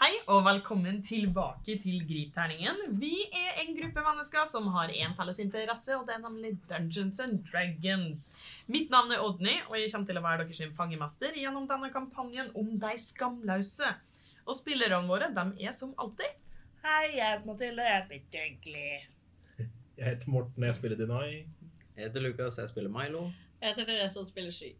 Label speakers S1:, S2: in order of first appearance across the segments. S1: Hei og velkommen tilbake til Gripterningen. Vi er en gruppe mennesker som har én felles interesse, og det er nemlig Dungeons and Dragons. Mitt navn er Odny, og jeg kommer til å være deres sin fangemester gjennom denne kampanjen om de skamløse. Og spillerne våre de er som alltid
S2: Hei, jeg heter Mathilde, jeg spiller Dougley.
S3: Jeg heter Morten, jeg spiller Deny.
S4: Jeg heter Lukas, jeg spiller Milo.
S5: Jeg heter Therese og spiller Sky.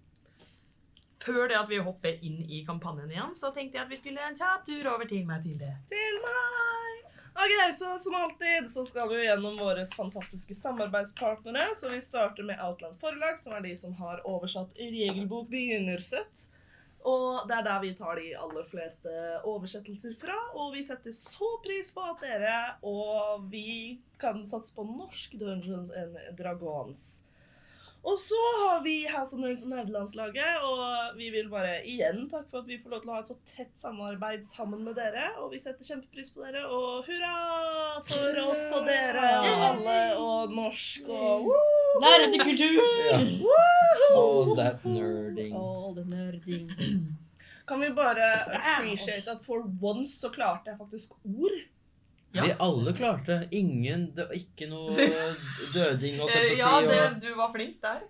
S1: Før det at vi hopper inn i kampanjen igjen, så tenkte jeg at vi skulle en kjapp tur over til Mathilde.
S2: Til meg! Ok, så som alltid så skal vi jo gjennom våre fantastiske samarbeidspartnere. Så vi starter med Outland Forlag, som er de som har oversatt regelbok begynnersett. Og det er der vi tar de aller fleste oversettelser fra. Og vi setter så pris på at dere og vi kan satse på norsk Dungeons and Dragons. Og så har vi House of Nerds og Nederlandslaget, og vi vil bare igjen takke for at vi får lov til å ha et så tett samarbeid sammen med dere. Og vi setter kjempepris på dere, og hurra for oss og dere og alle og norsk og woo!
S5: Nærhet til kultur!
S4: All that nerding.
S5: All the nerding.
S2: Kan vi bare appreciate at for once så klarte jeg faktisk ord?
S1: Ja.
S4: Vi alle klarte. Ingen det var Ikke noe døding, holdt jeg på å
S1: Eh,
S4: si.
S1: ja,
S4: og-
S1: det, du var flink der.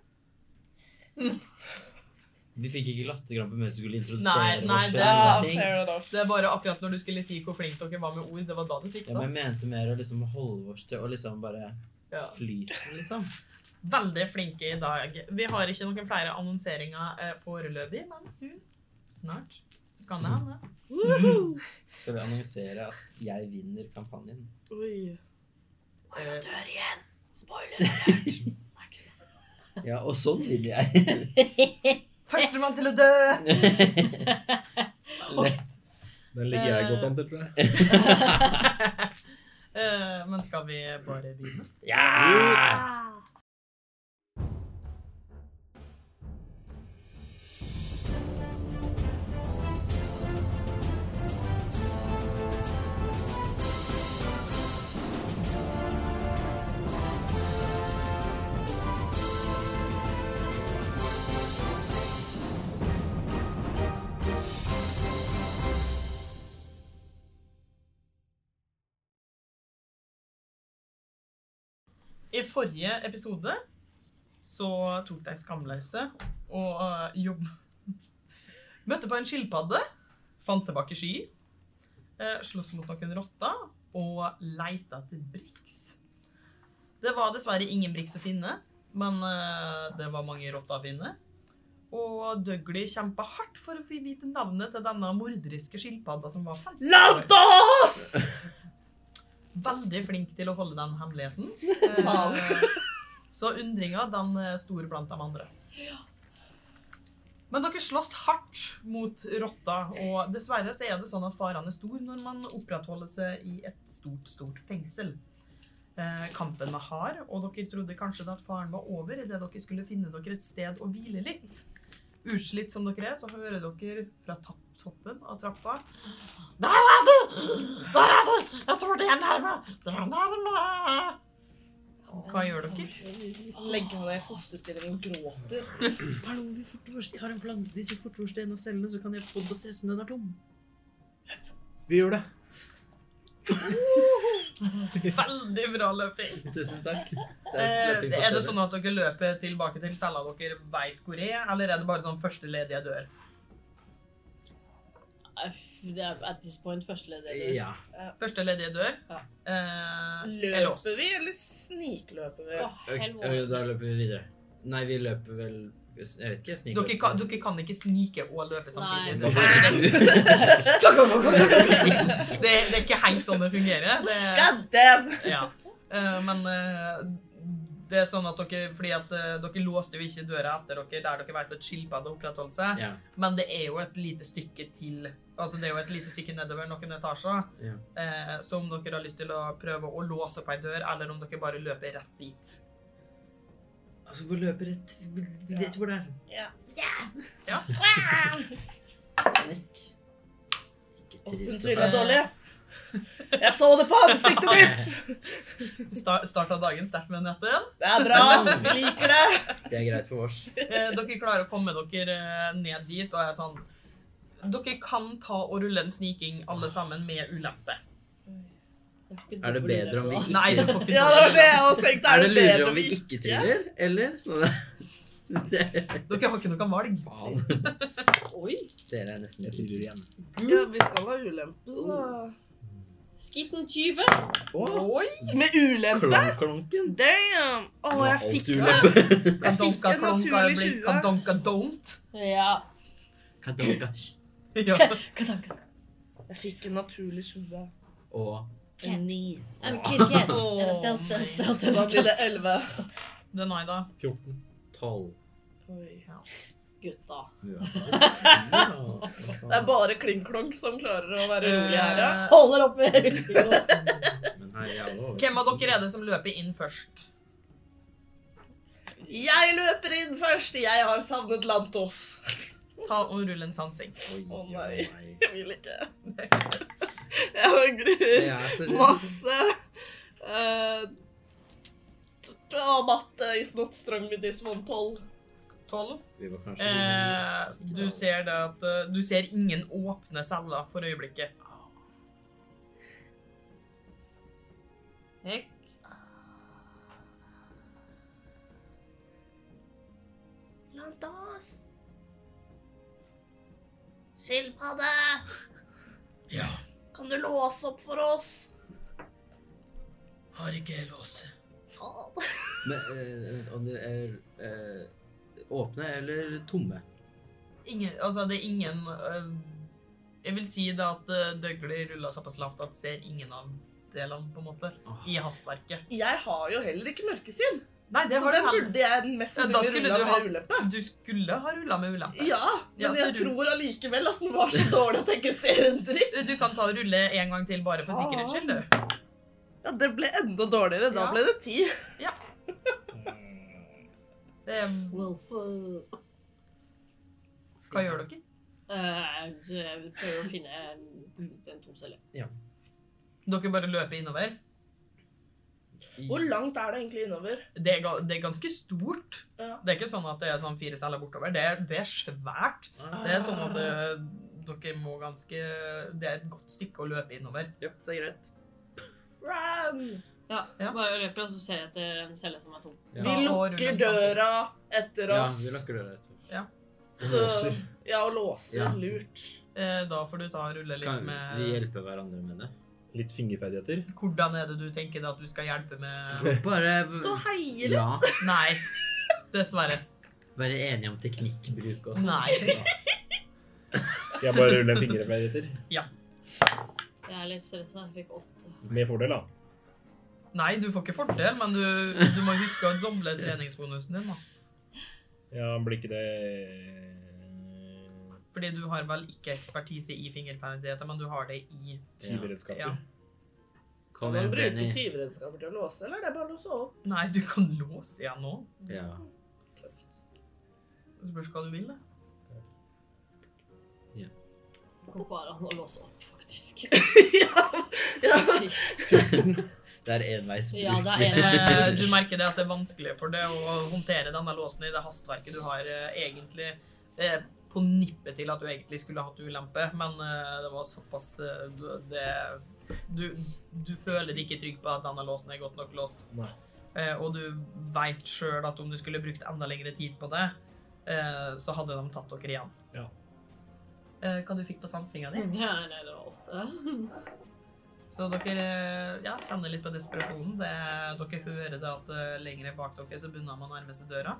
S4: Vi fikk ikke latterkrampe mens vi skulle
S1: Nei,
S4: introdusere
S1: nei, det-
S4: oss selv og
S1: Ja,
S2: Ah,
S4: sånne ting.
S2: fair enough.
S1: Det er bare akkurat når du skulle si hvor flink dere var med ord, det var da det
S4: Ja, men
S1: svikta.
S4: jeg mente mer å liksom holde oss til å liksom bare
S1: Ja.
S4: flyte, liksom.
S1: veldig flinke i dag. Vi har ikke noen flere annonseringer eh, foreløpig, men soon, snart, så kan det hende.
S2: Woohoo!
S4: Skal vi annonsere at jeg vinner kampanjen?
S2: Oi.
S1: Eh,
S4: Ja, og sånn vinner jeg.
S1: Førstemann til å dø!
S4: Lett.
S3: Den ligger jeg
S1: Eh.
S3: godt an til, tror jeg.
S1: Eh, men skal vi bare begynne?
S4: Ja!
S1: I forrige episode så tok de skamløse og eh, jobb... Møtte på en skilpadde, fant tilbake sky, eh, sloss mot noen rotter og leita etter briks. Det var dessverre ingen briks å finne, men eh, det var mange rotter å finne. Og Dougley kjempa hardt for å få vite navnet til denne morderiske skilpadda som var felt.
S2: Lantos!
S1: Veldig flink til å holde den hemmeligheten. Eh, Så undringa den eh, store blant de andre. Men dere slåss hardt mot rotta, og dessverre så er det sånn at faren er stor når man opprettholder seg i et stort, stort fengsel. Eh, Kampen var hard, og dere trodde kanskje at faren var over idet dere skulle finne dere et sted å hvile litt. Utslitt som dere er, så hører dere fra tapp- toppen av trappa Der er det! Der er det! Jeg tror det er nærme! Det er nærme! Hva gjør dere?
S2: Legger meg ned i fosterstilling og gråter.
S4: Hallo, vi fortår, jeg har en plan. Hvis vi fortår en av cellene, så kan jeg få det å se ut som den er tom.
S3: Vi gjør det.
S1: Veldig bra løping.
S4: Tusen takk.
S1: Eh, er det sånn at dere løper tilbake til cella dere veit hvor er, eller er det bare sånn første ledige dør?
S5: Det er at this point førsteleder.
S4: Ja.
S1: Første ledige dør
S5: Ja.
S1: eh, er låst.
S2: Løper vi, eller snikløper vi?
S5: Åh,
S4: Ok,
S5: helvete.
S4: Da løper vi videre. Nei, vi løper vel Jeg vet ikke. jeg sniker
S1: Dere kan, dere kan ikke snike og løpe samtidig.
S5: Nei.
S1: Det, det, det er ikke helt sånn det fungerer. Det,
S2: God damn!
S1: ja. Eh, men eh, det er sånn at dere Fordi at eh, dere låste jo ikke døra etter dere der dere vet at skilpadde opprettholder seg.
S4: Ja.
S1: Men det er jo et lite stykke til Altså det er jo et lite stykke nedover noen etasjer.
S4: ja.
S1: Eh, så om dere har lyst til å prøve å låse opp ei dør, eller om dere bare løper rett dit.
S4: Altså, vi løper rett Vi vi vet hvor det er.
S2: Ja.
S1: Ja.
S4: Ikke
S2: Åh, Hun
S4: trives så
S2: tryller
S4: fælt.
S2: dårlig. Jeg så det på ansiktet ditt!
S1: Sta starta dagen sterkt med nøtten.
S2: Det er bra. Vi liker det.
S4: Det er greit for oss.
S1: Eh, dere klarer å komme dere eh, ned dit og er sånn Dere kan ta og rulle en sniking alle sammen med ulempe.
S4: Er det bedre om vi ikke
S1: Nei, du får ikke
S6: Ja, det var
S1: dobbelt
S6: det jeg også tenkte.
S4: Er det
S6: bedre
S4: lurere om vi ikke triller, eller? Det,
S1: Dere har ikke noe valg.
S4: faen.
S2: Oi.
S4: Dere er nesten
S3: Jeg triller igjen.
S6: Ja, vi skal ha ulempe, så
S2: Skitten 20.
S4: Å,
S1: Oi!
S6: Med ulempe?
S4: klonklonken.
S6: Damn! Å,
S4: Det var
S6: jeg
S4: alt
S6: fikk
S4: du
S6: så
S4: løper.
S6: Jeg fikk
S1: Kadonka
S6: en
S1: klonka
S6: naturlig
S1: jeg blir
S6: 20.
S1: kadonka don't.
S2: Ja.
S4: Kadonka.
S1: Ja.
S2: Katanka.
S6: Jeg fikk en naturlig 20.
S4: Og
S2: Kenny. I'm Kid Ken.
S1: Åh,
S2: Eller stelt, stelt, stelt,
S6: Da
S2: stelt,
S6: blir det
S2: stelt.
S6: 11.
S1: Den er da.
S3: 14.
S4: 12.
S6: Oi.
S2: Gutta.
S6: Det er bare Klingklonk som klarer å være rolig her, ja.
S1: Eh,
S2: Holder oppe rustninga.
S4: Men her er jeg også.
S1: Hvem av dere er det som løper inn først?
S6: Jeg løper inn først! Jeg har savnet Lantos.
S1: Ta og rull en sansing.
S4: Oi,
S6: Å,
S4: oi,
S6: nei.
S4: oi.
S6: Jeg vil ikke. Jeg angrer
S4: Jeg er så redd.
S6: masse. Eh, t- Å, matte is not strong with this one, 12.
S1: 12.
S4: Vi var kanskje
S1: Eh, du ser det at eh, Du ser ingen åpne celler for øyeblikket. Nick?
S6: Lantos! Skilpadde!
S1: Ja.
S6: Kan du låse opp for oss?
S1: Har ikke lås.
S6: Faen.
S4: Men, eh, Om det er eh, åpne eller tomme?
S1: Ingen, altså, det er ingen eh, Jeg vil si det at uh, Dougley ruller såpass lavt at ser ingen av delene, på en måte,
S4: Åh.
S1: i hastverket.
S6: Jeg har jo heller ikke mørkesyn,
S1: Nei, det
S6: så
S1: har
S6: den
S1: du
S6: burde jeg mest
S1: Ja, da skulle
S6: sannsynlig rulla
S1: du ha-
S6: med ulempe.
S1: Du skulle ha rulla med ulempe.
S6: Ja, men
S1: Ja, så
S6: jeg
S1: du-
S6: tror allikevel at den var så dårlig at jeg ikke ser en dritt.
S1: Du kan ta og rulle en gang til, bare for
S6: Faen.
S1: sikkerhets skyld. du.
S6: Ja, det ble enda dårligere. Da
S1: Ja.
S6: ble det ti.
S3: Eh,
S1: Det, eh,
S2: Well, fuck.
S1: hva gjør dere?
S2: Eh, Jeg prøver å finne en, en tom celle.
S1: Dere bare løper innover.
S6: Hvor langt er det egentlig innover?
S1: Det er, ga- det er ganske stort.
S6: Ja.
S1: Det er ikke sånn at det er sånn fire celler bortover. Det er, det er svært.
S4: Ah.
S1: Det er sånn at eh, dere må ganske Det er et godt stykke å løpe innover.
S4: Ja, det er greit.
S6: Ram!
S2: Ja,
S1: Ja.
S2: bare løper, og så ser jeg etter en celle som er tom.
S4: Ja.
S6: Vi
S1: og
S6: lukker
S1: rullen
S6: døra etter
S4: Ja,
S6: oss.
S4: vi lukker døra etter.
S3: Og
S6: Så-
S3: låser.
S6: Ja, og låser.
S4: Ja.
S6: Lurt.
S1: Eh, Da får du ta og rulle litt
S4: Kan
S1: med
S4: vi hjelpe hverandre med det?
S3: Litt fingerferdigheter.
S1: Hvordan er det du tenker det at du skal hjelpe med
S4: Bare
S6: Stå og heie litt.
S4: Ja,
S1: Nei. Dessverre.
S4: være enige om teknikkbruk og sånn.
S1: Nei.
S3: Jeg bare ruller en fingerferdigheter.
S2: Jeg er litt stressa. Jeg fikk åtte.
S3: Med fordel, da.
S1: Nei, du får ikke fordel, men du, du må huske å doble treningsbonusen din. da.
S3: Ja, blir ikke det eh,
S1: Fordi du har vel ikke ekspertise i fingerferdigheter, men du har det i ja.
S3: tyveredskaper?
S6: Kan
S4: Kom
S6: man
S4: igjen,
S6: bruke
S4: Benny.
S6: tyveredskaper til å låse, eller er det bare å låse opp?
S1: Nei, du kan låse igjen nå.
S4: Ja.
S1: Det spørs hva du vil. da.
S2: Det går bare an å låse opp, faktisk.
S6: ja. ja.
S4: Det er enveisbruk.
S2: Ja, det er
S1: Eh,
S2: enveisbruk.
S1: Du merker det at det er vanskelig for deg å håndtere denne låsen i det hastverket du har eh, egentlig eh, på nippet til at du egentlig skulle hatt ulempe, men eh, det var såpass eh, du- det, du, du føler deg ikke trygg på at denne låsen er godt nok låst.
S3: Nei.
S1: Eh, og du veit sjøl at om du skulle brukt enda lengre tid på det, eh, så hadde de tatt dere igjen.
S3: Ja.
S1: Eh, hva du fikk på sansinga di?
S2: Det er det var åtte.
S1: Så dere eh, ja, kjenner litt på desperasjonen. Det, dere hører det at eh, lengre bak dere så begynner man å nærme seg døra.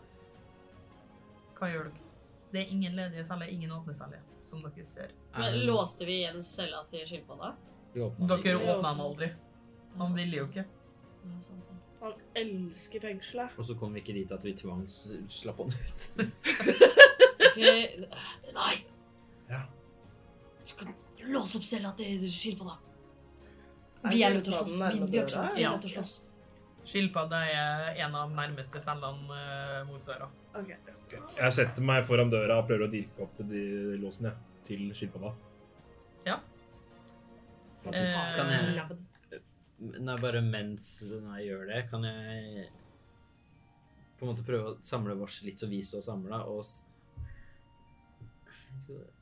S1: Hva gjør dere? Det er ingen ledige celler, ingen åpne celler, som dere ser.
S2: Men
S4: Um.
S2: låste vi igjen cella til skilpadda?
S1: Dere
S4: Dere
S6: åpner.
S1: åpna den aldri. Han ville jo ikke.
S2: Ja, sant det.
S6: Han elsker fengselet.
S4: Og så kom vi ikke dit at vi tvangsslapp han ut.
S2: Ok, Nei!
S3: Ja.
S2: Skal låse opp cella til skilpadda. Vi er nødt til å slåss. Vi, vi har ikke sjans. Vi er nødt til å slåss.
S1: Skilpadde er en av nærmeste cellene eh, mot døra.
S6: Ok.
S3: Jeg setter meg foran døra og prøver å dirke opp de de låsen, jeg. Til skilpadda.
S1: Ja.
S3: At de-
S1: Eh,
S4: Kan jeg Nei, bare mens jeg gjør det, kan jeg på en måte prøve å samle vårs litt så vi står samla, og s- Jeg vet ikke hva det-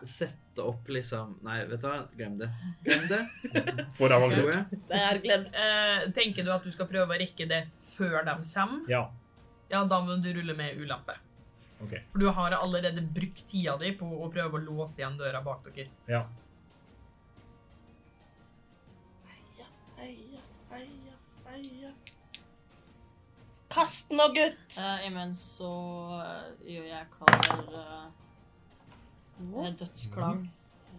S2: Hæ?
S4: Sette opp liksom Nei, vet du hva, glem det. Glem det,
S3: For
S4: tror
S3: avansert.
S4: jeg.
S6: Det er glemt.
S1: Eh, tenker du at du skal prøve å rekke det før de kommer?
S3: Ja.
S1: Ja, da må du rulle med ulempe.
S3: Ok.
S1: For du har allerede brukt tida di på å prøve å låse igjen døra bak dere.
S3: Ja.
S6: Eia, eia, eia. Kast nå, gutt!
S2: Eh, imens så eh, gjør jeg klar eh,
S6: Nå,
S2: dødsklang.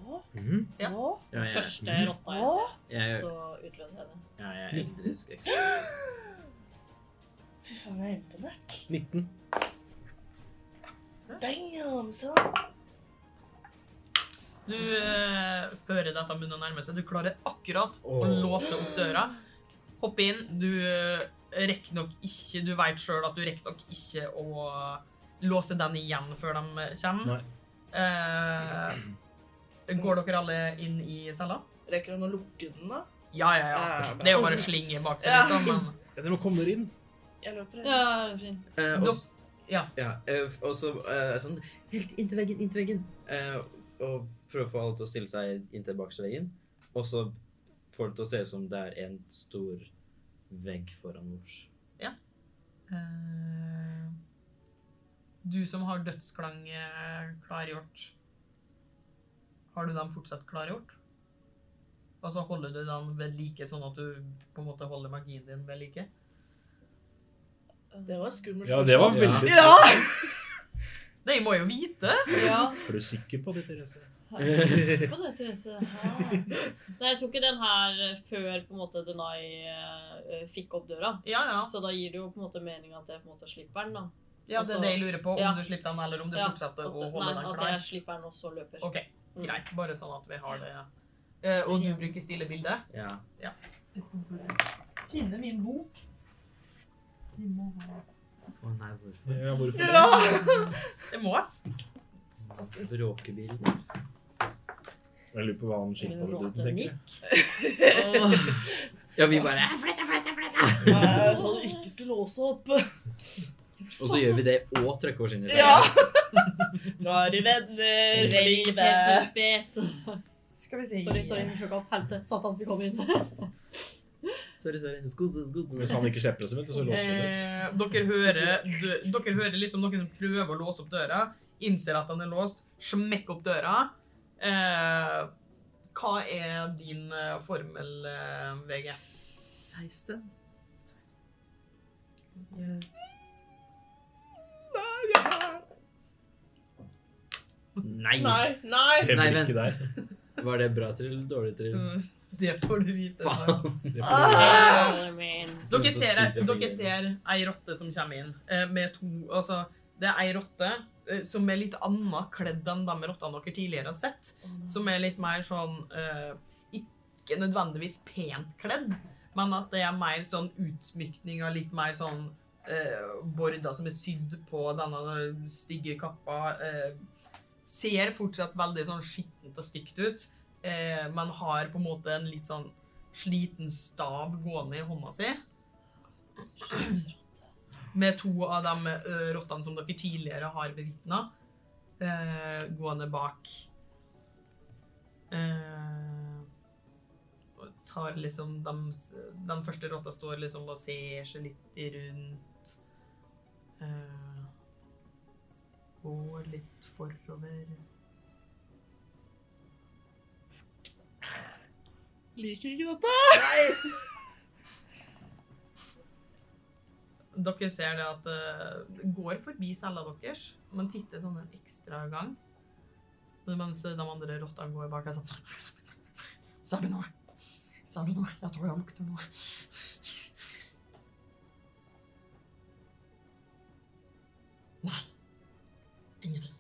S6: nå,
S3: Mhm.
S1: Ja.
S6: nå,
S4: Ja, jeg,
S2: Første
S4: mhm.
S2: rotta jeg
S6: nå.
S2: ser,
S4: Jeg,
S2: så utløser jeg det.
S4: ja, jeg er eldrisk ekstra.
S6: Fy faen, jeg er imponert.
S3: 19.
S6: Damn, son.
S1: Du eh, hører dette begynne å nærme seg. Du klarer akkurat å
S4: Åh.
S1: låse opp døra. Hoppe inn. Du eh, rekker nok ikke Du veit sjøl at du rekker nok ikke å låse den igjen før de
S3: Nei.
S1: kommer. Eh, går dere alle inn i cella?
S6: Rekker han å lukke den, da?
S1: Ja, ja, ja. Det er jo bare å slenge bak seg, liksom. Men
S3: Ja, dere må komme dere inn.
S6: Jeg løper inn.
S2: Ja, det er fint.
S4: Eh, og, s-
S1: ja.
S4: ja, eh, f- og så eh, sånn helt inntil veggen, inntil veggen. Eh, og prøve å få alle til å stille seg inntil bakerste veggen. Og så får det til å se ut som det er en stor vegg foran oss.
S1: Eh, Du som har dødsklang eh, klargjort, har du dem fortsatt klargjort? Og så holder du den ved like, sånn at du på en måte holder magien din ved like?
S6: Det var et skummelt
S3: Ja, det var
S4: Ja.
S3: veldig
S6: Ja!
S3: spennende.
S1: De må jo vite!
S2: Ja.
S3: Er du sikker på det, Therese?
S2: På det, Therese. Ah. Nei, jeg tok ikke den her eh, før på en måte Denai eh, fikk opp døra.
S1: Ja, ja.
S2: Så da gir det jo på en måte mening at jeg på en måte slipper den. da.
S1: ja det
S2: Altså,
S1: er det jeg lurer på. Om
S2: ja.
S1: du slipper den, eller om du
S2: Ja,
S1: fortsetter
S2: At,
S1: å
S2: nei,
S1: holde den
S2: at
S1: klar.
S2: jeg slipper den og så løper.
S1: OK,
S2: Mm.
S1: greit. Bare sånn at vi har det. Eh, Og du bruker stille bilde?
S4: Ja.
S1: Finne min bok. De må ha
S4: Å nei, hvorfor?
S3: Ja, hvorfor?
S1: Det må jeg
S4: Bråkebilder.
S3: Jeg lurer på hva han skilpaddedutten tenker.
S4: Ja, vi bare
S6: Nei, Jeg sa du ikke skulle låse opp.
S4: Og så gjør vi det og trykker oss inn i seg.
S6: Ja. Nå er de venner for
S2: Veldig
S6: livet.
S2: spes.
S1: Skal vi si
S2: Sorry, sorry, vi fikk opp helte. Satan, vi kom inn.
S4: Sorry, sorry. Skos, skos.
S3: Hvis han ikke slipper oss ut, så låser vi oss ut.
S1: Eh, dere, hører, dø- dere hører liksom noen som prøver å låse opp døra, innser at den er låst, smekk opp døra. Eh, hva er din eh, formel, eh, VG?
S4: 16. Nei.
S6: Nei, nei.
S4: Nei,
S3: Heller
S4: vent.
S3: ikke der.
S4: Var det bra trill? Dårlig trill?
S6: Mm,
S1: Det får du vite. Sara.
S4: Faen.
S3: Det er
S6: Ah!
S3: fordi-
S1: Dere
S4: Så
S1: ser,
S4: sykt jeg
S1: dere
S4: blir-
S1: ser ei rotte som kommer inn eh, med to Altså, det er ei rotte eh, som er litt annet kledd enn de rottene dere tidligere har sett. Som er litt mer sånn eh, Ikke nødvendigvis pent kledd, men at det er mer sånn utsmykning og litt mer sånn eh, border som er sydd på denne stygge kappa. Eh, ser fortsatt veldig sånn skittent og stygt ut, eh, men har på en måte en litt sånn sliten stav gående i hånda si. Med to av de eh, rottene som dere tidligere har bevitna, eh, gående bak. Eh, og tar liksom de, Den første rotta står liksom og ser seg litt rundt. Eh, går litt forover.
S6: Liker ikke dette.
S1: Dere ser det at det går forbi cella deres, men titter sånn en ekstra gang. Men Mens de andre rotta går bak og sånn Ser du noe? Ser du noe? Jeg tror jeg lukter noe. Nei. Ingenting.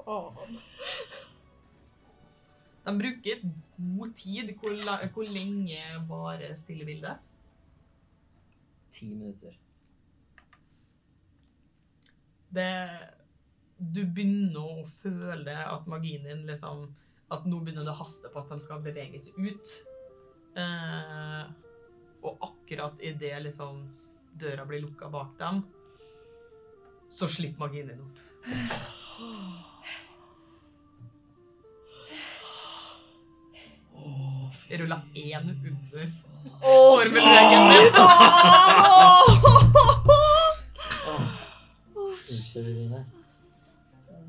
S6: Faen.
S1: De bruker god tid. Hvor, la- hvor lenge varer stillebildet?
S4: Ti minutter.
S1: det Du begynner å føle at magien din liksom At nå begynner det å haste på at den skal beveges ut. Eh, og akkurat idet liksom døra blir lukka bak dem, så slipper magien din opp. Jeg rulla én under formelveggen min.
S4: Unnskyld, Rine.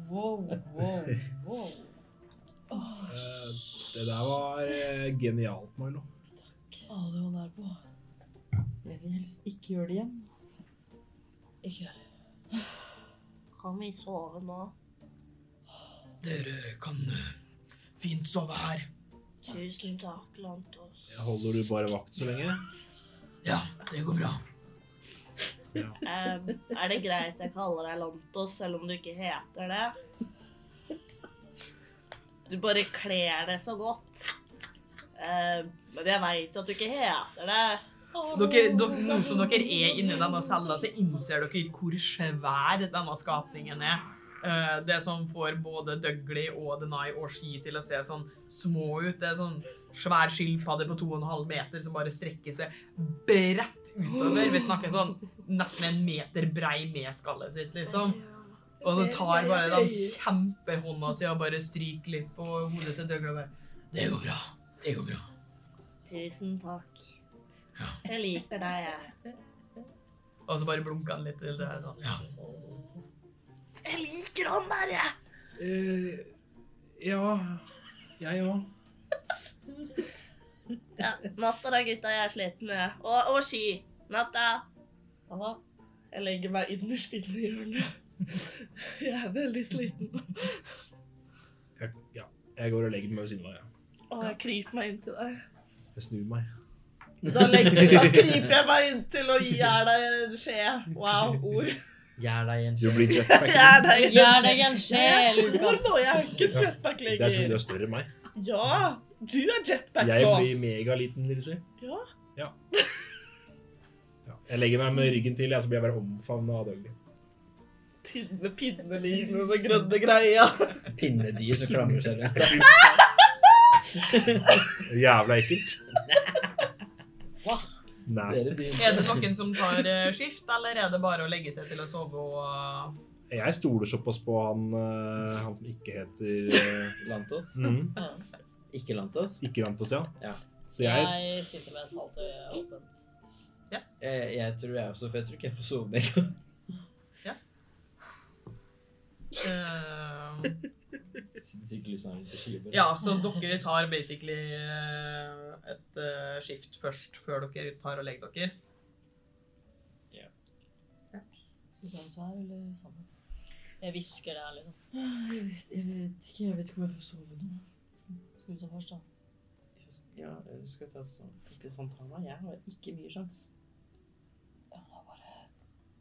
S1: Wow, wow, wow.
S3: Eh, Det der var eh, genialt, Milo.
S6: Alle hun er på.
S4: Jeg vil helst ikke gjøre det igjen.
S6: Ikke gjør det.
S2: Kan vi sove nå?
S1: Dere kan eh, fint sove her.
S2: Tusen takk, Lantos.
S3: Holder du bare vakt så lenge?
S1: Ja, det går bra.
S2: Um, er det greit jeg kaller deg Lantos, selv om du ikke heter det? Du bare kler det så godt. Um, men jeg veit jo at du ikke heter det.
S1: Dere, dere, nå som dere er inni denne cella, så innser dere hvor svær denne skapningen er. Eh, Det som får både Dougley og Denai og Ski til å se sånn små ut. Det er sånn svær skilpadde på 2,5 meter som bare strekker seg bredt utover. Vi snakker sånn nesten en meter brei med skallet sitt, liksom. Og det tar bare den kjempehånda si og bare stryker litt på hodet til Dougley og bare Det går bra. Det går bra.
S2: Tusen takk.
S1: Ja.
S2: Jeg liker deg, jeg.
S1: Og så bare blunker han litt til det her sånn. Ja.
S2: Jeg liker han der, jeg!
S3: Eh, ja, jeg òg.
S2: Ja, natta da, gutta. Jeg er sliten, jeg. Og, og ski. Natta.
S6: Jeg legger meg innerst inne i hjørnet. Jeg er veldig sliten.
S3: Jeg, ja. jeg går og legger meg ved siden av deg.
S6: Og jeg kryper meg inntil deg.
S3: ja. Jeg snur meg.
S6: Da, legger, da kryper jeg meg inntil og gir deg en skje. Wow, ord.
S4: Gjør deg en
S3: Du
S4: skje.
S3: blir jetpack.
S6: Gjør deg en
S2: Gjør
S6: skje.
S2: deg en
S6: Jeg
S2: sjel,
S6: er stor
S2: Lukas.
S6: nå, jeg er ikke jetpack
S3: Det er fordi sånn du
S6: lenger.
S3: er større enn meg.
S6: Ja, du er jetpack
S3: Jeg
S6: nå.
S3: blir megaliten, vil du si.
S6: Ja.
S3: Ja. ja. Jeg legger meg med ryggen til, jeg, så blir jeg bare omfavna av Dougley.
S6: Tynne pinnelignende grønne greia.
S4: Pinnedyr som klamrer seg rundt.
S3: Jævla ekkelt.
S4: Hva?
S3: Nasty.
S1: Er det noen som tar eh, skift, eller er det bare å legge seg til å sove og eh,
S3: Jeg stoler såpass på han, eh, han som ikke heter eh,
S4: Lantos?
S3: mm,
S4: Ikke Lantos?
S3: Ikke Rantos, ja.
S4: Ja.
S3: Så jeg
S2: sitter med et halvt øye åpent.
S4: Eh, Jeg tror jeg også, for jeg tror ikke jeg får sove begge ganger.
S1: eh,
S4: Sitter sikkert litt sånn til skyer.
S1: Ja, så dere tar basically eh, et eh, skift først, før dere tar og legger dere.
S2: eh, Jeg hvisker det her, liksom.
S7: Jeg vet, jeg vet ikke, jeg vet ikke om jeg får sove nå.
S2: Skal du ta først, da?
S4: Ja, du skal ta sånn. Ikke sånn ta meg. Jeg har ikke mye sjans.
S2: Ja, da bare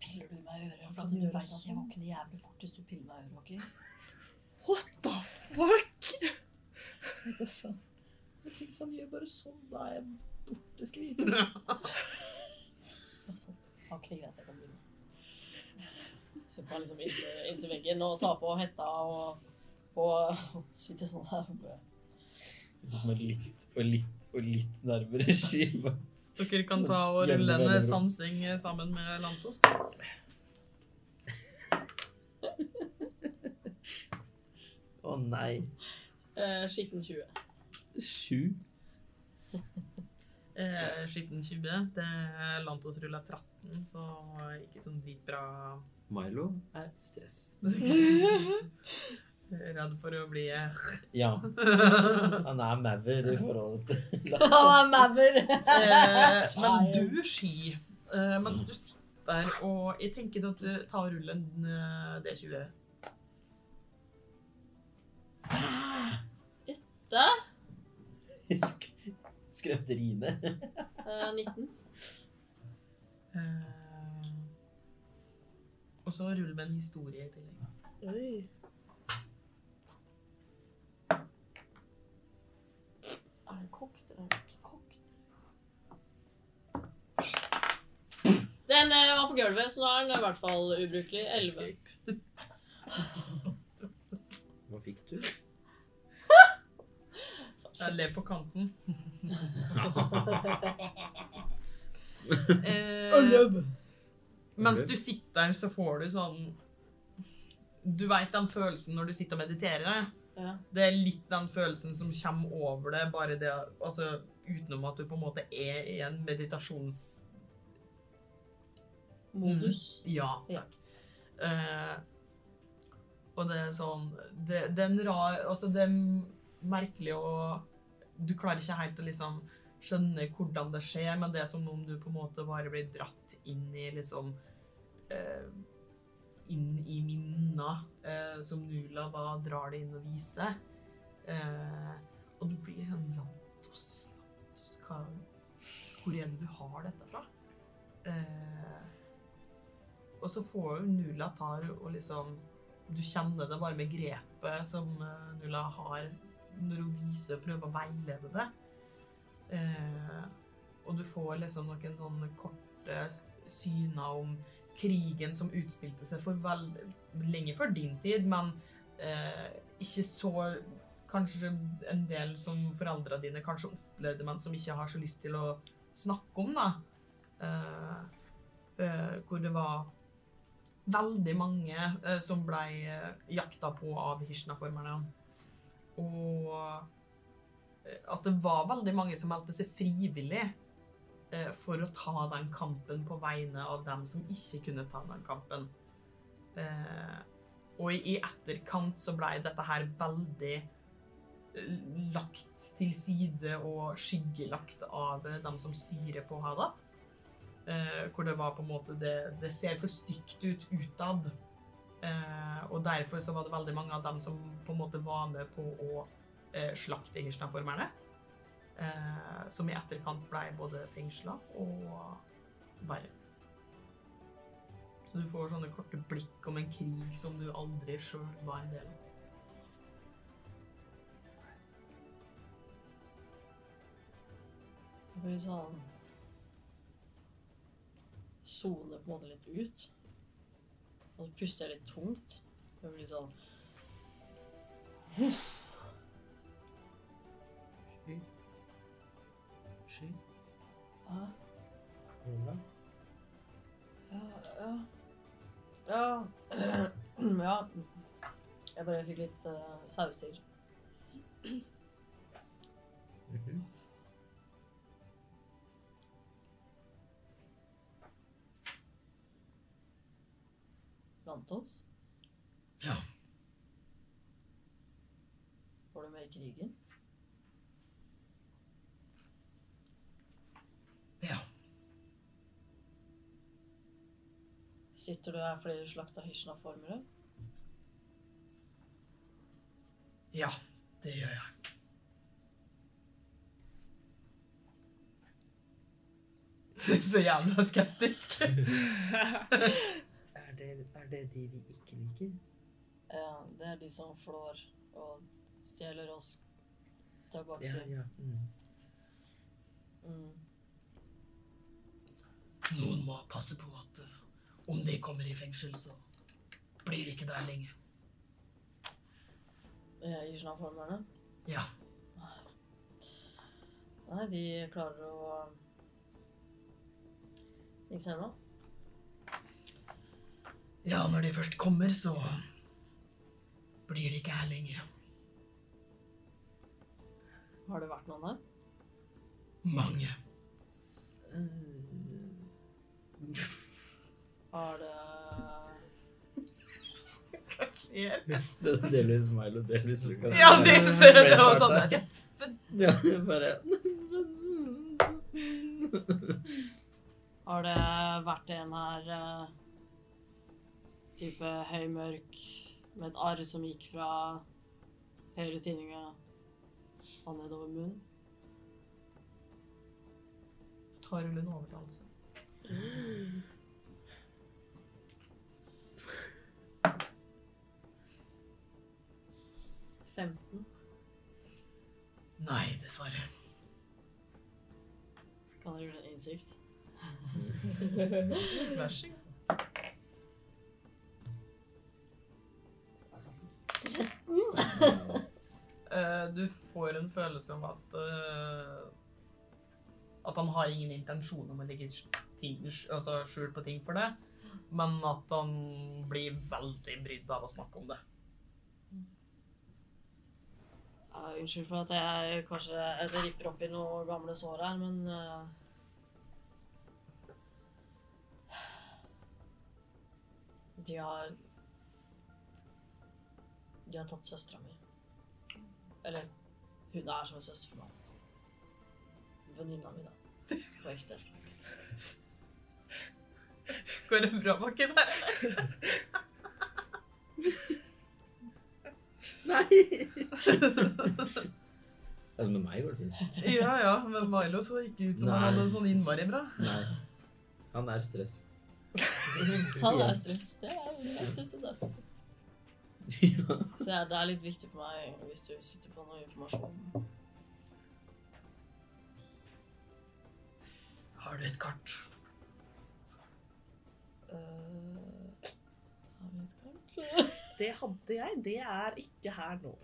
S2: piller du meg i øret. For
S7: Kan
S2: at
S7: du
S2: du
S7: gjøre
S2: vet at jeg
S7: sånn?
S2: våkner jævlig fort hvis du piller meg i øret, OK?
S6: What the fuck?
S7: Det er sant. Jeg tenker sånn, gjør bare sånn, da er jeg borte skvist.
S2: Altså, ok, greit, jeg kan begynne. Sitter meg liksom inntil, inntil veggen og tar på hetta og, og, sitter sånn her. og bare-
S4: Med litt og litt og litt nærmere skiva.
S1: Dere kan ta og rulle en sansing eh, sammen med Lantos.
S4: Å nei.
S2: Eh, Skitten 20.
S4: Sju.
S1: Eh, Skitten 20. Det er Lantos rulla 13, så ikke sånn dritbra
S4: Milo er stress.
S1: Redd for å bli eh,
S4: Ja. Han er maver i forhold til
S2: Han er maver!
S1: Eh, men du, Ski, eh, mens du sitter der og Jeg tenker at du tar rullen eh, D20.
S4: Sk Skremte Rine.
S2: Eh, 19.
S1: Eh, og så rull med en historie i tillegg.
S6: Oi.
S2: Er det kokt, eller er det ikke kokt? Den eh, var på gulvet, så nå er den i hvert fall ubrukelig. 11.
S4: Hva fikk du?
S1: Jeg ler på kanten. eh, mens du sitter der, så får du sånn Du veit den følelsen når du sitter og mediterer.
S2: Ja.
S1: Det er litt den følelsen som kommer over det, bare det altså, utenom at du på en måte er i en meditasjons...
S2: Modus.
S1: Ja,
S2: Ja.
S1: takk. Eh, og det er sånn det, det er en rar Altså, det er merkelig å Du klarer ikke helt å liksom skjønne hvordan det skjer, men det er som om du på en måte bare blir dratt inn i liksom eh, Inn i minna eh, som Nula da drar det inn og viser. Eh, og du blir sånn Lantos, Lantos, hva Hvor er det du har dette fra? Eh, og så får jo Nula tar og liksom Du kjenner det bare med grepet som eh, Nula har når hun viser og prøver å veilede det. Eh, og du får liksom noen sånne korte syner om krigen som utspilte seg for vel, lenge før din tid, men eh, ikke så Kanskje en del som foreldra dine kanskje opplevde, men som ikke har så lyst til å snakke om, da. Eh, eh, hvor det var veldig mange eh, som ble eh, jakta på av Hishna-formerne. Og eh, at det var veldig mange som meldte seg frivillig eh, for å ta den kampen på vegne av dem som ikke kunne ta den kampen. Eh, og i etterkant så ble dette her veldig eh, lagt til side og skyggelagt av eh, dem som styrer på Hadat. Eh, hvor det var på en måte det, det ser for stygt ut utad. Eh, og derfor så var det veldig mange av dem som på en måte var med på å eh, slakte Hirschna-formerne. Eh, som i etterkant ble både fengsla og verre. Så du får sånne korte blikk om en krig som du aldri sjøl var en del av.
S2: Det blir sånn Sone på en måte litt ut. Og så puster jeg litt tungt. Det blir litt sånn
S1: Sky. Sky.
S2: Ja,
S3: Nula?
S2: ja, ja. Ja. ja. Jeg bare fikk litt uh, saustyr. blant Mm. oss.
S4: Ja.
S2: Var du med i krigen?
S4: Ja.
S2: Sitter du her fordi du slakta Hishna-formere?
S4: Ja, det gjør jeg.
S1: Så jævla skeptisk.
S7: Er det, er det de vi ikke liker?
S2: Ja, det er de som flår og stjeler oss
S7: Ja,
S2: tilbake.
S7: ja. Mm.
S2: Mm.
S1: Noen må passe på at eh, om de kommer i fengsel, så blir de ikke der lenge.
S2: Eh, Hishna-formerne?
S1: Ja.
S2: Nei, de klarer å snike seg unna.
S1: Ja, når de først kommer, så blir de ikke her lenge.
S2: Har det vært noen her?
S1: Mange.
S2: Har det
S1: Hva skjer?
S4: Det er delvis meg og delvis Lukas.
S1: Ja, det ser jeg. Det var sånn der. ja.
S4: Ja, bare...
S2: Har det vært en her eh, type høymørk med et arr som gikk fra høyre tinninga og nedover munnen?
S1: Tar rull en overtalelse.
S2: S- 15.
S1: Nei, dessverre.
S2: Kan jeg rulle innsikt?
S1: Vær så god.
S2: 13?
S1: Eh, du får en følelse om at eh, at han har ingen intensjon om å legge ting- altså, skjul på ting for deg. men at han blir veldig brydd av å snakke om det.
S2: Ja, unnskyld for at jeg kanskje eller ripper opp i noen gamle sår her, men eh, De har De har tatt søstera mi. Eller hun er som en søster for meg. Venninna mi, da. På ekte.
S1: Går det bra baki der?
S7: Nei!
S4: Ja, Med meg går det fint.
S1: Ja, ja, men Milo så ikke ut som han
S4: Nei.
S1: hadde det sånn innmari bra.
S4: Nei. Han er stress.
S2: Han er stress. Det er jeg er stresset der, faktisk.
S4: Ja.
S2: Så ja, det er litt viktig for meg hvis du sitter på noe informasjon.
S1: Har du et kart?
S2: Eh, har vi et kart?
S6: Det hadde jeg. Det er ikke her nå.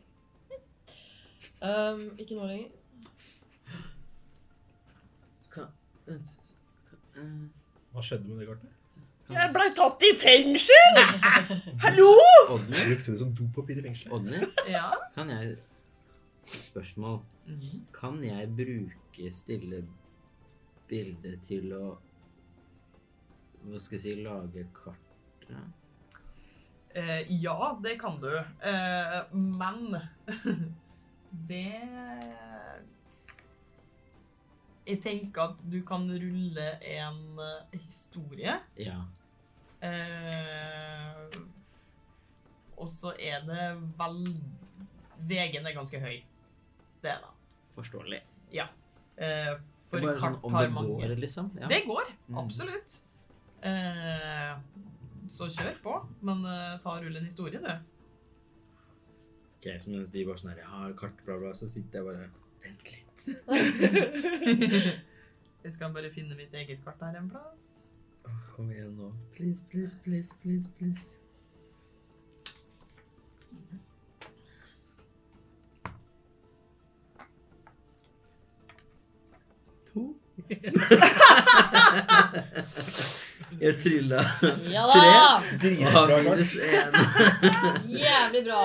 S2: Ehm, ikke nå lenger.
S4: Kan, vent. Kan-
S3: Hva skjedde med det kartet?
S4: eh, kan-
S6: Jeg blei tatt i fengsel! Hallo!
S4: Odny?
S3: Brukte det som dopapir i fengselet.
S4: Odny?
S1: Ja.
S4: Kan jeg Spørsmål.
S1: Mhm.
S4: Kan jeg bruke stille bilde til å Hva skal jeg si lage kartet?
S1: Eh, ja, det kan du. Eh, men det Jeg tenker at du kan rulle en eh, historie.
S4: Ja.
S1: Eh, og så er det vel Vegen er ganske høy. Det er det.
S4: Forståelig.
S1: Eh, for
S4: Bare sånn
S1: kart
S4: om det
S1: har mange
S4: går, liksom. Ja.
S1: Det går,
S4: Mm.
S1: absolutt. Eh, så kjør på, men eh, ta og rull en historie, du.
S4: Ok, så mens de var sånn her Jeg har kart, bla, bla, så sitter jeg bare Vent litt.
S1: Jeg skal bare finne mitt eget kart her en plass.
S4: Åh, Kom igjen nå.
S1: Mm.
S4: Please, please, please, please, please. To. Jeg trylla
S2: Ja da!
S4: minus én.
S2: Jævlig bra!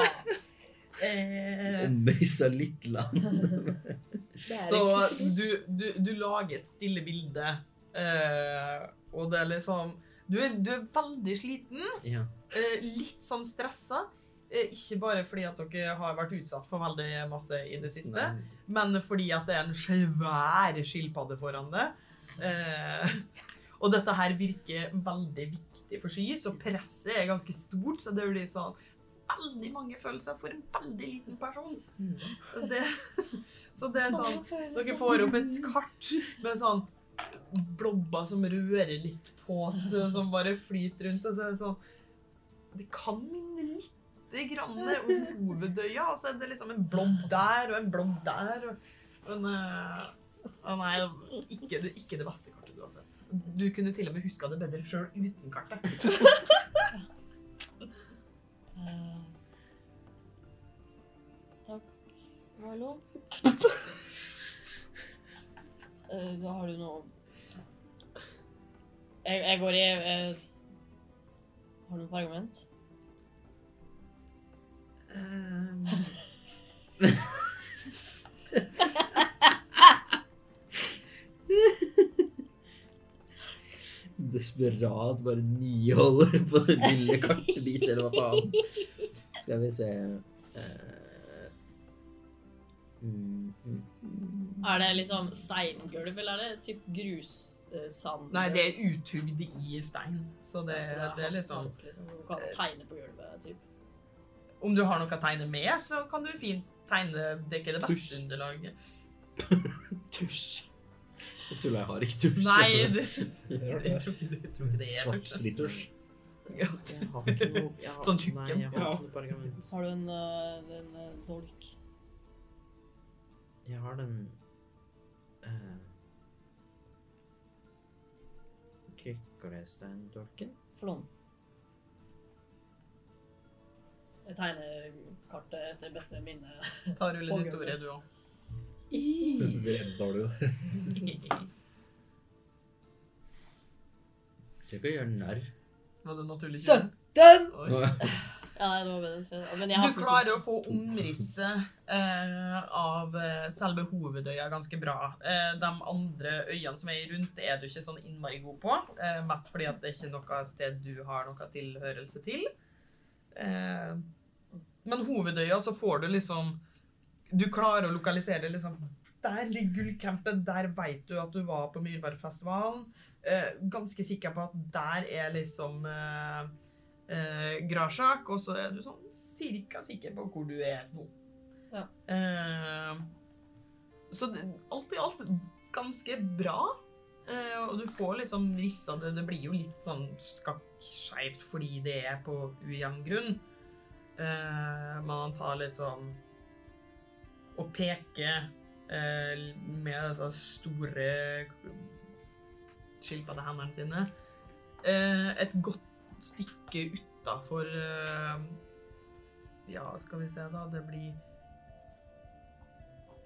S1: Eh,
S4: Omøysa litt land.
S1: så du, du, du lager et stille bilde, eh, og det er liksom Du er, du er veldig sliten,
S4: Ja.
S1: eh, litt sånn stressa. eh, Ikke bare fordi at dere har vært utsatt for veldig masse i det siste,
S4: Nei.
S1: men fordi at det er en svær skilpadde foran det. Eh, og dette her virker veldig viktig for Sky, så presset er ganske stort, så det blir sånn veldig mange følelser for en veldig liten person. Det, så det er sånn Dere får opp et kart med sånn blobber som rører litt på seg, som bare flyter rundt, og så er det sånn Det kan minne litt grann om hovedøya. Altså, det er liksom en blobb der og en blobb der. Og, men eh, å nei, ikke, det- ikke det beste kartet du har sett. Du kunne til og med huska det bedre sjøl uten kartet.
S2: Eh, Takk. Hallo? Eh, Da har du noe Jeg, jeg går i eh, Har du noe pergament?
S4: Ehm. Desperat bare niholder på den lille kartebit, eller hva faen. Skal vi se eh, mm, mm.
S2: Er det liksom steingulv, eller er det typ grussand? Altså,
S1: Nei, det er uthugd i stein, så det,
S2: Så
S1: det er liksom
S2: hakk, liksom Du kan tegne på gulvet, typ.
S1: Om du har noe å tegne med, så kan du fint tegne Det er ikke det beste
S4: Tusj.
S1: underlaget.
S4: Tusj. Jeg tuller, jeg har ikke tusj.
S1: Nei, det,
S3: Det er rart,
S1: jeg
S3: det.
S1: tror ikke, det- jeg tror ikke det er
S3: Svart
S1: tusj.
S3: spritusj.
S1: Ja.
S4: Jeg har ikke noe jeg har,
S1: Sånn tjukken.
S4: Nei, jeg har
S3: Ja.
S4: ikke noe pergament.
S2: Har du en, eh, en eh, dolk?
S4: Jeg har den eh, Krykkelesteindolken.
S2: Forlån. Jeg tegner kartet etter beste minne.
S1: Ta og rull en historie, du òg.
S3: Vredder du det?
S4: Trenger ikke å gjøre narr
S1: Var det naturlig
S7: Sø-
S1: tjue?
S7: Den!
S1: Oi.
S2: Ja, nei, det var bedre enn tre. Men jeg har
S1: Du
S2: ikke
S1: klarer å
S2: sånn-
S1: få omrisset eh, av eh, selve hovedøya ganske bra. Eh, de andre øyene som er rundt, er du ikke sånn innmari god på. Eh, mest fordi at det er ikke noe sted du har noe tilhørelse til. Eh, men hovedøya så får du liksom Du klarer å lokalisere liksom Der ligger gullcampen, der veit du at du var på Myrværfestivalen. Eh, ganske sikker på at der er liksom eh, eh, Grasjak, og så er du sånn cirka sikker på hvor du er nå.
S2: Ja.
S1: Eh, så det, alt i alt ganske bra. Eh, og du får liksom rissa det. Det blir jo litt sånn skakkskjevt fordi det er på ujevn grunn. Eh, men han tar liksom og peker eh, med disse store skilpadde hendene sine eh, et godt stykke utafor eh, Ja, skal vi se, da. Det blir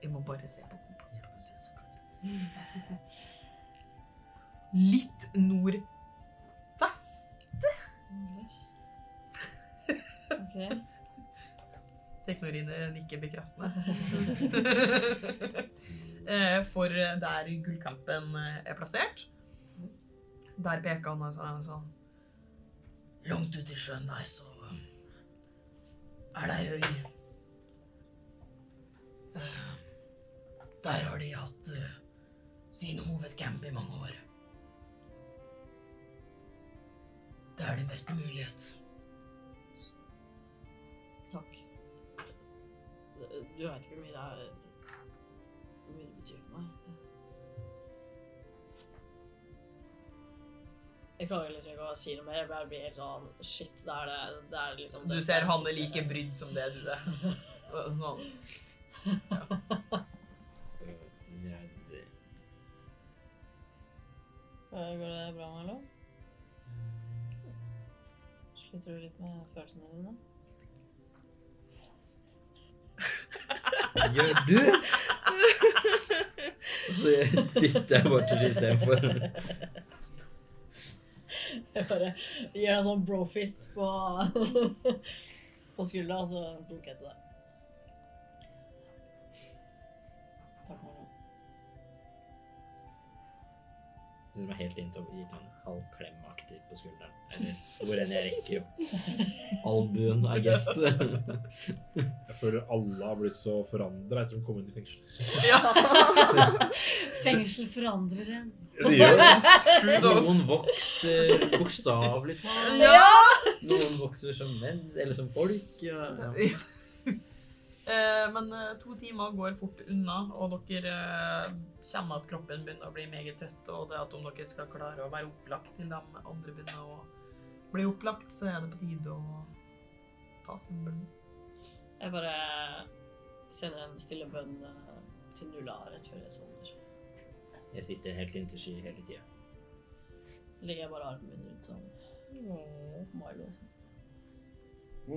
S1: Jeg må bare se på komposisjonen. Litt nordvest.
S2: Yes. Ok.
S1: Teknorine nikker bekreftende. Eh, For der gullkampen eh, er plassert. Der peker han altså han sånn Langt ute i sjøen der, så eh, er det ei øy. Eh, Der har de hatt eh, sin hovedcamp i mange år. Det er din beste mulighet.
S2: Takk. Du veit ikke hvor mye det er Hvor mye det betyr for meg. Jeg klarer liksom ikke å si noe mer. Jeg bare blir helt sånn Shit, det er det, det er liksom
S1: Du
S2: det
S1: ser han er like
S2: sterkeste-
S1: brydd som det du er. Og Sånn.
S4: Ja, det-
S2: Eh, Går det bra, Marlo? Sliter du litt med følelsene dine?
S4: Gjør du? Så jeg dytter jeg Bartosz istedenfor.
S2: Jeg bare gir deg en sånn brofist på, på skuldra, og så dunker jeg til deg. Takk, Marlo.
S4: Det som er helt inntover, gir en halv klemaktig på skulderen. Eller hvor enn jeg rekker opp. Albuen, I guess.
S3: Jeg føler alle har blitt så forandra etter at de kom inn i fengsel.
S2: Fengsel forandrer en.
S3: Det gjør det.
S4: Noen vokser bokstavelig talt. Noen vokser som menn, eller som folk. Ja. ja.
S1: Eh, Men eh, to timer går fort unna, og dere eh, kjenner at kroppen begynner å bli meget trøtt, og det at om dere skal klare å være opplagt til de andre begynner å bli opplagt, så er det på tide å ta sin bønn.
S2: Jeg bare sender en stille bønn eh, til Nulla rett før jeg sovner.
S4: Jeg sitter helt inntil sky hele tida.
S2: Legger jeg bare armen min rundt sånn. Marlo og sånn.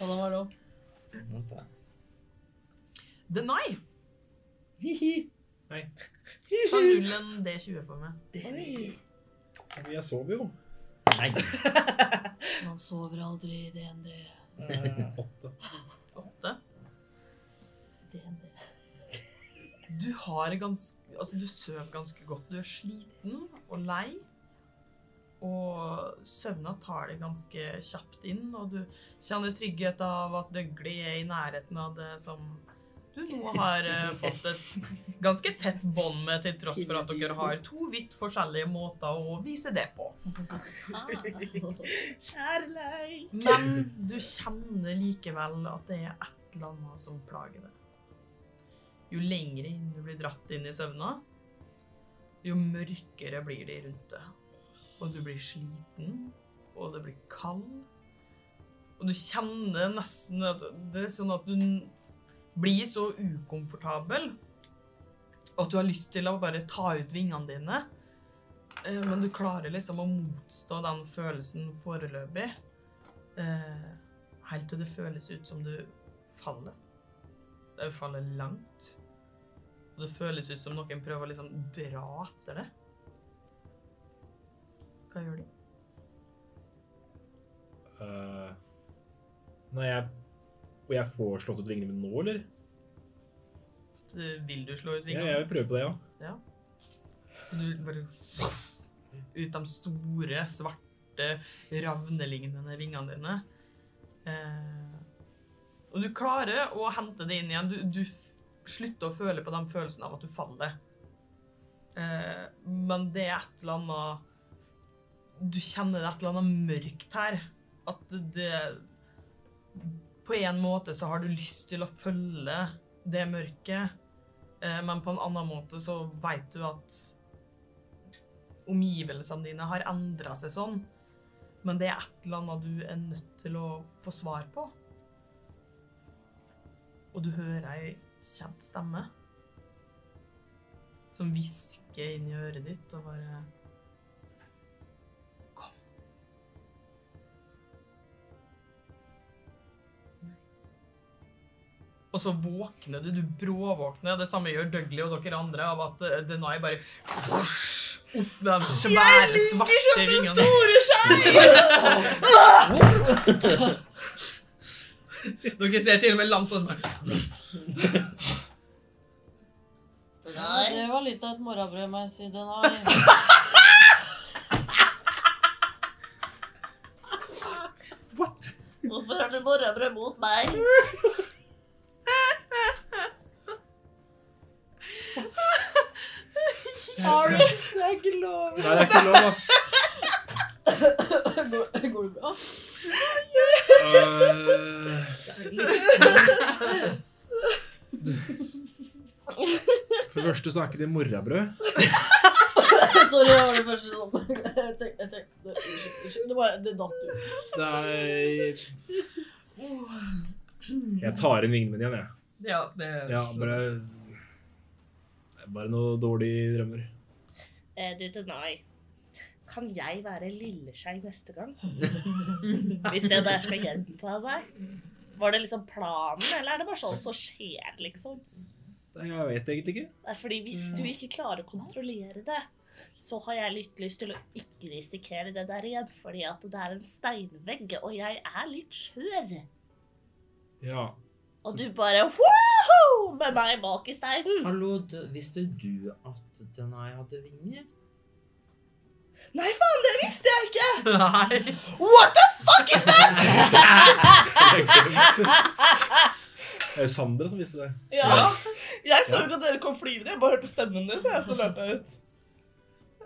S2: Hallo, Marlo.
S1: Det nei!
S7: Hihi.
S1: Ta null en D20 for meg.
S6: Oi.
S3: Men jeg sover jo.
S4: Nei.
S2: Man sover aldri i DND.
S3: Eh, Åtte.
S1: Åtte.
S2: DND.
S1: Du har ganske Altså, du sover ganske godt. Du er sliten og lei. Og søvna tar det ganske kjapt inn, og du kjenner trygghet av at Døgli er i nærheten av det som du nå har eh, fått et ganske tett bånd med, til tross for at dere har to vidt forskjellige måter å vise det på.
S2: Ah,
S6: Kjærleik.
S1: Men du kjenner likevel at det er et eller annet som plager deg. Jo lengre inn du blir dratt inn i søvna, jo mørkere blir det rundt deg. Og du blir sliten, og det blir kald. Og du kjenner nesten at det er sånn at du n- blir så ukomfortabel at du har lyst til å bare ta ut vingene dine. Eh, Men du klarer liksom å motstå den følelsen foreløpig. Eh, helt til det føles ut som du faller. Du faller langt. Og Og det føles ut som noen prøver å liksom dra etter det. Hva gjør du?
S3: Eh, nei, jeg Og jeg får slått ut vingene mine nå, eller?
S1: Du- Vil du slå ut
S3: Ja,
S1: vingene?
S3: jeg vil prøve på det, ja.
S1: Du bare ut de store, svarte, ravnelignende vingene dine. Eh, og du klarer å hente det inn igjen. Du, du f- slutter å føle på den følelsen av at du faller. Eh, men det er et eller annet Du kjenner det er et eller annet mørkt her. At det På en måte så har du lyst til å følge det mørket. Eh, Men på en annen måte så vet du at omgivelsene dine har endra seg sånn. Men det er et eller annet du er nødt til å få svar på. Og du hører ei kjent stemme som hvisker inn i øret ditt og bare Kom. Og så våkner du. Du bråvåkner. Det samme gjør Dougley og dere andre av at eh, Denai bare opp med de svære, svarte vingene. Dere ser til og med langt og sånn
S2: Ja, det var litt av et morrabrød, må jeg si. Den har
S8: Hvorfor har du morrabrød mot meg?
S7: Sorry, det er ikke lov.
S3: Nei, det er ikke lov, ass.
S8: Går, går det bra?
S3: Eh, for det første så er ikke det morrabrød.
S8: Sorry, det var det første som jeg tenkte, jeg tenkte, Unnskyld. unnskyld. Det, var, det datt ut.
S3: Det er Jeg tar inn vingene mine igjen, jeg.
S1: Ja, det
S3: Ja, bare det er Bare noe dårlige drømmer.
S7: Eh, du, Denai. Kan jeg være lilleskjei neste gang? Hvis det der skal gjenta seg. Var det liksom planen, eller er det bare sånn som skjer, liksom?
S3: Nei, Jeg vet egentlig ikke.
S7: Det er fordi hvis du ikke klarer å kontrollere det, så har jeg litt lyst til å ikke risikere det der igjen, fordi at det er en steinvegg, og jeg er litt skjør.
S3: Ja.
S7: Og du bare «Woohoo!» med meg bak i steinen.
S4: Hallo, d- visste du at Denai hadde vinger?
S7: Nei, faen, det visste jeg ikke!
S1: Nei.
S7: What the fuck is that?!
S3: Det er jo Sandra som visste det.
S7: Ja. Jeg så jo ikke at dere kom flyvende, jeg bare hørte stemmen din, jeg, så løp jeg ut.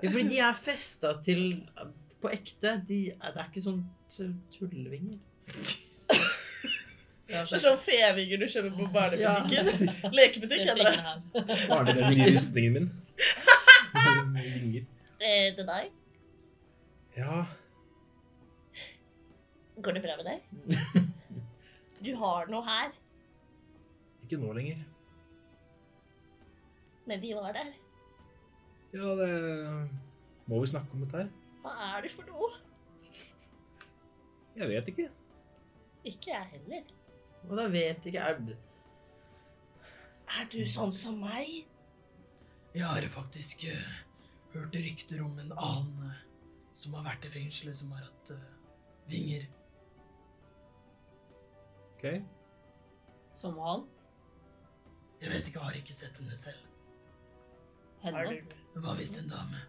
S4: Ja, fordi de er festa til eh, På ekte. De, det er ikke sånn tu- tullevinger.
S7: Det er sånn fevinger du kjøper på barnebutikken. Lekebutikk, heter det.
S3: Bare det den nye rustningen min. Med Vinger.
S7: Eh, det er deg.
S3: Ja.
S7: Går det bra med deg? Du har noe her,
S3: Ikke nå lenger.
S7: men vi var der.
S3: Ja, det Må vi snakke om dette her?
S7: Hva er det for noe?
S3: Jeg vet ikke.
S7: Ikke jeg heller.
S4: Og da vet ikke er,
S7: Er du sånn som meg?
S1: Jeg har faktisk eh, hørt rykter om en annen eh, som har vært i fengselet, som har hatt eh, vinger.
S3: OK?
S2: Som han.
S1: Jeg vet ikke, jeg har ikke sett henne selv.
S7: Har
S2: Henne.
S7: du,
S1: Hun var visst en dame.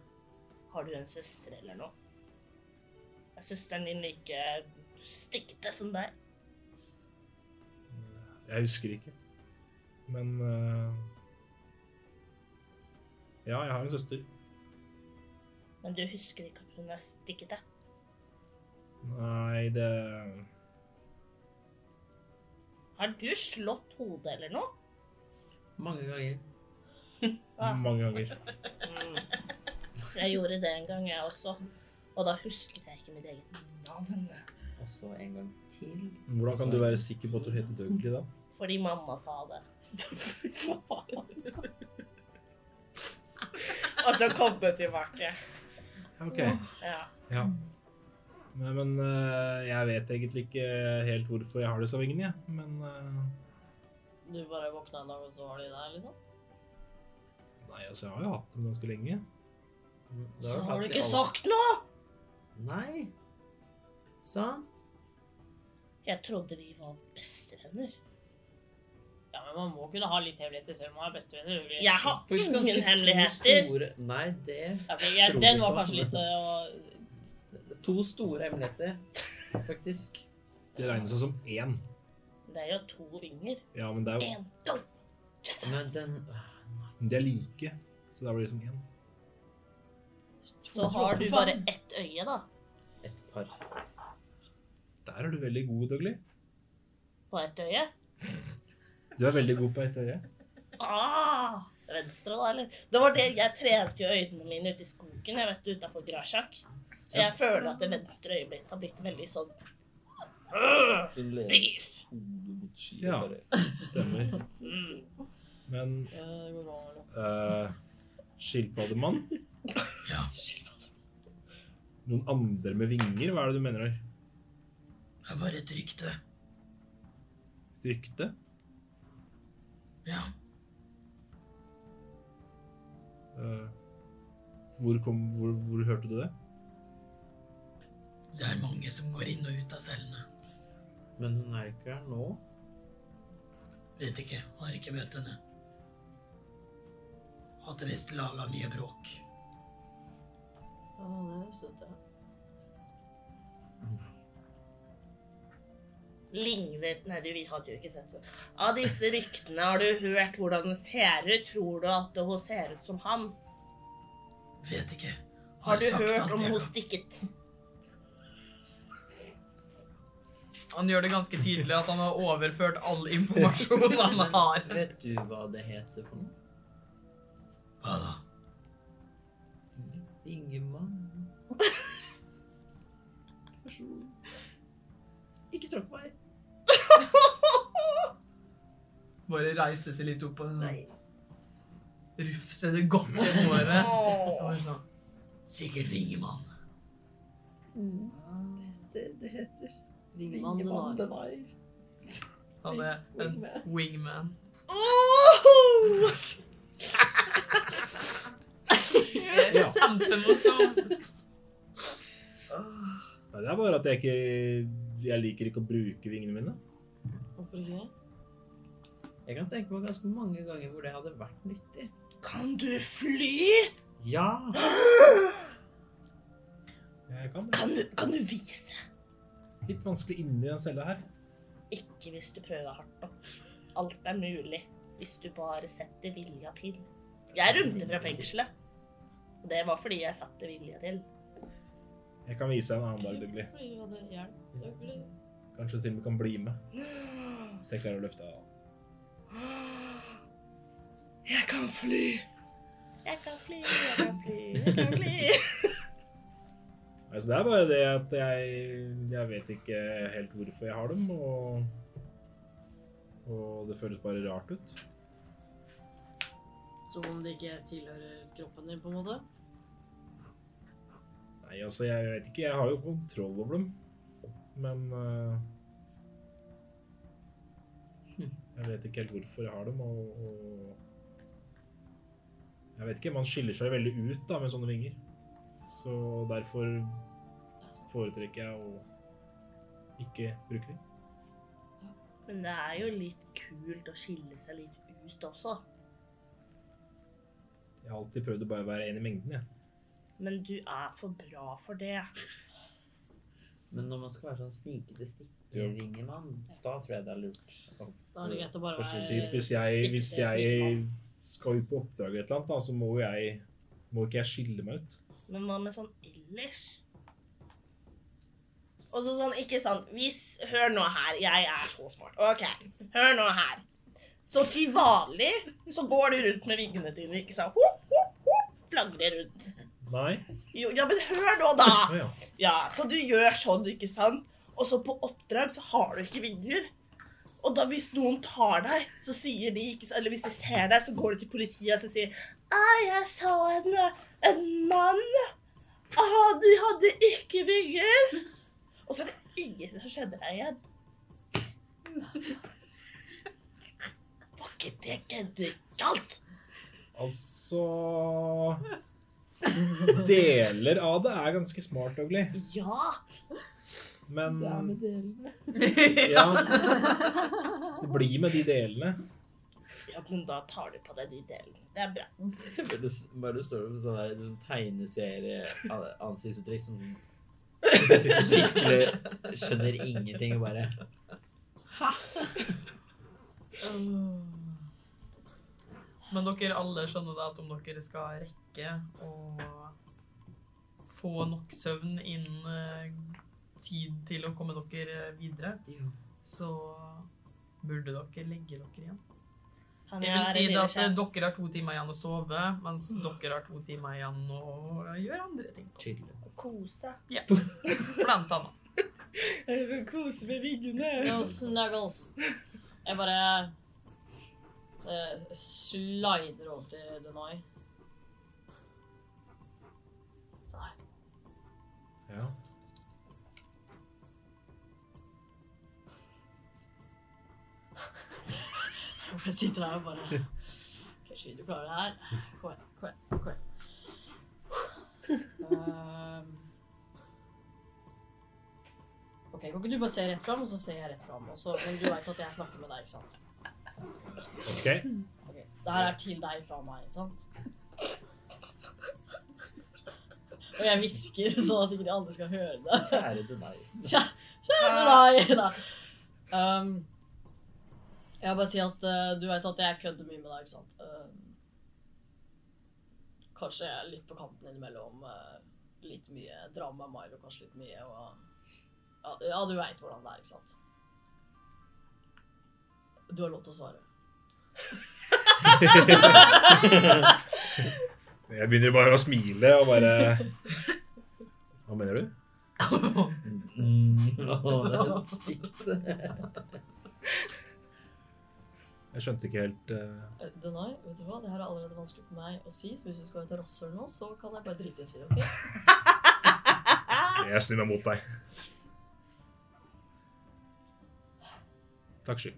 S7: har du en søster eller noe? Er søsteren din like stikkete som deg?
S3: Jeg husker ikke. Men eh, Ja, jeg har en søster.
S7: Men du husker ikke at hun er stikkete?
S3: Nei, det
S7: Har du slått hodet eller noe?
S4: mange ganger.
S7: Ah.
S3: Mange ganger.
S7: Mm. Jeg gjorde det en gang, jeg også. Og da husket jeg ikke mitt eget navn.
S4: Og så en gang til.
S3: Hvordan kan du være sikker på at du heter Dougley, da?
S7: Fordi mamma sa det. Og så kom det tilbake.
S3: Ja, OK.
S7: Ja.
S3: Ja. Nei, men eh, jeg vet egentlig ikke helt hvorfor jeg har disse vingene, jeg. Men eh,
S2: Du bare våkna en dag, og så var de der, liksom?
S3: Nei, altså, jeg har jo hatt dem ganske lenge.
S4: Det har
S7: Har
S4: vært i
S7: du ikke
S4: alle-
S7: sagt noe?
S4: Nei. Sant?
S7: Jeg trodde vi var bestevenner.
S2: Ja, men man må kunne ha litt hemmeligheter selv om man er bestevenner. eller?
S7: Jeg har
S4: Faktisk ganske
S7: ingen
S4: to
S7: hemmeligheter!
S4: Store, nei, det
S2: Ja, men jeg,
S4: Tror
S2: den
S4: du
S2: var
S4: på?
S2: kanskje litt eh, å...
S4: To store hemmeligheter, faktisk.
S3: Det regner seg som én.
S7: Det er jo to vinger.
S3: Ja, men det er jo,
S7: En, to! Just
S4: Men den
S3: de er like, så da blir det som én.
S7: Så har du bare ett øye, da.
S4: Et par.
S3: Der er du veldig god, Dougley.
S7: På ett øye.
S3: Du er veldig god på ett øye.
S7: Ah, venstre, da, eller? Det var det jeg trente jo øynene mine ute i skogen, jeg vet, utafor Grasjak. Så jeg føler at det venstre øyet mitt har blitt veldig sånn øh,
S4: Som lener
S7: Beef!
S4: hodet mot skyen.
S3: Ja.
S4: bare.
S3: Stemmer.
S7: Mm.
S3: Men
S2: eh, det går bra, eller?
S3: uh, skilpaddemann? Noen andre med vinger? Hva er det du mener her?
S1: Det er bare et rykte.
S3: Et rykte?
S1: Ja.
S3: Eh, hvor, kom, hvor, hvor hørte du det?
S1: Det er mange som går inn og ut av cellene.
S4: Men hun er ikke her nå.
S1: Vet ikke. Har ikke møtt henne. Hadde visst laga mye bråk.
S2: Ja, det støtter jeg.
S7: Ligner Nei, du, vi hadde jo ikke sett det. Av disse ryktene har du hørt hvordan det ser ut. Tror du at hun ser ut som han?
S1: Vet ikke.
S7: Har du
S1: sagt alt
S7: hørt om
S1: jeg
S7: hun
S1: kan.
S7: stikket?
S1: Han gjør det ganske tydelig at han har overført all informasjon han har.
S4: Vet du hva det heter for noe?
S1: Hva da?
S4: Ingemann. Person. Ikke tråkk meg.
S1: Bare reise seg litt opp og rufse det godt i håret. Og
S6: Åh.
S1: bare sånn, Sikkert Vingemann.
S7: Det, heter
S2: Ringmann, den har.
S1: Han er en wingman.
S6: Åh!
S3: Ja.
S1: Kjempemorsom.
S3: Nei, det er bare at jeg ikke Jeg liker ikke å bruke vingene mine.
S2: Hvorfor ikke?
S4: Jeg kan tenke meg ganske mange ganger hvor det hadde vært nyttig.
S6: Kan du fly?
S4: Ja!
S3: Jeg kan det.
S7: Kan du, kan du vise?
S3: Litt vanskelig inni den cella her.
S7: Ikke hvis du prøver hardt nok. Alt er mulig hvis du bare setter vilja til. Jeg rømte fra fengselet. Og det var fordi jeg satte vilja til.
S3: Jeg kan vise deg en annen dag, Dougley.
S2: Fordi du hadde hjelp. Det er jo ikke det.
S3: Kanskje du til og med kan bli med. Hvis jeg klarer å løfte av.
S6: Jeg kan fly.
S7: Jeg kan fly, jeg kan fly, jeg kan fly.
S3: Altså, det er bare det at jeg Jeg vet ikke helt hvorfor jeg har dem, og Og det føles bare rart ut.
S2: Som om det ikke tilhører kroppen din, på en måte.
S3: Nei, altså, jeg vet ikke. Jeg har jo kontroll over dem, men øh, Jeg vet ikke helt hvorfor jeg har dem, og, og Jeg vet ikke. Man skiller seg veldig ut da, med sånne vinger. Så derfor
S2: Det er sant.
S3: foretrekker jeg å ikke bruke dem.
S7: Men det er jo litt kult å skille seg litt ut også.
S3: Jeg har alltid prøvd å bare være én i mengden, jeg.
S7: Men du er for bra for det.
S4: Men når man skal være sånn snikete stikkeringemann, da tror jeg det er lurt. å-
S2: Da er det greit å bare
S3: For
S2: være
S3: sånn typ, Hvis jeg, hvis
S2: stikkete
S3: jeg
S2: snikmann.
S3: skal ut på oppdrag eller et eller annet, da, så må jo jeg må ikke jeg skille meg ut.
S7: Men hva med sånn ellers? Og så sånn, ikke sånn Hvis Hør nå her. Jeg er så smart. OK, hør nå her. Så til vanlig så går du rundt med vingene dine, ikke sant? Hopp, hopp, hopp, flagrer rundt.
S3: Nei.
S7: Jo, ja, men hør nå, da!
S3: Å ja.
S7: Ja, så du gjør sånn, ikke sant? Og så på oppdrag så har du ikke vinger. Og da hvis noen tar deg, så sier de ikke Eller hvis de ser deg, så går de til politiet og så sier Ai, jeg så en, en mann. Ah, du hadde ikke vinger. Og så er det ingen som kjenner deg igjen. Var ikke det genialt?
S3: Altså Deler av det er ganske smart, Ogli.
S7: Ja!
S3: Men
S7: Det er med delene.
S3: ja, det blir med de delene.
S7: Ja, men da tar du på deg de delene. Det er bra.
S4: Bare du, bare du står med sånn der sånn tegneserie-ansiktsuttrykk som skikkelig skjønner ingenting og bare
S1: Men dere alle skjønner da at om dere skal rekke å få nok søvn innen eh, tid til å komme dere videre, så burde dere legge dere igjen.
S7: Han
S1: Jeg
S7: er
S1: vil
S7: en
S1: si det Mm. at
S7: lille
S1: eh,
S7: sjef.
S1: dere har to timer igjen å sove, mens dere har to timer igjen å gjøre andre ting. på.
S4: chille.
S7: Kose.
S1: Blant annet.
S7: Jeg vil kose med vingene.
S2: No snuggles. Jeg bare eh, slider over til Denai. Nei.
S3: Ja.
S2: Jeg sitter der og bare Ok, Sky, du klarer det her. Kom igjen, kom igjen. kom igjen. Ehm. OK, kan ikke du bare se rett fram, og så ser jeg rett fram? og så- Men du veit at jeg snakker med deg, ikke sant?
S3: OK.
S2: Ok, Det her er til deg fra meg, ikke sant? Og jeg hvisker, sånn at ikke de andre skal høre det.
S4: Kjære til deg.
S2: Kjære deg! da. Um, jeg vil bare si at eh, du vet at jeg kødder mye med deg, ikke sant? Um, kanskje jeg er litt på kanten innimellom. eh, litt mye drama med Milo, kanskje litt mye. Og, ja, ja, du veit hvordan det er, ikke sant? Du har lov til å svare.
S3: Jeg begynner bare å smile og bare Hva mener du?
S4: Mm, å, det er stygt.
S3: Jeg skjønte ikke helt eh,
S2: Eh, Denai, vet du hva? Det her er allerede vanskelig for meg å si, så hvis du skal være et rasshøl nå, så kan jeg bare drite i å si det, OK?
S3: Jeg snur meg mot deg. Takk skyld.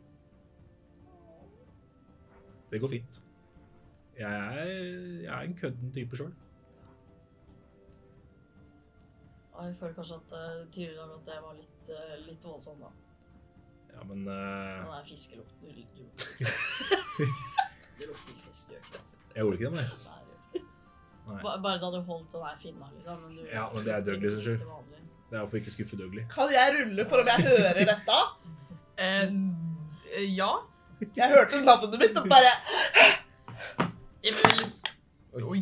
S3: Det går fint. Jeg er, jeg er en kødden type sjøl.
S2: Ja, Jeg føler kanskje at eh, tidligere i dag at jeg var litt, eh, litt voldsom, da.
S3: Ja, men eh,
S2: Den er fiskelukt. Du, du, du, det lukter ikke fisk, du gjør ikke det. altså.
S3: Jeg gjorde ikke det, nei.
S2: Nei, det gjør ikke det.
S3: Nei.
S2: Ba- Bare da du holdt den der finna, liksom. Men du,
S3: Ja, men det er Douglas'
S2: ikke
S3: skyld.
S2: til vanlig.
S3: Det er for ikke å skuffe Dougley.
S6: Kan jeg rulle for om jeg hører dette?
S1: Eh, ja.
S6: Jeg hørte navnet mitt og bare
S1: Jeg vil s- Oi.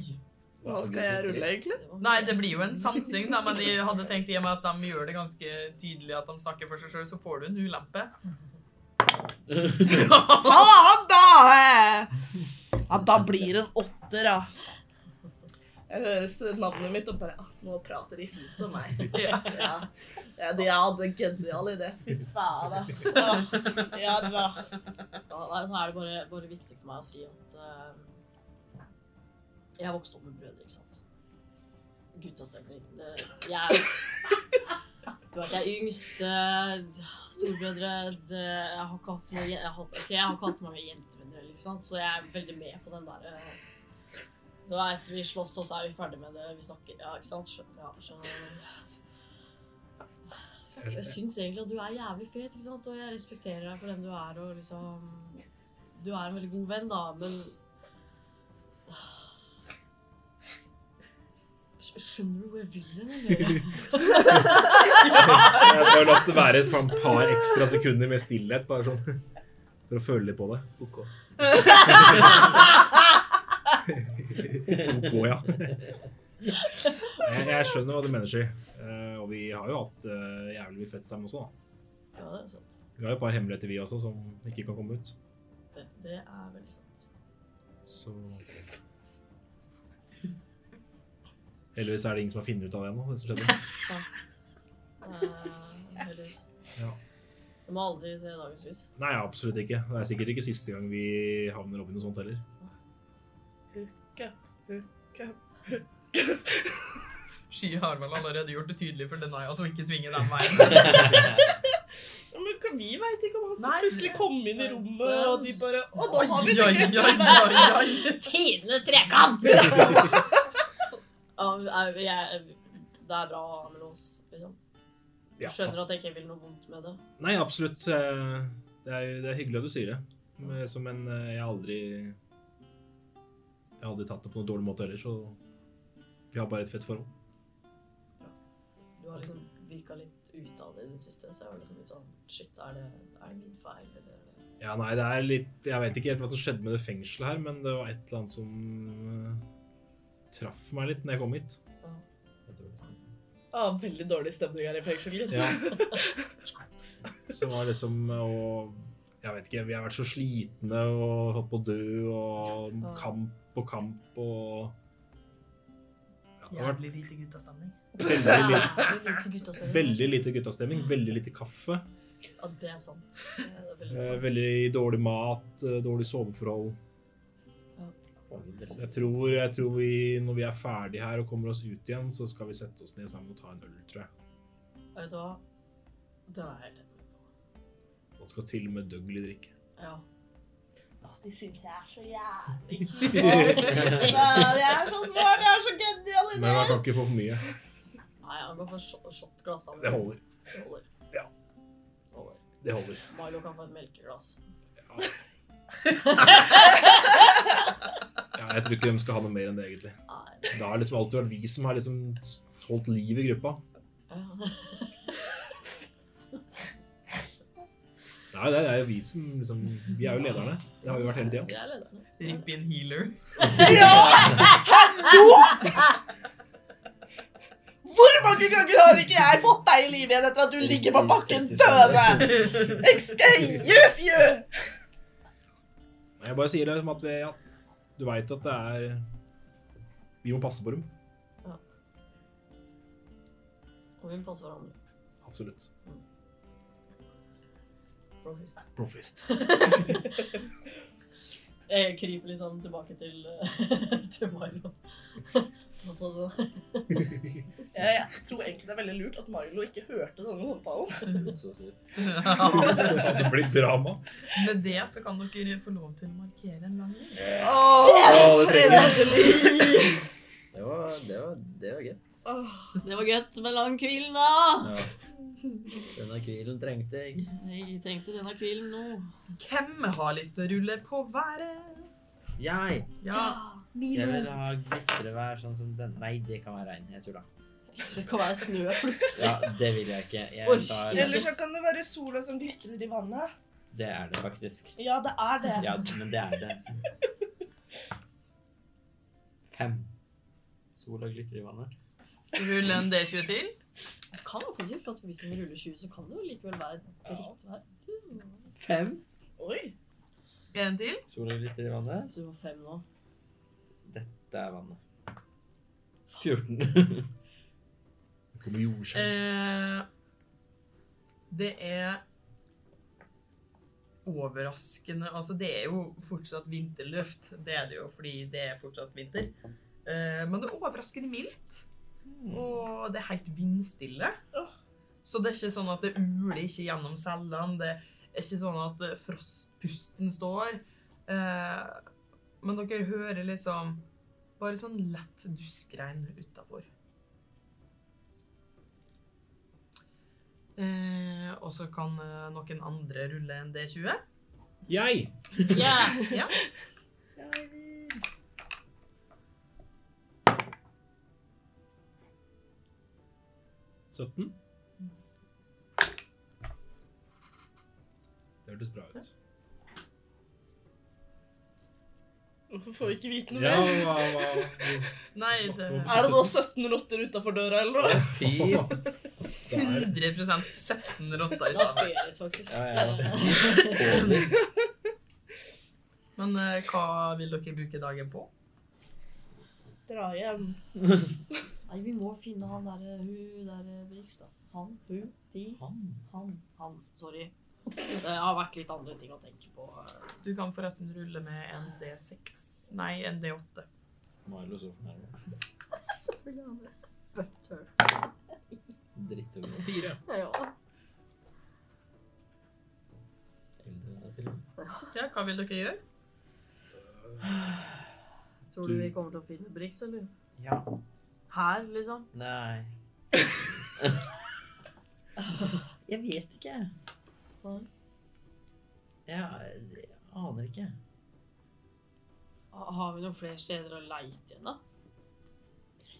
S6: Hva skal jeg rulle, egentlig?
S2: Det var-
S1: Nei, det blir jo en sansing, da, men jeg hadde tenkt i og med at de gjør det ganske tydelig at de snakker for seg sjøl, så får du en ulempe.
S6: Faen, da! eh! Ja, da blir det en åtter, da. Jeg høres navnet mitt og bare ah, Nå prater de fint om meg.
S1: ja.
S6: Ja, ja de hadde en genial idé. Fy faen, altså. Ja da.
S2: Ja, nei, så er det bare, bare viktig for meg å si at eh, jeg vokste opp med brødre, ikke sant? Guttastemning. Det- Jeg Du vet, jeg er yngst. eh, Storbrødre det, Jeg har ikke hatt så mange, jeg har, ok, jeg har ikke hatt så mange jentevenner, eller ikke sant? så jeg er veldig med på den eh, derre Du veit, vi slåss, og så er vi ferdig med det. Vi snakker Ja, ikke sant? Skjønner, ja, skjønner du? Jeg syns egentlig at du er jævlig fet, ikke sant? og jeg respekterer deg for den du er. og liksom du er en veldig god venn, da, men Skj- Skjønner du hvor jeg vil hen, eller?
S3: Jeg har bare latt det være et par, par ekstra sekunder med stillhet, bare sånn. For å føle litt på det.
S4: OK.
S3: OK, ja. Jeg, jeg skjønner hva du mener, Sky. Eh, og vi har jo hatt eh, jævlig mye fett sammen også, da.
S2: Ja, det er sant.
S3: Vi har jo et par hemmeligheter, vi også, som ikke kan komme ut.
S2: Det, det er veldig sant.
S3: Så Heldigvis er det ingen som har funnet ut av det ennå, det som skjedde.
S2: Eh, heldigvis.
S3: Ja.
S2: Du må aldri se dagens lys.
S3: Nei, absolutt ikke. Det er sikkert ikke siste gang vi havner oppi noe sånt heller.
S1: Sky har vel allerede gjort det tydelig for Denai at hun ikke svinger den veien.
S6: Ja, men kan vi veit ikke om han
S1: Nei,
S6: plutselig
S1: det-
S6: kom inn i rommet,
S1: det-
S6: og de bare Å, nå har vi
S1: Oi,
S6: det!
S1: oi, oi, oi, oi.
S2: Tidenes trekant! Ja, jeg, jeg, det er bra å ha med lås, liksom. Du
S3: Ja.
S2: skjønner at jeg ikke vil noe vondt med det.
S3: Nei, absolutt. eh, Det er, jo- det er hyggelig at du sier det. Men Som en eh, Jeg har aldri Jeg har aldri tatt det på noen dårlig måte heller, så vi har bare et fett forhold.
S2: Du har liksom virka litt ute av det i det siste, så jeg var liksom litt sånn Shit, er det, er det min feil, eller
S3: Ja, nei, det er litt Jeg vet ikke helt hva som skjedde med det fengselet her, men det var et eller annet som eh, traff meg litt når jeg kom hit.
S4: sånn.
S6: Ah, veldig dårlig stemning her i fengselet.
S3: Ja. Som var liksom Og jeg vet ikke, vi har vært så slitne og holdt på å dø, og kamp og kamp og ja, Det har vært
S1: Jævlig lite guttastemning.
S3: veldig
S2: Ja,
S3: lite,
S2: du likte guttastemning.
S3: veldig lite guttastemning, veldig lite kaffe.
S2: Ja, det er sant. Det er
S3: eh,
S2: veldig sant.
S3: Veldig dårlig mat, eh, dårlig soveforhold. Så jeg tror, jeg tror vi, når vi er ferdig her og kommer oss ut igjen, så skal vi sette oss ned sammen og ta en øl, tror jeg.
S2: Vet du hva? Den er helt enig.
S3: Og skal til og med Dougley drikke.
S2: Ja.
S7: De syns jeg er så jævlig kul. Ja, Det er så smart, det er så genial
S3: Men
S7: idé.
S3: jeg kan ikke få for mye.
S2: Nei, han går for shot- shotglass. da.
S3: Det holder.
S2: Det holder.
S3: Ja.
S2: Det holder.
S3: Det holder.
S2: Milo kan få et melkeglass.
S3: Ja, jeg tror ikke de skal ha noe mer enn det, egentlig.
S2: Nei.
S3: Det har liksom alltid vært vi som har liksom holdt liv i gruppa.
S2: Ja.
S3: Nei, det er jo vi som liksom Vi er jo lederne. Det har vi vært hele tida.
S2: Det er lederne.
S1: Ripp inn healer.
S7: Hvor mange ganger har ikke jeg fått deg i live igjen etter at du ligger på bakken
S3: sånn.
S7: døende? Excuse you!
S3: Nei, Jeg bare sier det som at vi, ja, du veit at det er Vi må passe på dem.
S2: Og vi må passe hverandre.
S3: Absolutt.
S2: Profist.
S3: Profist.
S2: Jeg kryper liksom tilbake til, til Milo. Og så-
S6: Jeg, jeg tror egentlig det er veldig lurt at Milo ikke hørte denne samtalen.
S3: Det blir drama.
S1: Med det så kan dere få lov til å markere en lang linje.
S3: Å, det trenger vi.
S4: Det var, det var, det var gøtt.
S2: Det var godt med lang hvilen, da!
S4: Ja. Denne kvilen trengte jeg.
S2: Jeg trengte denne hvilen nå.
S1: Hvem har lyst til å rulle på været?
S4: Jeg!
S1: Ja.
S4: Jeg vil ha glitrevær sånn som den. Nei, det kan være regn. Jeg tulla.
S2: Det kan være snø plutselig.
S4: Ja, det vil jeg ikke.
S2: Oi.
S4: Jeg tar
S6: Eller så kan det være sola som glitrer i vannet.
S4: Det er det faktisk.
S6: Ja, det er det.
S4: Ja, men det er det. Fem. Sola glitrer i vannet.
S1: Rull en D20 til.
S2: Det kan jo plutselig, for at hvis den ruller 20, så kan det jo likevel være drittvær.
S4: Fem.
S6: Oi.
S1: En til.
S4: Sola glitrer i vannet.
S2: Så du får fem nå.
S4: Dette er vannet. 14.
S3: Det kommer jordskjelv.
S1: Eh, det er overraskende Altså, det er jo fortsatt vinterluft. Det er det jo fordi det er fortsatt vinter. Eh, men det er overraskende mildt. Og det er helt vindstille. Så det er ikke sånn at det uler ikke gjennom cellene. Det er ikke sånn at eh, frostpusten står. Eh, men dere hører liksom bare sånn lett duskregn utafor. Eh, og så kan eh, noen andre rulle en D20.
S3: Jeg!
S2: Ja!
S1: Ja.
S3: Sytten. Det hørtes bra ut.
S6: Hvorfor får vi ikke vite noe
S3: Ja,
S6: mer?
S3: hva, hva,
S1: Nei, det
S3: Hva-
S1: er
S6: Er det nå 17 rotter utafor døra, eller noe?
S4: Fy
S3: der.
S1: 100 17 rotter.
S2: Da spør jeg litt, faktisk.
S4: Ja, ja.
S1: Men eh, hva vil dere bruke dagen på?
S6: Dra hjem.
S2: Nei, vi må finne han derre hun derre Brix, da. Han, hun, de, han, han. Sorry. Det har vært litt andre ting å tenke på. eh.
S1: Du kan forresten rulle med en D6. Nei, en D8.
S4: Milo så fornærmet.
S2: Selvfølgelig andre.
S4: Drittunge.
S2: Ja.
S1: Hva vil dere gjøre?
S2: Tror du vi kommer til å finne Brix, eller?
S4: Ja.
S2: Her, liksom?
S4: Nei. jeg vet ikke.
S2: Nei.
S4: Jeg, jeg aner ikke.
S2: Ha- Har vi noen flere steder å leite igjen, da?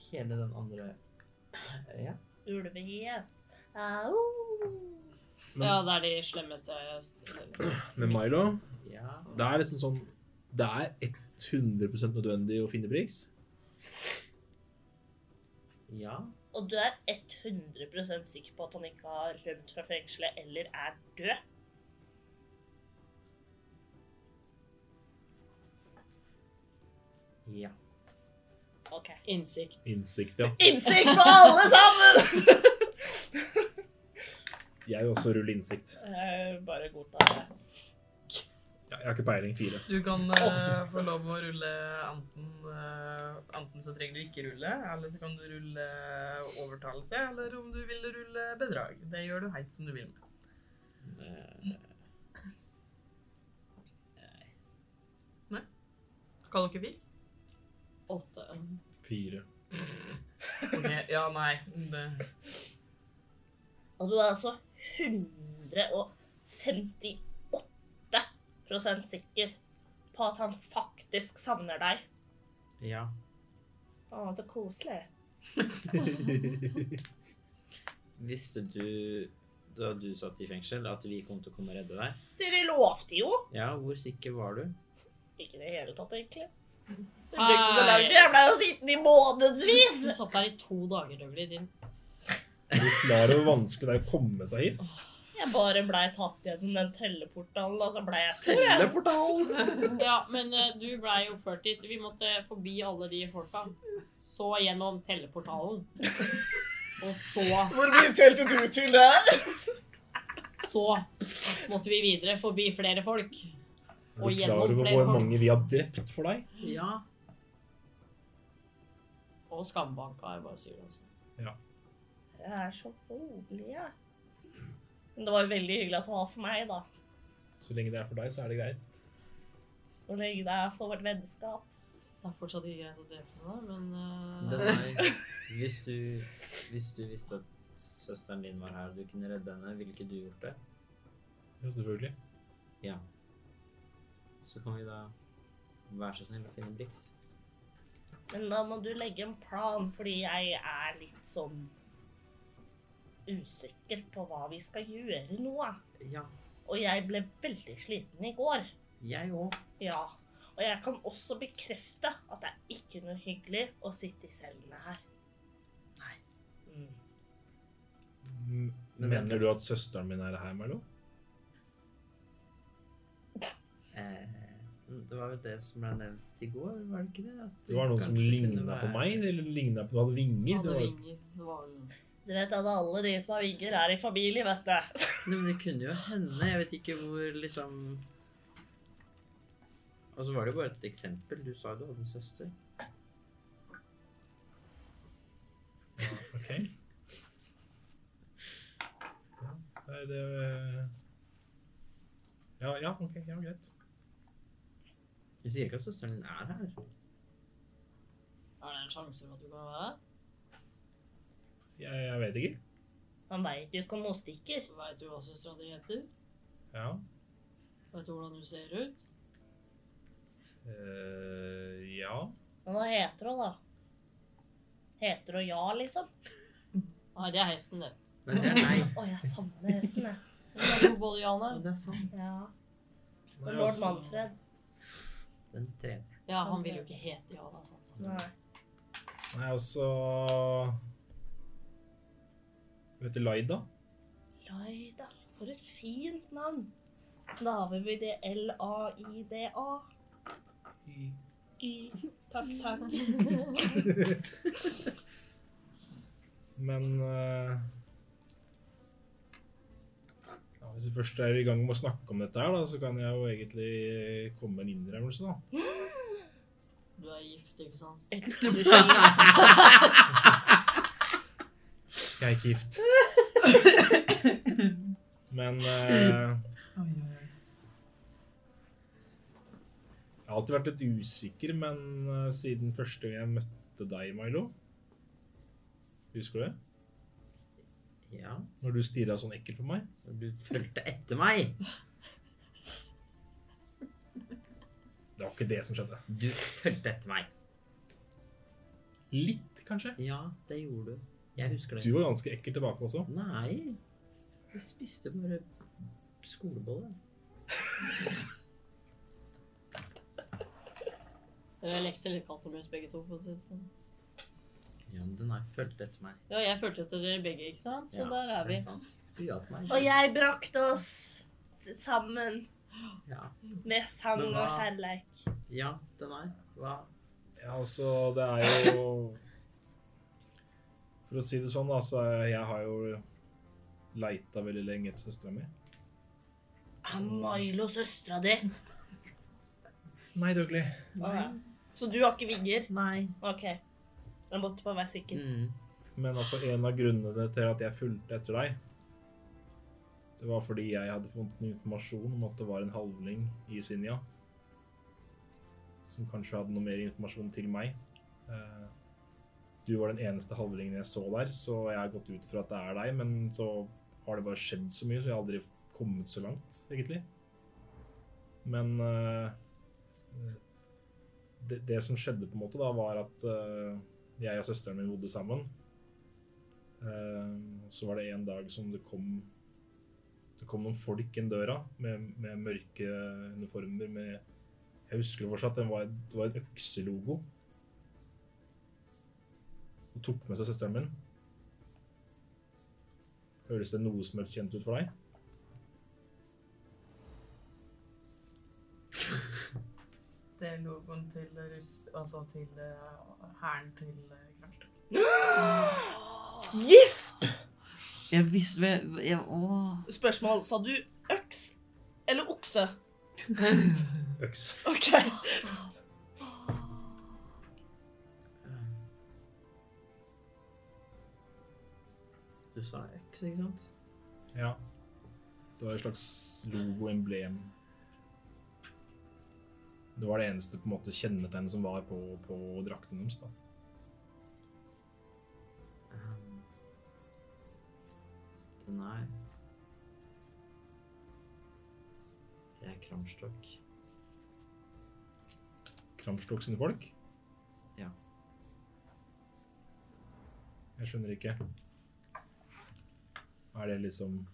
S4: Hele den andre øya.
S7: Ulvegjett. Au.
S3: Men-
S2: Ja, det er de slemmeste stedene.
S3: Med Milo.
S4: Ja.
S3: Det er liksom sånn Det er 100 nødvendig å finne Brix.
S4: ja.
S7: Og du er 100 sikker på at han ikke har rømt fra fengselet eller er død?
S4: Ja.
S7: OK.
S2: Innsikt.
S3: Innsikt, ja.
S7: Innsikt på alle sammen!
S3: Jeg vil også rulle innsikt.
S7: Jeg Eh, bare godtar det.
S3: Ja, jeg har ikke peiling. Fire.
S1: Du kan eh, få lov å rulle enten eh, Enten så trenger du ikke rulle, eller så kan du rulle overtalelse, eller om du vil rulle bedrag. Det gjør du heit som du vil med.
S4: Eh,
S1: Hva dere vil?
S2: Åtte.
S3: Fire.
S1: Ok, ja, nei. Det.
S7: Og du er altså 158 sikker på at han faktisk savner deg.
S4: ja.
S7: Å, så koselig.
S4: Visste du da du satt i fengsel, at vi kom til å komme og redde deg?
S7: Dere lovte jo.
S4: Ja, hvor sikker var du?
S7: Ikke i det hele tatt, egentlig. Det ble ikke så langt. Jeg ble jo sittende i månedsvis.
S2: Du satt der i to dager, Røgli. Din
S3: Du klarer hvor vanskelig det er å komme seg hit.
S7: Jeg bare blei tatt gjennom den telleportalen, og så blei jeg stor. jeg.
S3: Teleportal!
S2: Ja, men eh, du blei jo ført dit. Vi måtte forbi alle de folka. Så gjennom teleportalen. Og så
S6: Hvor mye telte du til der?
S2: Så måtte vi videre forbi flere folk.
S3: Er
S2: Og
S3: du
S2: gjennom
S3: klar over
S2: flere
S3: hvor
S2: folk.
S3: mange vi har drept for deg?
S4: Ja.
S2: Og skambanka, jeg bare altså. sier det. Også.
S7: Jeg er så rolig, jeg. Men det var jo veldig hyggelig at det var for meg, da.
S3: Så lenge det er for deg, så er det greit.
S7: Så lenge det er for vårt vennskap.
S2: Det er fortsatt ikke greit å drepe noen, men
S4: Den
S2: eh,
S4: er, hvis, du, hvis du visste at søsteren din var her og du kunne redde henne, ville ikke du gjort det?
S3: Ja, selvfølgelig.
S4: Ja. Så kan vi da være så snill å finne Blix.
S7: Men da må du legge en plan, fordi jeg er litt sånn usikker på hva vi skal gjøre nå.
S4: Ja.
S7: Og jeg ble veldig sliten i går.
S4: Jeg òg.
S7: Ja. Og jeg kan også bekrefte at det er ikke noe hyggelig å sitte i cellene her. Nei. Mm.
S3: M- Mener du at søsteren min er her, Milo?
S4: Eh, det var jo det som ble nevnt i går, var det ikke det? At
S3: Det var noen som
S4: kanskje kunne
S3: ligna på
S4: være-
S3: meg? Eller ligna på du hadde vinger? Det
S2: hadde
S3: var...
S2: vinger. Det var jo
S7: Du vet at alle de som har vinger, er i familie, vet du.
S4: Nei, men det kunne jo hende. Jeg vet ikke hvor liksom Og så var det jo bare et eksempel. Du sa du hadde en søster.
S3: Ok. Ja, nei, det eh, Ja, ja, ok. Ja, greit.
S4: Jeg sier ikke at søsteren din er her.
S2: Er det en sjanse for at du kan være her?
S3: Jeg, jeg vet ikke.
S7: Man veit jo ikke om hun stikker.
S2: Veit du hva søstera di heter?
S3: Ja.
S2: Veit du hvordan hun ser ut?
S3: Eh, ja.
S7: Men hva heter hun, da? Heter hun Ja, liksom?
S2: Nei, det er hesten, det.
S4: Nei, det er meg.
S7: Å, jeg savner hesten, jeg.
S2: Men det er jo både ja
S4: Og
S2: og nei.
S4: det er sant.
S7: Ja.
S3: Nei,
S7: Og lord
S3: altså,
S7: Manfred.
S4: Den tredje.
S2: Ja, han vil jo ikke hete altså. ja, da. Sant?
S7: Nei.
S3: Nei, altså Hun heter Laida.
S7: Laida. For et fint navn. Snaver vi det L-A-I-D-A? Y. Takk, takk.
S3: Men eh, ja, Hvis vi først er i gang med å snakke om dette her, da, så kan jeg jo egentlig komme med en innrømmelse, da.
S2: Du er gift, ikke sant?
S7: Elsker du Sky?
S3: Jeg er ikke gift. Men eh, har alltid vært litt usikker, men eh, siden første gang jeg møtte deg, Milo Husker du det?
S4: Ja,
S3: Når du stirra sånn ekkelt på meg?
S4: du fulgte etter meg.
S3: Det var ikke det som skjedde.
S4: Du fulgte etter meg.
S3: Litt, kanskje.
S4: Ja, det gjorde du. Jeg husker det.
S3: Du var ganske ekkel tilbake også.
S4: Nei, jeg spiste bare skolebolle.
S2: Dere lekte litt katt og mus begge to. for å si det sånn.
S4: Ja, men den har fulgt etter meg.
S2: Ja, jeg følte etter dere begge, ikke sant? Så
S4: Ja,
S2: der er
S4: Det
S2: vi.
S4: er sant. Du hjalp meg.
S7: Og jeg brakte oss sammen
S4: Ja.
S7: med sang
S4: Men
S7: og
S4: hva-
S7: kjærleik.
S4: ja, den er. Hva?
S3: Ja, altså, det er jo For å si det sånn, altså, jeg har jo leita veldig lenge etter søstera mi.
S7: Er Milo søstera di?
S3: Nei, Dougley.
S7: Så du har ikke vinger?
S4: Nei.
S7: OK. Jeg måtte bare være sikker.
S4: Mm.
S3: Men altså, en av grunnene til at jeg fulgte etter deg, det var fordi jeg hadde funnet noe informasjon om at det var en halvling i Sinja. Som kanskje hadde noe mer informasjon til meg. Eh, Du var den eneste halvlingen jeg så der, så jeg har gått ut ifra at det er deg, men så har det bare skjedd så mye, så jeg har aldri kommet så langt, egentlig. Men eh, s- det, det som skjedde, på en måte, da, var at eh, jeg og søsteren min bodde sammen. Eh, Så var det en dag som det kom Det kom noen folk inn døra med, med mørke uniformer med Jeg husker det fortsatt, det var, det var en økselogo. Og tok med seg søsteren min. Høres det noe som helst kjent ut for deg?
S1: Det er logoen til russ... Altså til eh, hæren til eh, Krangstad.
S6: Gisp!
S4: Jeg visste vel jeg, Åh.
S6: Spørsmål. Sa du øks eller okse?
S3: Øks.
S6: OK.
S4: Eh. Du sa øks, ikke sant?
S3: Ja. Det var et slags logo-emblem. Det var det eneste på en måte kjennetegnet som var på, på drakten deres. da.
S4: Um, den er Det er kramstokk.
S3: Kramstok sine folk?
S4: Ja.
S3: Jeg skjønner ikke. Er det liksom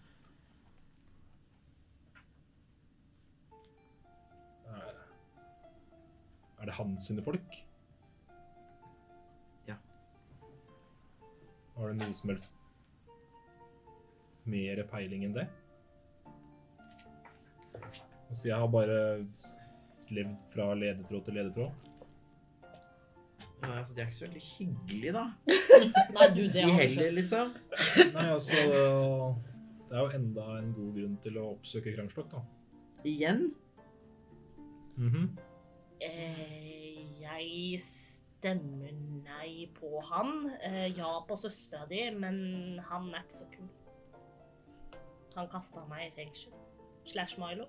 S3: Er er det hans sine folk?
S4: Ja.
S3: Har du noe som helst mer peiling enn det? Altså, jeg har bare levd fra ledetråd til ledetråd.
S4: Ja, altså, de er ikke så veldig hyggelige, da.
S2: Nei, du,
S4: De
S2: det har du
S4: heller,
S2: skjønt.
S4: liksom.
S3: Nei, altså Det er jo enda en god grunn til å oppsøke Kramslokk, da.
S4: Igjen.
S3: Mhm.
S7: Eh, jeg stemmer nei på han. Eh, ja på søstera di, men han er ikke så kul. Han kasta meg i fengsel. Slash Milo.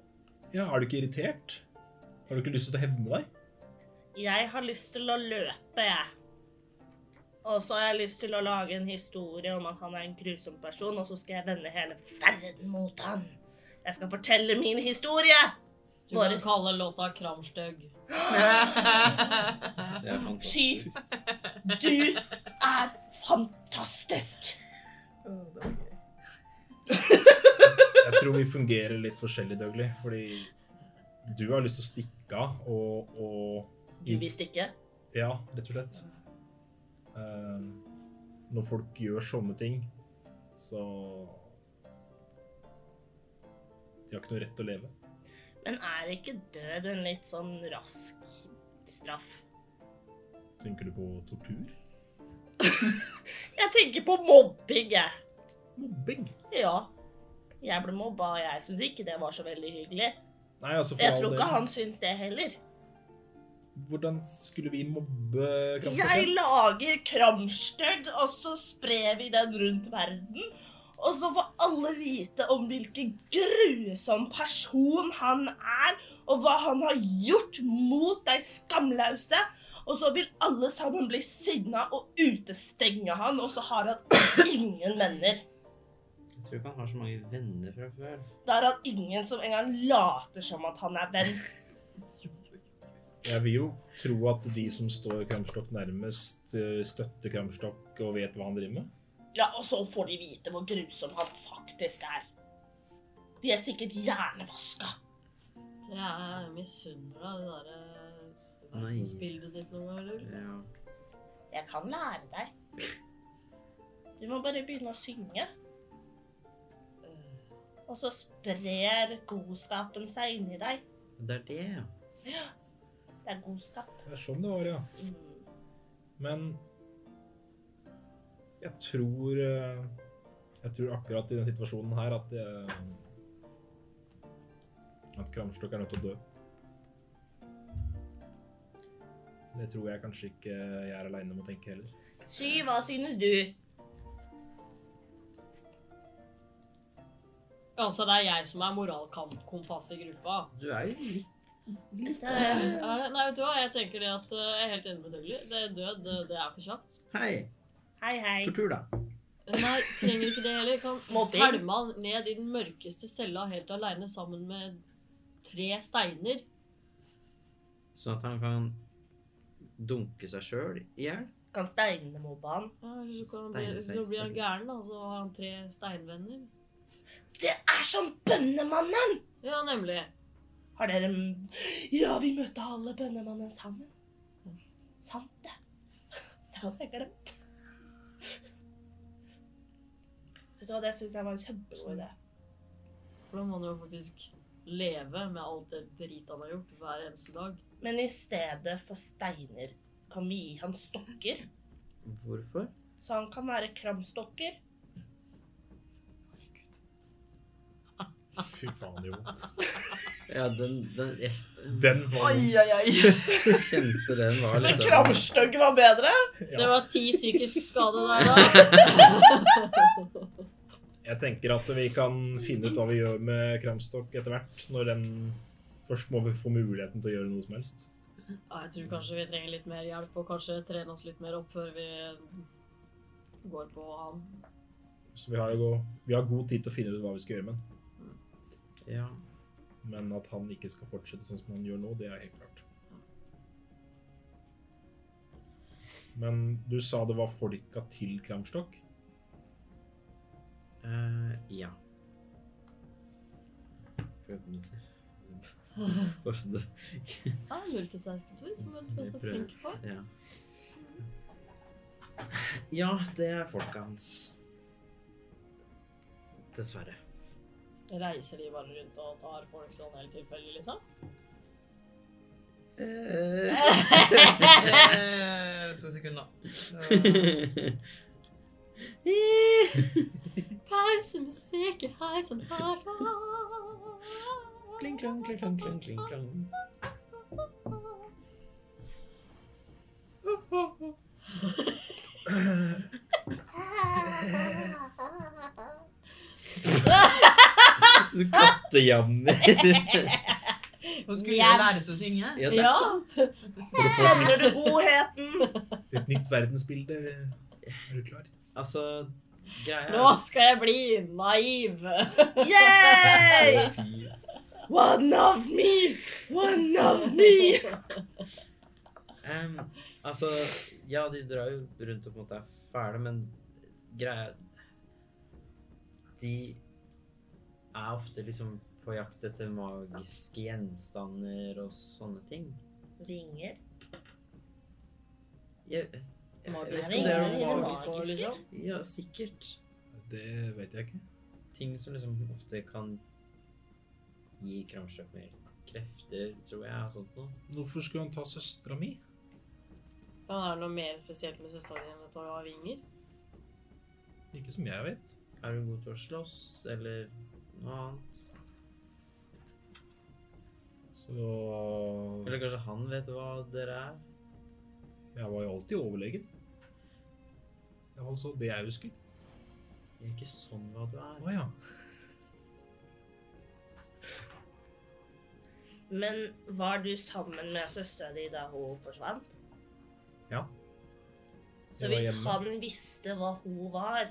S3: Ja, Er du ikke irritert? Har du ikke lyst til å hevne deg?
S7: Jeg har lyst til å løpe, jeg. Og så har jeg lyst til å lage en historie om at han er en grusom person, og så skal jeg vende hele verden mot han. Jeg skal fortelle min historie!
S2: Du kan
S7: Boris.
S2: kalle låta Kramstøgg.
S4: Det er fantastisk.
S7: Sky! Du er fantastisk!
S3: Jeg tror vi fungerer litt forskjellig, Dougley. Fordi du har lyst til å stikke av og, og
S7: Du visste ikke?
S3: Ja, rett og slett. Eh, når folk gjør sånne ting, så De har ikke noe rett til å leve.
S7: Men er ikke død en litt sånn rask straff?
S3: Tenker du på tortur?
S7: Jeg tenker på mobbing, jeg.
S3: Mobbing?
S7: Ja. Jeg ble mobba, og jeg syns ikke det var så veldig hyggelig.
S3: Nei, altså for
S7: Jeg
S3: all
S7: tror
S3: del.
S7: ikke han syns det heller.
S3: Hvordan skulle vi mobbe Kramstokken?
S7: Jeg lager kramstøgg, og så sprer vi den rundt verden. Og så får alle vite om hvilken grusom person han er, og hva han har gjort mot deg skamlause. Og så vil alle sammen bli sinna og utestenge han, og så har han ingen venner.
S4: Jeg tror ikke han har så mange venner fra før.
S7: Da har han ingen som engang later som at han er venn.
S3: Jeg vil jo tro at de som står Kramstokk nærmest, eh, støtter Kramstokk og vet hva han driver med.
S7: Ja, og så får de vite hvor grusom han faktisk er. De er sikkert hjernevaska.
S2: Det er misunner av det derre
S4: Nei.
S2: verdensbildet ditt noen ganger. eller?
S4: Ja.
S7: Jeg kan lære deg. Du må bare begynne å synge. Og så sprer godskapen seg inni deg.
S4: Det er det, ja.
S7: Det er godskap.
S3: Det er sånn det var, ja. Men jeg tror eh, Jeg tror akkurat i den situasjonen her at eh, At Kramstokk er nødt til å dø. Det tror jeg kanskje ikke jeg er aleine om å tenke heller.
S7: Sky, hva synes du?
S2: Altså, det er jeg som er moralkompass i gruppa.
S4: Du er jo litt
S7: Eh,
S2: Er det? Nei, vet du hva? Jeg tenker det at eh, jeg er helt enig med Dougley. Det er død, det, det er for kjapt.
S4: Hei!
S7: Hei, hei.
S4: Tortur, da.
S2: Nei, trenger ikke det heller.
S7: Mobbing.
S2: Kan helme han ned i den mørkeste cella helt aleine sammen med tre steiner.
S4: Sånn at han kan dunke seg sjøl i hjel.
S7: Kan steinene mobbe han?
S2: Ja, eller så kan han bli-
S4: Steinsveis.
S2: så blir han gæren, da. Så har han tre steinvenner.
S7: Det er som bønnemannen!
S2: Ja, nemlig.
S7: Har dere... Ja, vi møtte alle bønnemannen sammen. Sant det. Det hadde jeg glemt. Vet du hva, det synes jeg var en kjempegod idé.
S2: For da må han jo faktisk leve med alt det drit han har gjort hver eneste dag.
S7: Men i stedet for steiner kan vi gi han stokker,
S4: Hvorfor?
S7: så han kan være kramstokker.
S3: Fy faen, det gjør vondt.
S4: Ja, den, den Jeg s-
S3: Den var
S1: Ai, ai, ai.
S4: kjente den var
S7: Men
S4: liksom
S7: kramstokker var bedre!
S2: Det
S3: ja.
S2: var ti psykisk skade der, da.
S3: Jeg tenker at vi kan finne ut hva vi gjør med Kramstokk etter hvert. Når den Først må vi få muligheten til å gjøre noe som helst.
S2: Ja, jeg tror kanskje vi trenger litt mer hjelp, og kanskje trene oss litt mer opp før vi går på han.
S3: Så vi har jo go- vi har god tid til å finne ut hva vi skal gjøre med den.
S4: Ja.
S3: Men at han ikke skal fortsette sånn som han gjør nå, det er helt klart. Men du sa det var folka til Kramstokk.
S4: eh, ja. Prøv å se. Hvordan det
S2: Ja, multitasker du, som du er så
S4: Jeg prøver.
S2: flink på.
S4: Ja. Ja, det er folka hans. Dessverre.
S2: Reiser de bare rundt og tar folk sånn helt tilfeldig, liksom?
S1: Eh, To sekunder. Så-
S2: Pausemusikk i heisen her da.
S4: Kling, klang, kling, klang, kling, kling, klang. Du kattejammer.
S1: Nå skulle det læres å synge.
S4: Ja, det er
S2: Ja,
S4: sant.
S3: For å få
S7: Kjenner du godheten?
S3: et nytt verdensbilde. Er du klar?
S4: Altså, greia
S2: nå skal jeg bli naiv.
S7: Yay!
S4: Fy
S7: One of me! One of me!
S4: Ehm, altså, ja, de drar jo rundt og på en måte er fæle, men greia De er ofte liksom på jakt etter magiske gjenstander og sånne ting.
S7: Ringer.
S4: Jeg, jeg, vet
S2: Magisk.
S4: ikke om det er noe
S7: Ringer.
S4: magisk.
S2: magisk, liksom.
S4: Ja, sikkert.
S3: Det vet jeg ikke.
S4: Ting som liksom ofte kan gi Kramsjøk mer krefter, tror jeg, og sånt noe.
S3: Hvorfor skulle han ta søstera mi?
S2: Men er det noe mer spesielt med søstera di enn at hun har vinger?
S3: Ikke som jeg vet.
S4: Er hun god til å slåss, eller noe annet?
S3: Så
S4: Eller kanskje han vet hva dere er?
S3: Jeg var jo alltid overlegen. Det var altså det jeg husker.
S4: Det er ikke sånn hva du er.
S3: Å ja.
S7: Men var du sammen med søstera di da hun forsvant?
S3: Ja.
S7: Så
S3: Jeg var
S7: hvis
S3: hjemme.
S7: han visste hva hun var,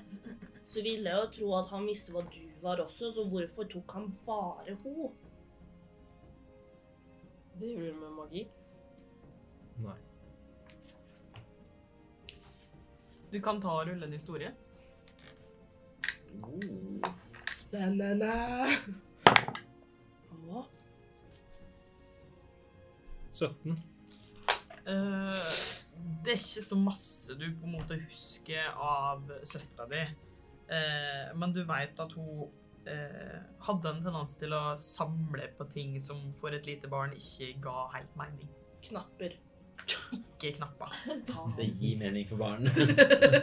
S7: så ville jeg jo tro at han visste hva du var også, så hvorfor tok han bare hun?
S2: Driver du med magi?
S3: Nei.
S1: Du kan ta og rulle en historie.
S4: Oh.
S6: Spennende!
S3: 17.
S1: Eh, det er ikke så masse du på en måte husker av søstera di. Eh, men du vet at hun eh, hadde en tendens til å samle på ting som for et lite barn ikke ga helt mening.
S7: Knapper.
S1: Ikke knapper.
S4: Det gir mening for barn.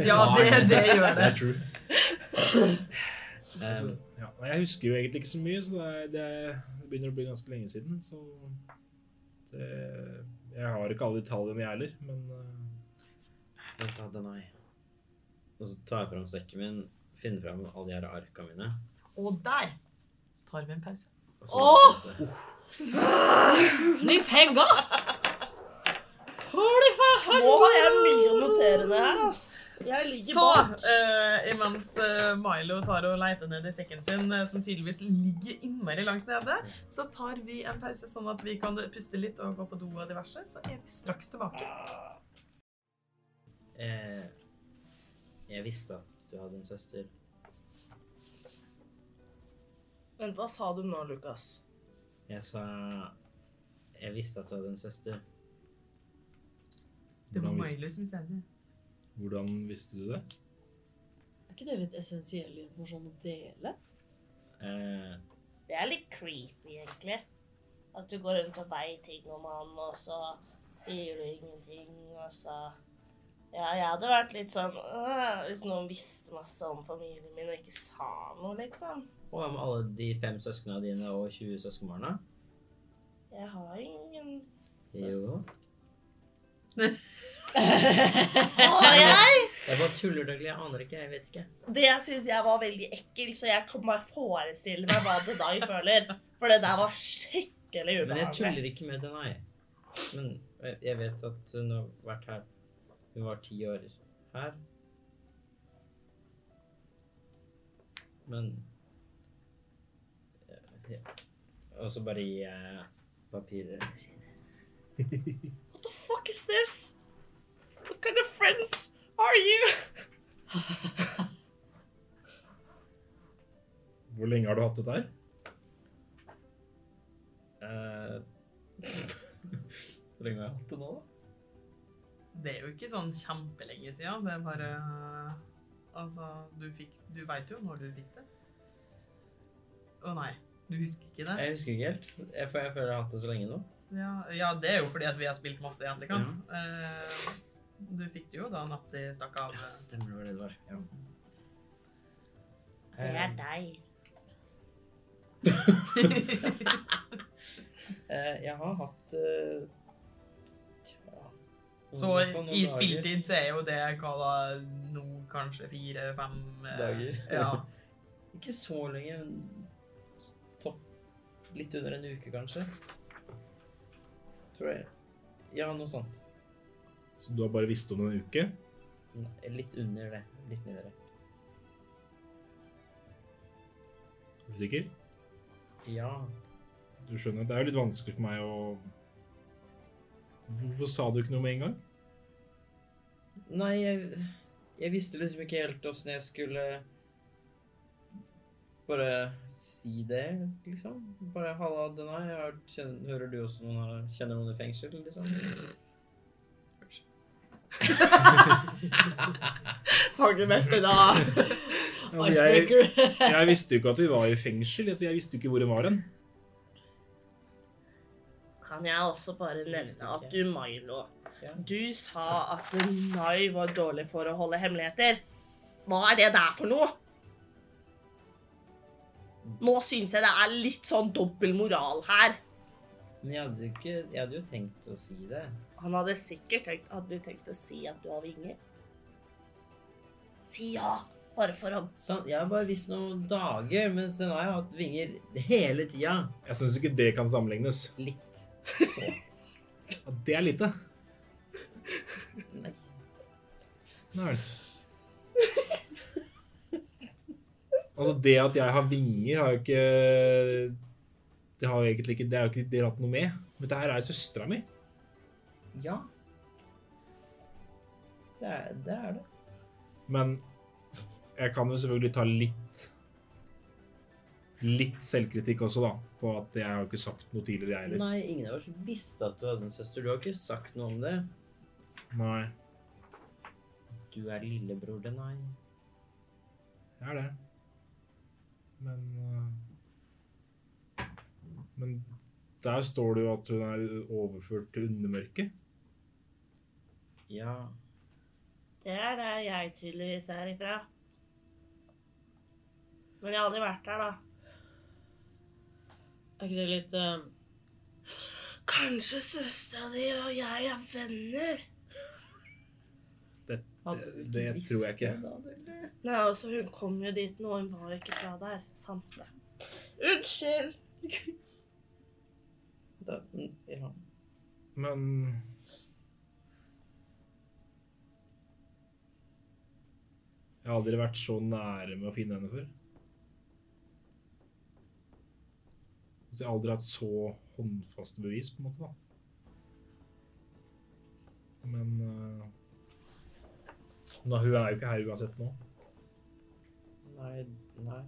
S1: Ja, det, det gjør det.
S3: Det er true.
S4: Um,
S3: Altså,
S4: Ehm,
S3: ja. Nei, Jeg husker jo egentlig ikke så mye, så det, er- det er- det begynner å bli ganske lenge siden. Så det, jeg har ikke alle detaljene jeg heller, men eh,
S4: Vent da, Danai. Og så tar jeg fram sekken min, finner fram alle de her arka mine.
S1: Og der tar vi en pause.
S4: og så-
S2: Åh! Ny penger! Holy fuck!
S7: Nå har jeg mye å notere ned her, ass. Jeg ligger
S1: Så,
S7: bak.
S1: eh, imens eh, Milo tar og leter ned i sekken sin, eh, som tydeligvis ligger innmari langt nede, så tar vi en pause sånn at vi kan puste litt og gå på do og diverse, så er vi straks tilbake.
S4: Eh, jeg visste at du hadde en søster.
S6: Vent, hva sa du nå, Lukas?
S4: Jeg sa Jeg visste at du hadde en søster.
S1: Det var
S3: hvordan, vis,
S1: Milo som sa det.
S3: hvordan visste du det?
S2: Er ikke det litt essensiell informasjon å dele?
S4: Eh,
S7: Det er litt creepy, egentlig. At du går rundt og veier ting om han, og så sier du ingenting, og så Ja, jeg hadde vært litt sånn «Åh», Hvis noen visste masse om familien min og ikke sa noe, liksom.
S4: og hva med alle de fem søsknene dine og 20 søskenbarna?
S7: Jeg har ingen søs...
S4: Jo.
S7: Har jeg?
S4: Jeg bare tuller, Dougley. Jeg aner ikke. Jeg vet ikke.
S7: Det syns jeg var veldig ekkelt, så jeg kan bare forestille meg hva det da jeg føler. For det der var skikkelig
S4: Men jeg
S7: ubehagelig.
S4: tuller ikke med Denai. Men jeg- jeg vet at hun har vært her. Hun var ti år her. Men ja. Og så bare gi jeg papirer.
S7: What the fuck is this? What kind of friends are you?
S3: Hvor lenge har du hatt det der?
S4: Eh, Hvor lenge har jeg hatt det nå, da?
S1: Det er jo ikke sånn kjempelenge siden, det er bare... Altså, du fikk... Du vet jo når du fikk det. Å nei, du husker ikke det?
S4: Jeg husker ikke helt. Jeg, for jeg føler jeg har hatt det så lenge nå.
S1: Ja, ja, det er jo fordi at vi har spilt masse i etterkant. Eh, du fikk det jo da Natti stakk av.
S4: Ja, stemmer det var det det var. Ja.
S7: Det
S4: Eh,
S7: er deg.
S4: Eh, jeg har hatt eh, tja,
S1: Så
S4: i hvert fall noen
S1: i
S4: dager.
S1: spiltid så er jo det hva da nå kanskje fire-fem
S4: Dager.
S1: Ja.
S4: Ikke så lenge. men Topp. Litt under en uke, kanskje. Tror jeg. Ja, noe sånt.
S3: Så du har bare visst om det en uke?
S4: Nei, Litt under det. Litt under det.
S3: Er du sikker?
S4: Ja.
S3: Du skjønner, det er jo litt vanskelig for meg å Hvorfor sa du ikke noe med en gang?
S4: Nei, jeg, jeg visste liksom ikke helt åssen jeg skulle bare si det, liksom. Bare 'halla, Denai, jeg har- kjen- hører du også noen har, kjenner noen i fengsel', liksom.
S2: Fanger mest i dag.
S3: Altså, jeg,
S2: Icebreaker.
S3: jeg visste jo ikke at vi var i fengsel. Altså, jeg visste jo ikke hvor hun var hen.
S7: Kan jeg også bare nevne at du, Milo,
S4: Ja.
S7: du sa at Nai var dårlig for å holde hemmeligheter. Hva er det der for noe? Nå syns jeg det er litt sånn dobbel moral her.
S4: Men jeg hadde, ikke, jeg hadde jo tenkt å si det.
S7: Han hadde sikkert tenkt Hadde du tenkt å si at du har vinger? Si ja! Bare for å
S4: Sant, jeg har bare visst noen dager, mens den har jo hatt vinger hele tida.
S3: Jeg syns ikke det kan sammenlignes.
S4: Litt. Så.
S3: Ja, Det er lite.
S4: Nei.
S3: Nei vel. Altså, det at jeg har vinger, har jo ikke Det har jo egentlig ikke Det har jo ikke dere hatt noe med. Men det her er jo søstera mi.
S4: Ja. Det er det. Er det.
S3: Men jeg kan jo selvfølgelig ta litt Litt selvkritikk også, da. På at jeg har jo ikke sagt noe tidligere, jeg heller.
S4: Nei, ingen av oss visste at du hadde en søster. Du har ikke sagt noe om det.
S3: Nei.
S4: Du er lillebror til Nei.
S3: Det er det. Men øh, Men der står det jo at hun er overført til undermørket.
S4: Ja.
S7: Det er det jeg tydeligvis er ifra. Men jeg har aldri vært der, da.
S2: Er ikke det litt eh,
S7: Kanskje søstera di og jeg er venner?
S2: hadde-
S3: Det, det tror jeg ikke.
S7: Nei, altså, hun kom jo dit nå. Hun var jo ikke fra der. Sant det. Unnskyld!
S4: Da, ja.
S3: Men Jeg har aldri vært så nære med å finne henne før. Så Altså, jeg har aldri hatt så håndfaste bevis, på en måte, da. Men øh, nå, Hun er jo ikke her uansett nå.
S4: Nei, nei.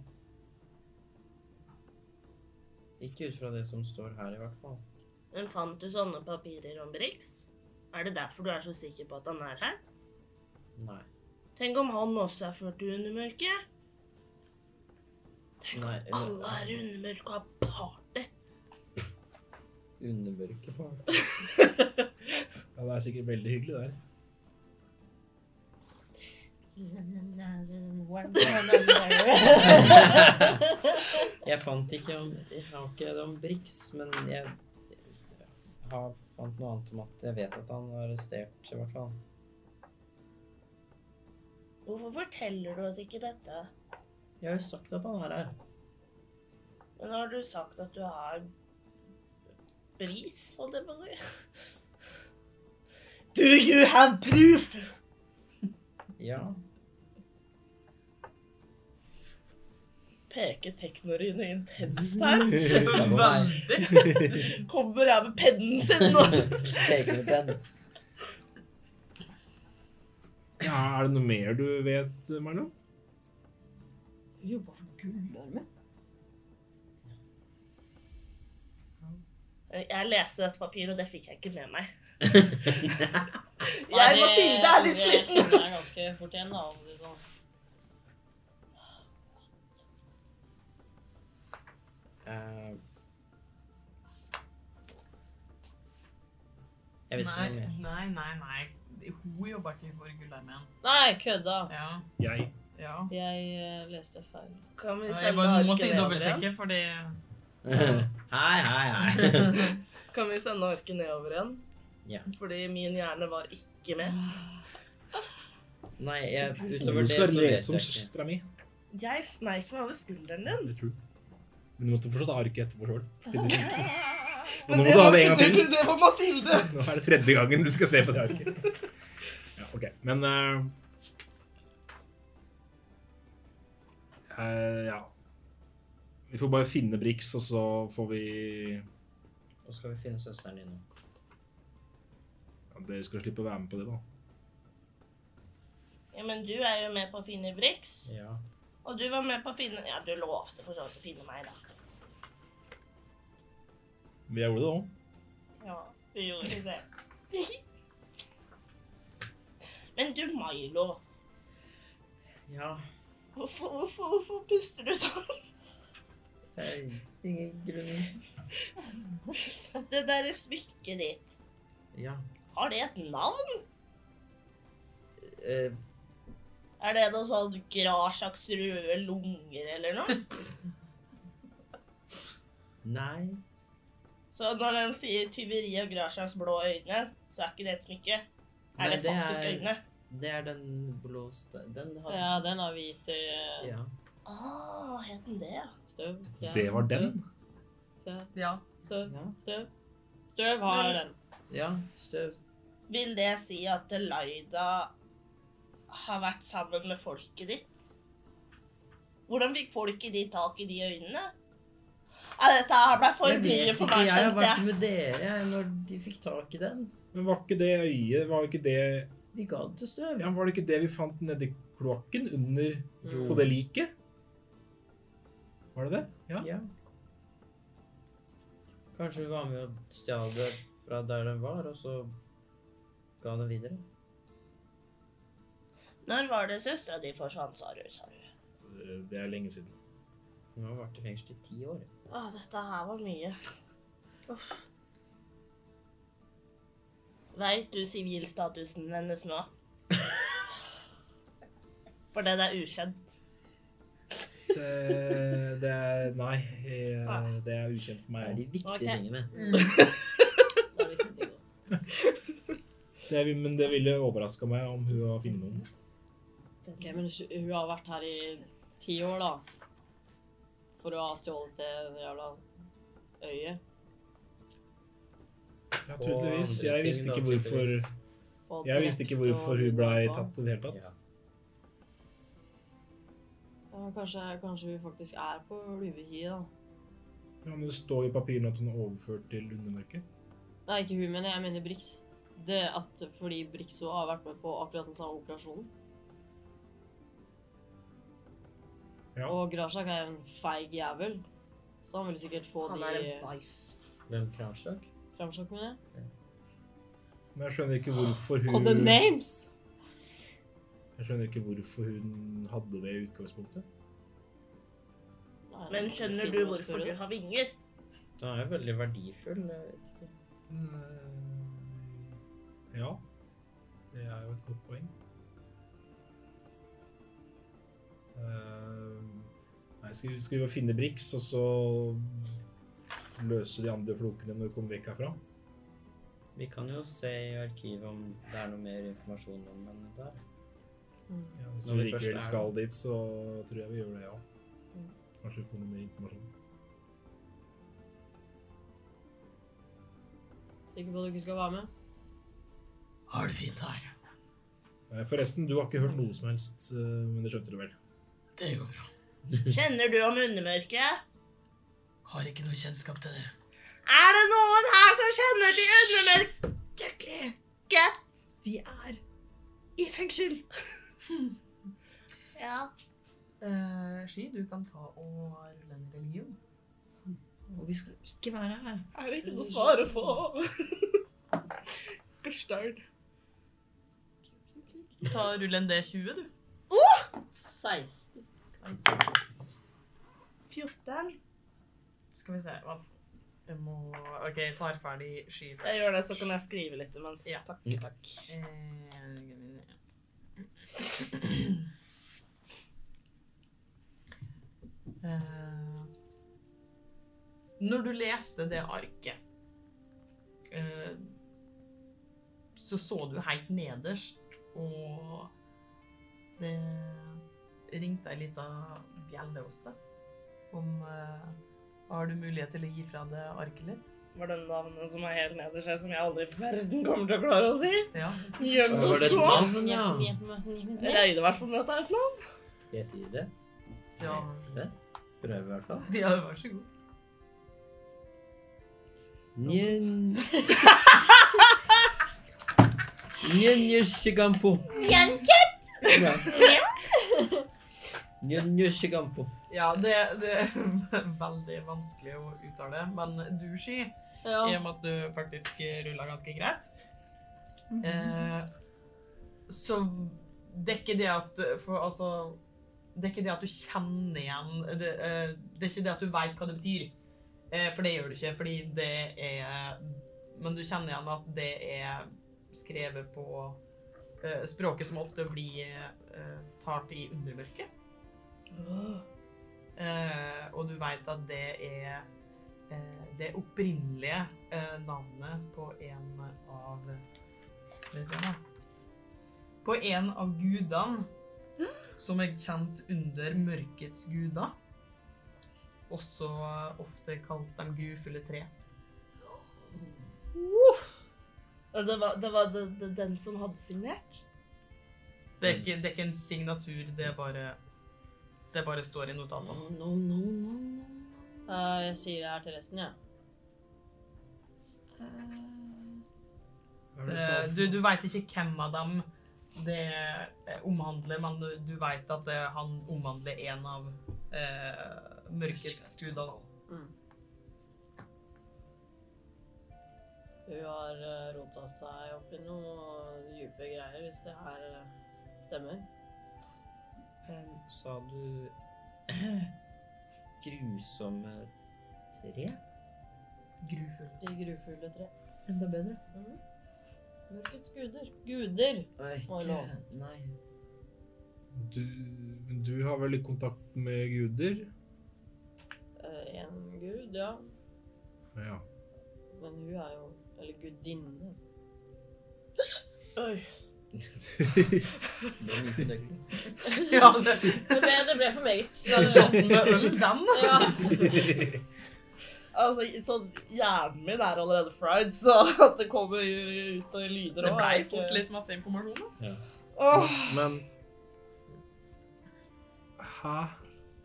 S4: Ikke ut fra det som står her, i hvert fall.
S7: Hun fant jo sånne papirer om Brix. Er det derfor du er så sikker på at han er her?
S4: Nei.
S7: Tenk om han også er ført til undermørket? Tenk
S4: Nei,
S7: om alle er i undermørket og har party.
S4: Undermørke på
S3: Ja, det er sikkert veldig hyggelig der.
S4: Jeg fant ikke om Jeg har ikke det om Brix, men jeg, jeg har fant noe annet om at jeg vet at han var arrestert, i hvert fall.
S7: Hvorfor forteller du oss ikke dette?
S4: Jeg har jo sagt at han er her.
S7: Men har du sagt at du har bris, holdt jeg på å si? Do you have proof?
S4: Ja.
S6: Peker teknoryen intenst her.
S1: Veldig.
S6: Kommer her med pennen sin nå.
S4: Eh, Peker med den.
S3: Ja, er det noe mer du vet, Marlo?
S2: Hun jobba for Gullarmen?
S6: Jeg leste dette papiret, og det fikk jeg ikke med meg.
S2: Nei,
S6: Jeg,
S2: det-
S6: Mathilde, er litt sliten.
S2: Det skjønner jeg ganske fort igjen, da. om det er sånn.
S4: Eh, jeg vet ikke
S1: Nei,
S4: noe mer.
S1: nei, nei, nei. Hun jobber ikke for Gullarmeen.
S2: Nei, kødda.
S1: Ja.
S3: Jeg.
S1: ja.
S2: Jeg eh, leste feil.
S6: Kan vi
S1: Jeg
S6: sende
S1: bare måtte
S6: arket nedover igjen?
S1: dobbeltsjekke, fordi
S4: Hei, hei, hei.
S6: Kan vi sende arket nedover igjen?
S4: Ja.
S6: Fordi min hjerne var ikke med.
S4: Nei, jeg, utover
S3: Du
S4: det så
S3: skal
S4: vet
S3: lese om
S4: jeg ikke.
S3: søstera mi.
S6: Jeg sneik meg over skulderen din.
S3: Det tror jeg. Men du måtte fortsatt ha arket etterpå sjøl. Og nå
S6: Men
S3: må du ha
S6: var
S3: det en
S6: ikke
S3: gang til.
S6: du, Det var Mathilde.
S3: Nå er det tredje gangen du skal se på det arket. Ja, ok. Men eh, eh, Ja. Vi får bare finne Brix, og så får vi ja,
S4: Og skal vi finne søsteren din nå?
S3: Dere skal slippe å være med på det, da.
S7: Ja, men du er jo med på å finne Brix.
S4: Ja.
S7: Og du var med på å finne Ja, du lovte for så vidt å finne meg, da.
S3: Men jeg gjorde det òg.
S7: Ja, du gjorde det. Men du, Milo.
S4: Ja.
S7: Hvorfor, hvorfor, hvorfor puster du sånn?
S4: Ingen grunn.
S7: Det derre smykket ditt,
S4: Ja.
S7: har det et navn?
S4: Eh,
S7: Er det noe sånn grå slags røde lunger eller noe?
S4: nei.
S7: Så når de sier tyveri og Grasjans blå øyne, så er ikke det et smykke. Er
S4: Nei,
S7: det faktisk
S4: er-
S7: øyne?
S4: Det er den blå sta- Den har
S2: Ja, den har vi gitt til eh,
S4: Ja.
S7: Ah, het den det?
S2: Støv. Ja,
S3: Det var den.
S2: Støv,
S1: Ja.
S2: støv,
S4: Ja.
S2: støv. Støv har
S7: Men-
S2: den.
S4: ja. Støv.
S7: Vil det si at Laida har vært sammen med folket ditt? Hvordan fikk folket ditt tak i de øynene? Ja, dette her ble for mye for meg,
S4: Jeg har
S7: skjønte
S4: vært
S7: jeg.
S4: med dere jeg, når de fikk tak i den.
S3: Men var ikke det øyet Var ikke det
S4: Vi ga den til Støv.
S3: Ja, var det ikke det vi fant nedi kloakken under
S4: Jo.
S3: på det liket? Var det det? Ja.
S4: Ja. Kanskje hun var med og stjal det fra der den var, og så ga den videre.
S7: Når var det søstera di forsvant, sa du? Sa du.
S3: Det er lenge siden.
S4: Hun har vært i fengsel i ti år.
S7: Å, dette her var mye. Uff. Veit du sivilstatusen hennes nå? For den er ukjent.
S3: Det, det er Nei. eh,
S2: Ah.
S3: Det er ukjent for
S4: Det er
S3: meg.
S4: de viktige
S2: Ok. Mm.
S4: tingene.
S1: Mm.
S2: Da
S3: Det,
S2: er det viktig.
S3: vil- men det ville overraska meg om hun har funnet noen.
S2: Ok, men hun- hun har vært her i ti år, da. For å ha stjålet det jævla øyet.
S3: Ja,
S4: Og
S3: tydeligvis.
S4: andre
S3: Jeg visste
S4: ting, da,
S3: ikke hvorfor
S4: tydeligvis.
S2: og
S3: Jeg visste ikke
S2: drept og
S3: hvorfor hun blei
S2: voldtatt.
S3: tatt i det hele tatt.
S4: Ja.
S2: Ja, kanskje, kanskje hun faktisk er på ulvehiet, da.
S3: Ja, men det står i papirene at hun er overført til lundemørket.
S2: Nei, ikke hun, men jeg mener Brix. Det at fordi Brix også har vært med på akkurat den samme operasjonen.
S3: Ja.
S2: Og Grashak er en feig jævel, så han vil sikkert få
S6: Han er
S2: de
S6: en bajs.
S4: Hvem Kransløk?
S2: framsjokk med det.
S3: Men jeg skjønner ikke hvorfor
S2: Og the
S3: hun
S2: names!
S3: Jeg skjønner ikke hvorfor hun hadde det i utgangspunktet.
S2: Nei,
S7: Men
S2: det er
S7: skjønner
S2: fint
S7: du
S2: å
S7: hvorfor
S2: spørre.
S7: du har vinger?
S4: Den er jo veldig verdifull. Jeg vet ikke.
S3: Eh, Ja. Det er jo et godt poeng. Eh, Nei, skal vi- skal vi jo finne Brix, og så løse de andre flokene når vi kommer vekk herfra?
S4: Vi kan jo se i arkivet om det er noe mer informasjon om henne der.
S3: Ja, hvis
S4: Når
S3: vi
S4: vi først er
S3: likevel
S4: der.
S3: skal dit, så tror jeg vi gjør det, ja.
S2: Mm.
S3: Kanskje vi får noe mer informasjon.
S2: Sikker på at du ikke skal være med?
S1: Har det fint her.
S3: Eh, Forresten, du har ikke hørt noe som helst, eh, men det skjønte du vel?
S1: Det går bra.
S7: Kjenner du om undermørket?
S1: Har ikke noe kjennskap til det.
S7: Er det noen her som kjenner til undermørket?
S4: Vi er i fengsel!
S7: Ja.
S1: Ski, Eh, du kan ta og rulle en religion.
S4: Og vi skal ikke være her.
S6: Er det ikke noe svar å få? Gursdag.
S1: Ta og Rull en D20, du.
S2: 16.
S7: 14.
S1: Skal vi se hva Jeg må OK, jeg tar ferdig Ski først.
S6: Jeg gjør det, så kan jeg skrive litt imens.
S1: Ja.
S6: Takk, takk.
S1: Eh, Eh, når du leste det arket, eh, så så du helt nederst, og det ringte ei lita bjelle hos deg. Om eh, har du mulighet til å gi fra deg arket litt?
S6: Var det navnet som er helt nederst her, som jeg aldri i verden kommer til å klare å si?
S1: Ja.
S4: Var det et
S6: Gjennomslå!
S4: navn, ja?
S6: Jeg regner i hvert fall med at det er et navn.
S4: Jeg sier det.
S1: ja.
S4: Jeg sier det. Prøver i hvert fall.
S1: Ja, vær så god.
S4: Nyen... Nyenjushigampo. Nyenjushigampo.
S1: Ja, det, det er veldig vanskelig å uttale, men du, Ski,
S2: Ja.
S1: i og med at du faktisk rulla ganske greit eh, Så det er ikke det at For altså Det er ikke det at du kjenner igjen Det, eh, det er ikke det at du veit hva det betyr. Eh, for det gjør du ikke, fordi det er Men du kjenner igjen at det er skrevet på eh, språket som ofte blir eh, talt i undermørket. Eh, og du veit at det er eh, det opprinnelige eh, navnet på en av Skal vi se nå på en av gudene som er kjent under mørkets guder. Også ofte kalt de grufulle tre.
S7: Og Det var, det var det, det, den som hadde signert?
S1: Det er ikke, det er ikke en signatur, det er bare det bare står i notatene.
S2: no, no, no, no. Eh, jeg sier det her til resten, jeg.
S3: Hva er det du sa?
S1: Det- Eh, Du, du veit ikke hvem av dem det eh, omhandler, men du, du veit at det, han omhandler en av eh, mørkets guder.
S2: Hun har uh, rota seg opp i noe dype greier, hvis det her eh, stemmer.
S4: Eh, Sa du grusomme tre?
S1: Grufull.
S2: De grufulle tre.
S4: Enda bedre.
S2: Mørkets guder. Guder!
S4: Nei,
S2: Å,
S4: ikke.
S2: lov.
S4: Nei.
S3: Du, men du har vel kontakt med guder?
S2: Eh, En gud, ja.
S3: Ja.
S2: Men hun er jo Eller gudinne.
S4: Den gikk det ikke.
S1: Ja, det,
S2: Det ble, det ble for meget. Så da-
S1: shotten med øl, den!
S2: Ja.
S6: Altså, sånn, hjernen min er allerede fried, så at det kommer ut og lyder
S1: Det
S6: også,
S1: blei
S6: er ikke-
S1: fort litt masse informasjon, da.
S6: Åh,
S3: Men Hæ?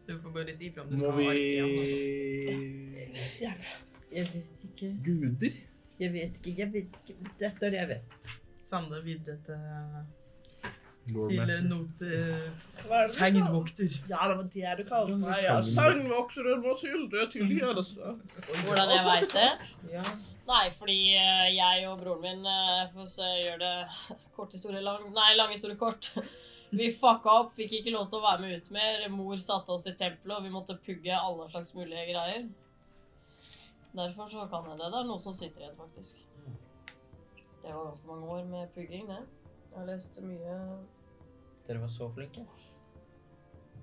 S1: Du får bare si ifra om du
S3: Må
S1: skal ha ark igjen.
S3: vi
S4: Jeg vet ikke.
S3: Guder?
S4: Jeg vet ikke. Jeg vet ikke. Dette er det jeg vet.
S1: Send det videre til, eh, til
S3: Lordmaster.
S1: not...
S6: hva er det du kaller-
S1: Tegnvokter.
S6: Ja, det var det du kalte meg. Ja.
S3: Sang.
S6: Sangvokteren Mathilde
S4: altså.
S6: Tilgjørelse.
S2: Hvordan jeg veit det?
S4: Ja.
S2: Nei, fordi eh, jeg og broren min eh, For å gjøre det kort historie lang Nei, lang historie kort. Vi fucka opp, fikk ikke lov til å være med ut mer. Mor satte oss i tempelet, og vi måtte pugge alle slags mulige greier. Derfor så kan jeg det. Det er noe som sitter igjen, faktisk. Det var ganske mange år med pugging, det. Jeg har lest mye
S4: Dere var så flinke.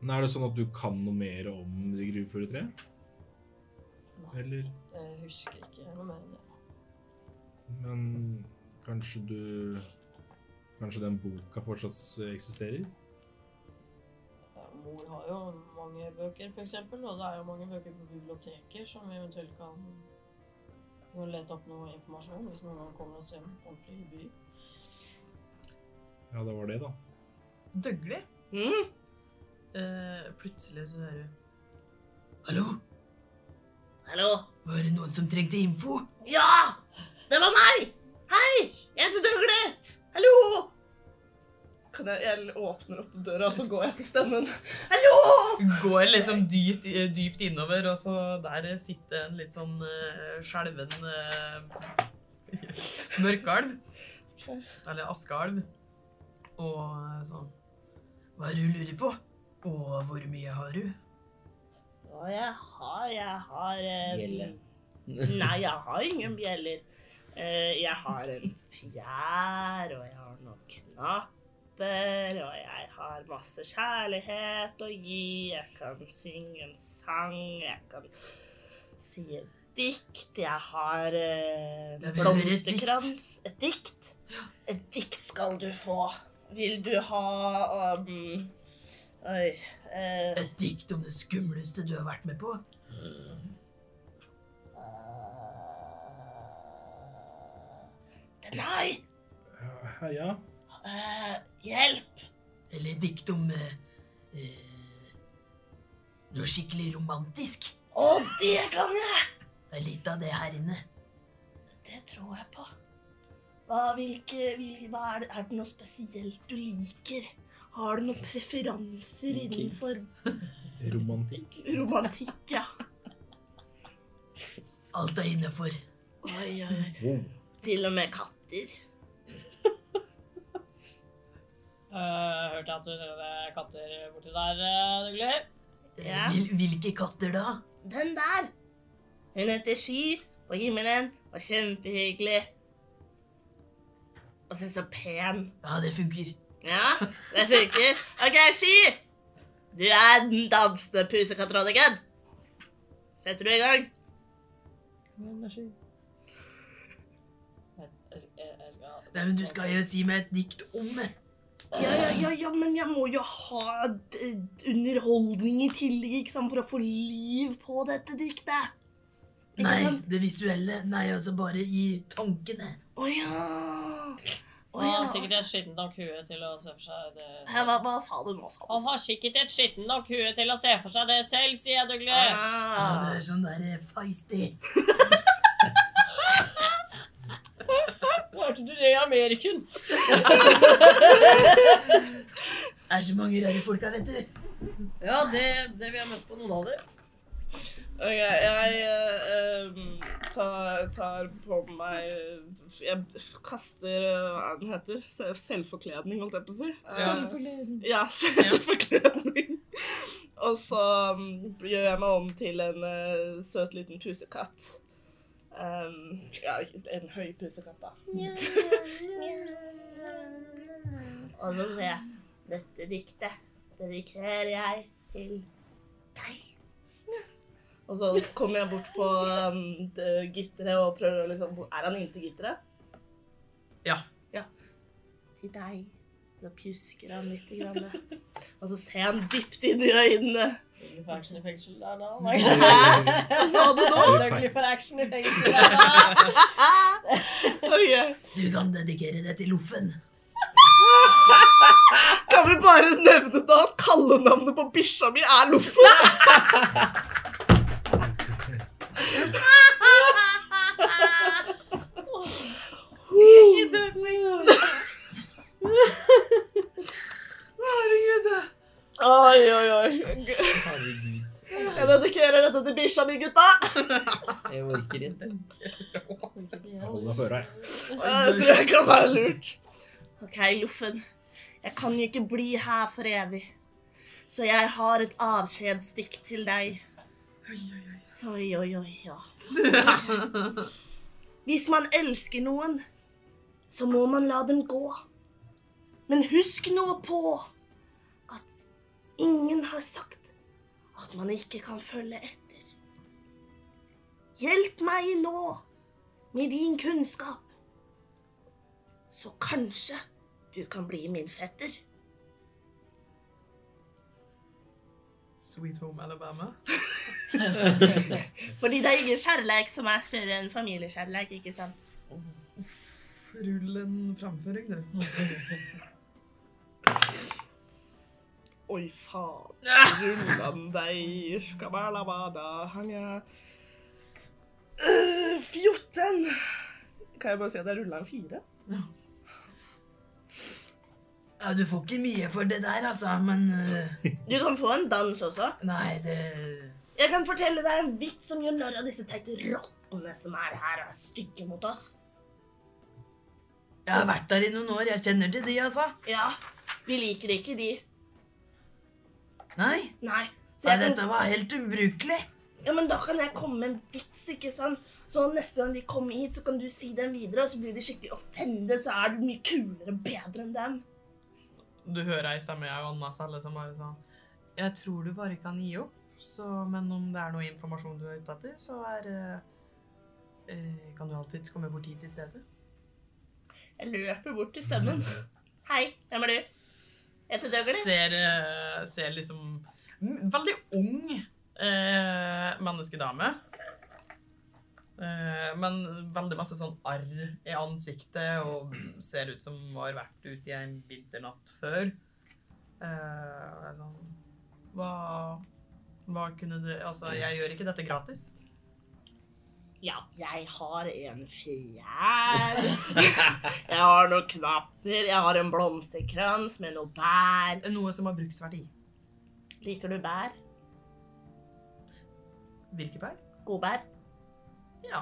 S3: Men er det sånn at du kan noe mer om de grufulle tre?
S2: Nei,
S3: Eller
S2: jeg husker ikke noe mer enn det.
S3: Men kanskje du Kanskje den boka fortsatt eksisterer?
S2: Ja, Mor har jo mange bøker, for eksempel, og det er jo mange bøker på biblioteker som vi eventuelt kan kan lete opp noe informasjon hvis noen gang kommer oss hjem ordentlig i by.
S3: Ja, det var det, da.
S1: Døglig.
S6: Mm.
S1: Eh, plutselig så hører du Hallo?
S7: Hallo?
S1: Var det noen som trengte info?
S7: Ja! Det var meg! Hei! Jeg heter Døgle! Hallo!
S6: Kan jeg, jeg åpner opp døra, og så går jeg til stemmen.
S7: Hallo!
S1: Går liksom dypt, dypt innover, og så der sitter en litt sånn eh, skjelven eh, mørkalv. Eller askealv. Og sånn Hva er det du lurer på? Og hvor mye har du?
S7: Å, jeg har, jeg har eh,
S4: Bjelle.
S7: Nei, jeg har ingen bjeller. Eh, jeg har en fjær, og jeg har noen knapper, og jeg har masse kjærlighet å gi. Jeg kan synge en sang, jeg kan si et dikt. Jeg har eh,
S1: Jeg vil høre et dikt.
S7: blomsterkrans. Et dikt? Et dikt skal du få. Vil du ha um, Oi. eh,
S1: Et dikt om det skumleste du har vært med på?
S7: eh, Nei!
S3: Ja, ja.
S7: Eh, hjelp!
S1: Eller et dikt om eh, eh, noe skikkelig romantisk?
S7: Å, det kan jeg!
S1: Det er litt av det her inne.
S7: Det tror jeg på. Hva, hvilke, hvilke, hva er, det, er det noe spesielt du liker? Har du noen preferanser innenfor
S3: Romantikk.
S7: romantikk, ja?
S1: Alt er innafor.
S7: Oi, oi, oi.
S3: Wow.
S7: Til og med katter.
S2: Eh, hørte jeg at du nevnte katter borti der, uh, Dugli?
S1: Eh,
S7: Ja.
S1: Hvil, hvilke katter da?
S7: Den der! Hun heter Sky på himmelen og kjempehyggelig. Og så er hun så pen.
S1: Ja, det funker.
S7: Ja, det funker. OK, Sky! Du er den dansende pusekattrådigen. Setter du i gang?
S2: Jeg, jeg, jeg skal
S1: Nei, men Du skal jo si meg et dikt om eh, det.
S7: Ja, ja, ja, ja, men jeg må jo ha d- underholdning i tillegg, ikke sant, for å få liv på dette diktet. Ikke
S1: Nei,
S7: sant?
S1: det visuelle. Nei, altså bare i tankene.
S7: Å ja. Å
S2: Han har
S7: ja.
S2: sikkert et skittent nok hue til å se for seg
S7: Hæ,
S2: det.
S7: Hva, hva sa du nå, sa du?
S2: Han har sikkert et skittent nok hue til å se for seg det selv, sier jeg, Dougley.
S1: Ja,
S6: Ah.
S1: du er sånn der eh, feisty.
S2: Hørte du det i Ameriken?
S1: Det er så mange rare folk her, vet du.
S2: Ja, det, det vi har møtt på noen av dem.
S6: Ok, jeg eh, em, tar, tar på meg Jeg kaster eh, hva er den heter? Se- Selvforkledning, holdt jeg på å si. Eh, Ja, selvforkledning. Og så mm, gjør jeg meg om til en eh, søt liten pusekatt. Em, ja, en høy pusekatt, da.
S7: Og så sier jeg dette diktet dedikerer jeg til deg.
S6: Og så kommer jeg bort på um, d- gitteret og prøver å liksom hvor- Er han inntil gitteret?
S7: Til deg.
S6: Da pjusker han litt. Grann, og så ser han dypt inn i øynene.
S2: Dougley for action i fengsel der da.
S6: Hva sa du nå?
S2: Dougley for action i fengsel der da.
S6: Ok.
S1: Du kan dedikere deg til Loffen.
S6: Kan vi bare nevne da at kallenavnet på bikkja mi er Loffen? Oi, oi, oi.
S4: Herregud.
S7: altså,
S6: Jeg dedikerer dette til bikkja mi, gutta.
S4: Jeg orker ikke.
S3: Hold deg føre.
S6: Det tror jeg kan være lurt.
S7: OK, Loffen. Jeg kan jo ikke bli her for evig. Så jeg har et avskjedsdikt til deg. Oi, oi, oi, ja. Hvis man elsker noen, så må man la dem gå. Men husk nå på at ingen har sagt at man ikke kan følge etter. Hjelp meg nå med din kunnskap. Så kanskje du kan bli min fetter.
S1: Sweet Home Alabama.
S7: Fordi det er ingen kjærleik som er større enn familiekjærleik, ikke sant?
S1: Rull en framføring, du.
S6: Oi, faen. Rullan deg, skabalabada, hang jeg. Øh, 14! Kan jeg bare si at jeg rullet en fire?
S1: Ja, du får ikke mye for det der, altså, men eh,
S7: Du kan få en dans også.
S1: Nei, det
S7: Jeg kan fortelle deg en vits som gjør narr av disse teite rottene som er her og er stygge mot oss.
S1: Jeg har vært der i noen år. Jeg kjenner til de, altså.
S7: Ja, vi liker ikke de.
S1: Nei,
S7: Nei. Så
S1: Nei
S7: jeg kan,
S1: dette var helt ubrukelig.
S7: ja, men da kan jeg komme med en vits, ikke sant? Så neste gang de kommer hit, så kan du si den videre, og så blir de skikkelig offended, så er du mye kulere og bedre enn dem.
S1: Du hører ei stemme jeg og Anna Selle som er sånn Jeg tror du bare kan gi opp, så, men om det er noe informasjon du er ute etter, så er eh, eh, Kan du alltids komme bort hit i stedet?
S7: Jeg løper bort til stemmen. Hei, hvem er du? Jeg heter Dougley.
S1: Ser, eh, ser liksom m- Veldig ung eh, menneskedame. Eh, men veldig masse sånn arr i ansiktet og ser ut som hun har vært ute i en vinternatt før. Eh, og er sånn, hva, hva kunne du Altså, jeg gjør ikke dette gratis.
S7: Ja, jeg har en fjær. Jeg har noen knapper. Jeg har en blomsterkrans med noe bær.
S1: Noe som har bruksverdi.
S7: Liker du bær?
S1: Hvilke bær?
S7: Godbær?
S1: Ja.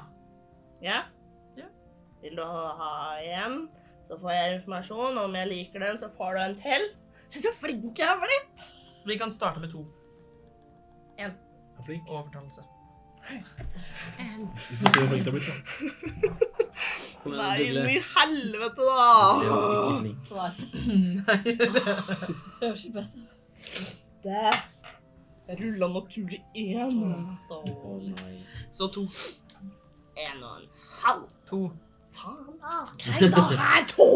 S7: Ja?
S1: Ja.
S7: Vil du ha en, så får jeg informasjon. Om jeg liker den, så får du en til. Se så flink jeg har blitt!
S1: Vi kan starte med to.
S3: Er flink.
S1: Overtalelse.
S3: Vi får se hvor flink du har blitt. da.
S4: Kom
S6: Nei,
S4: igjen,
S6: inn
S4: Dugle.
S6: i helvete,
S4: Du
S6: da!
S4: er ikke flink.
S2: Nei, det var sitt beste.
S6: Det. Jeg rullet naturlig én.
S4: Å
S2: Dårlig.
S4: nei.
S1: Så to.
S7: En og en halv.
S1: To.
S7: Faen, da. OK, da har jeg to!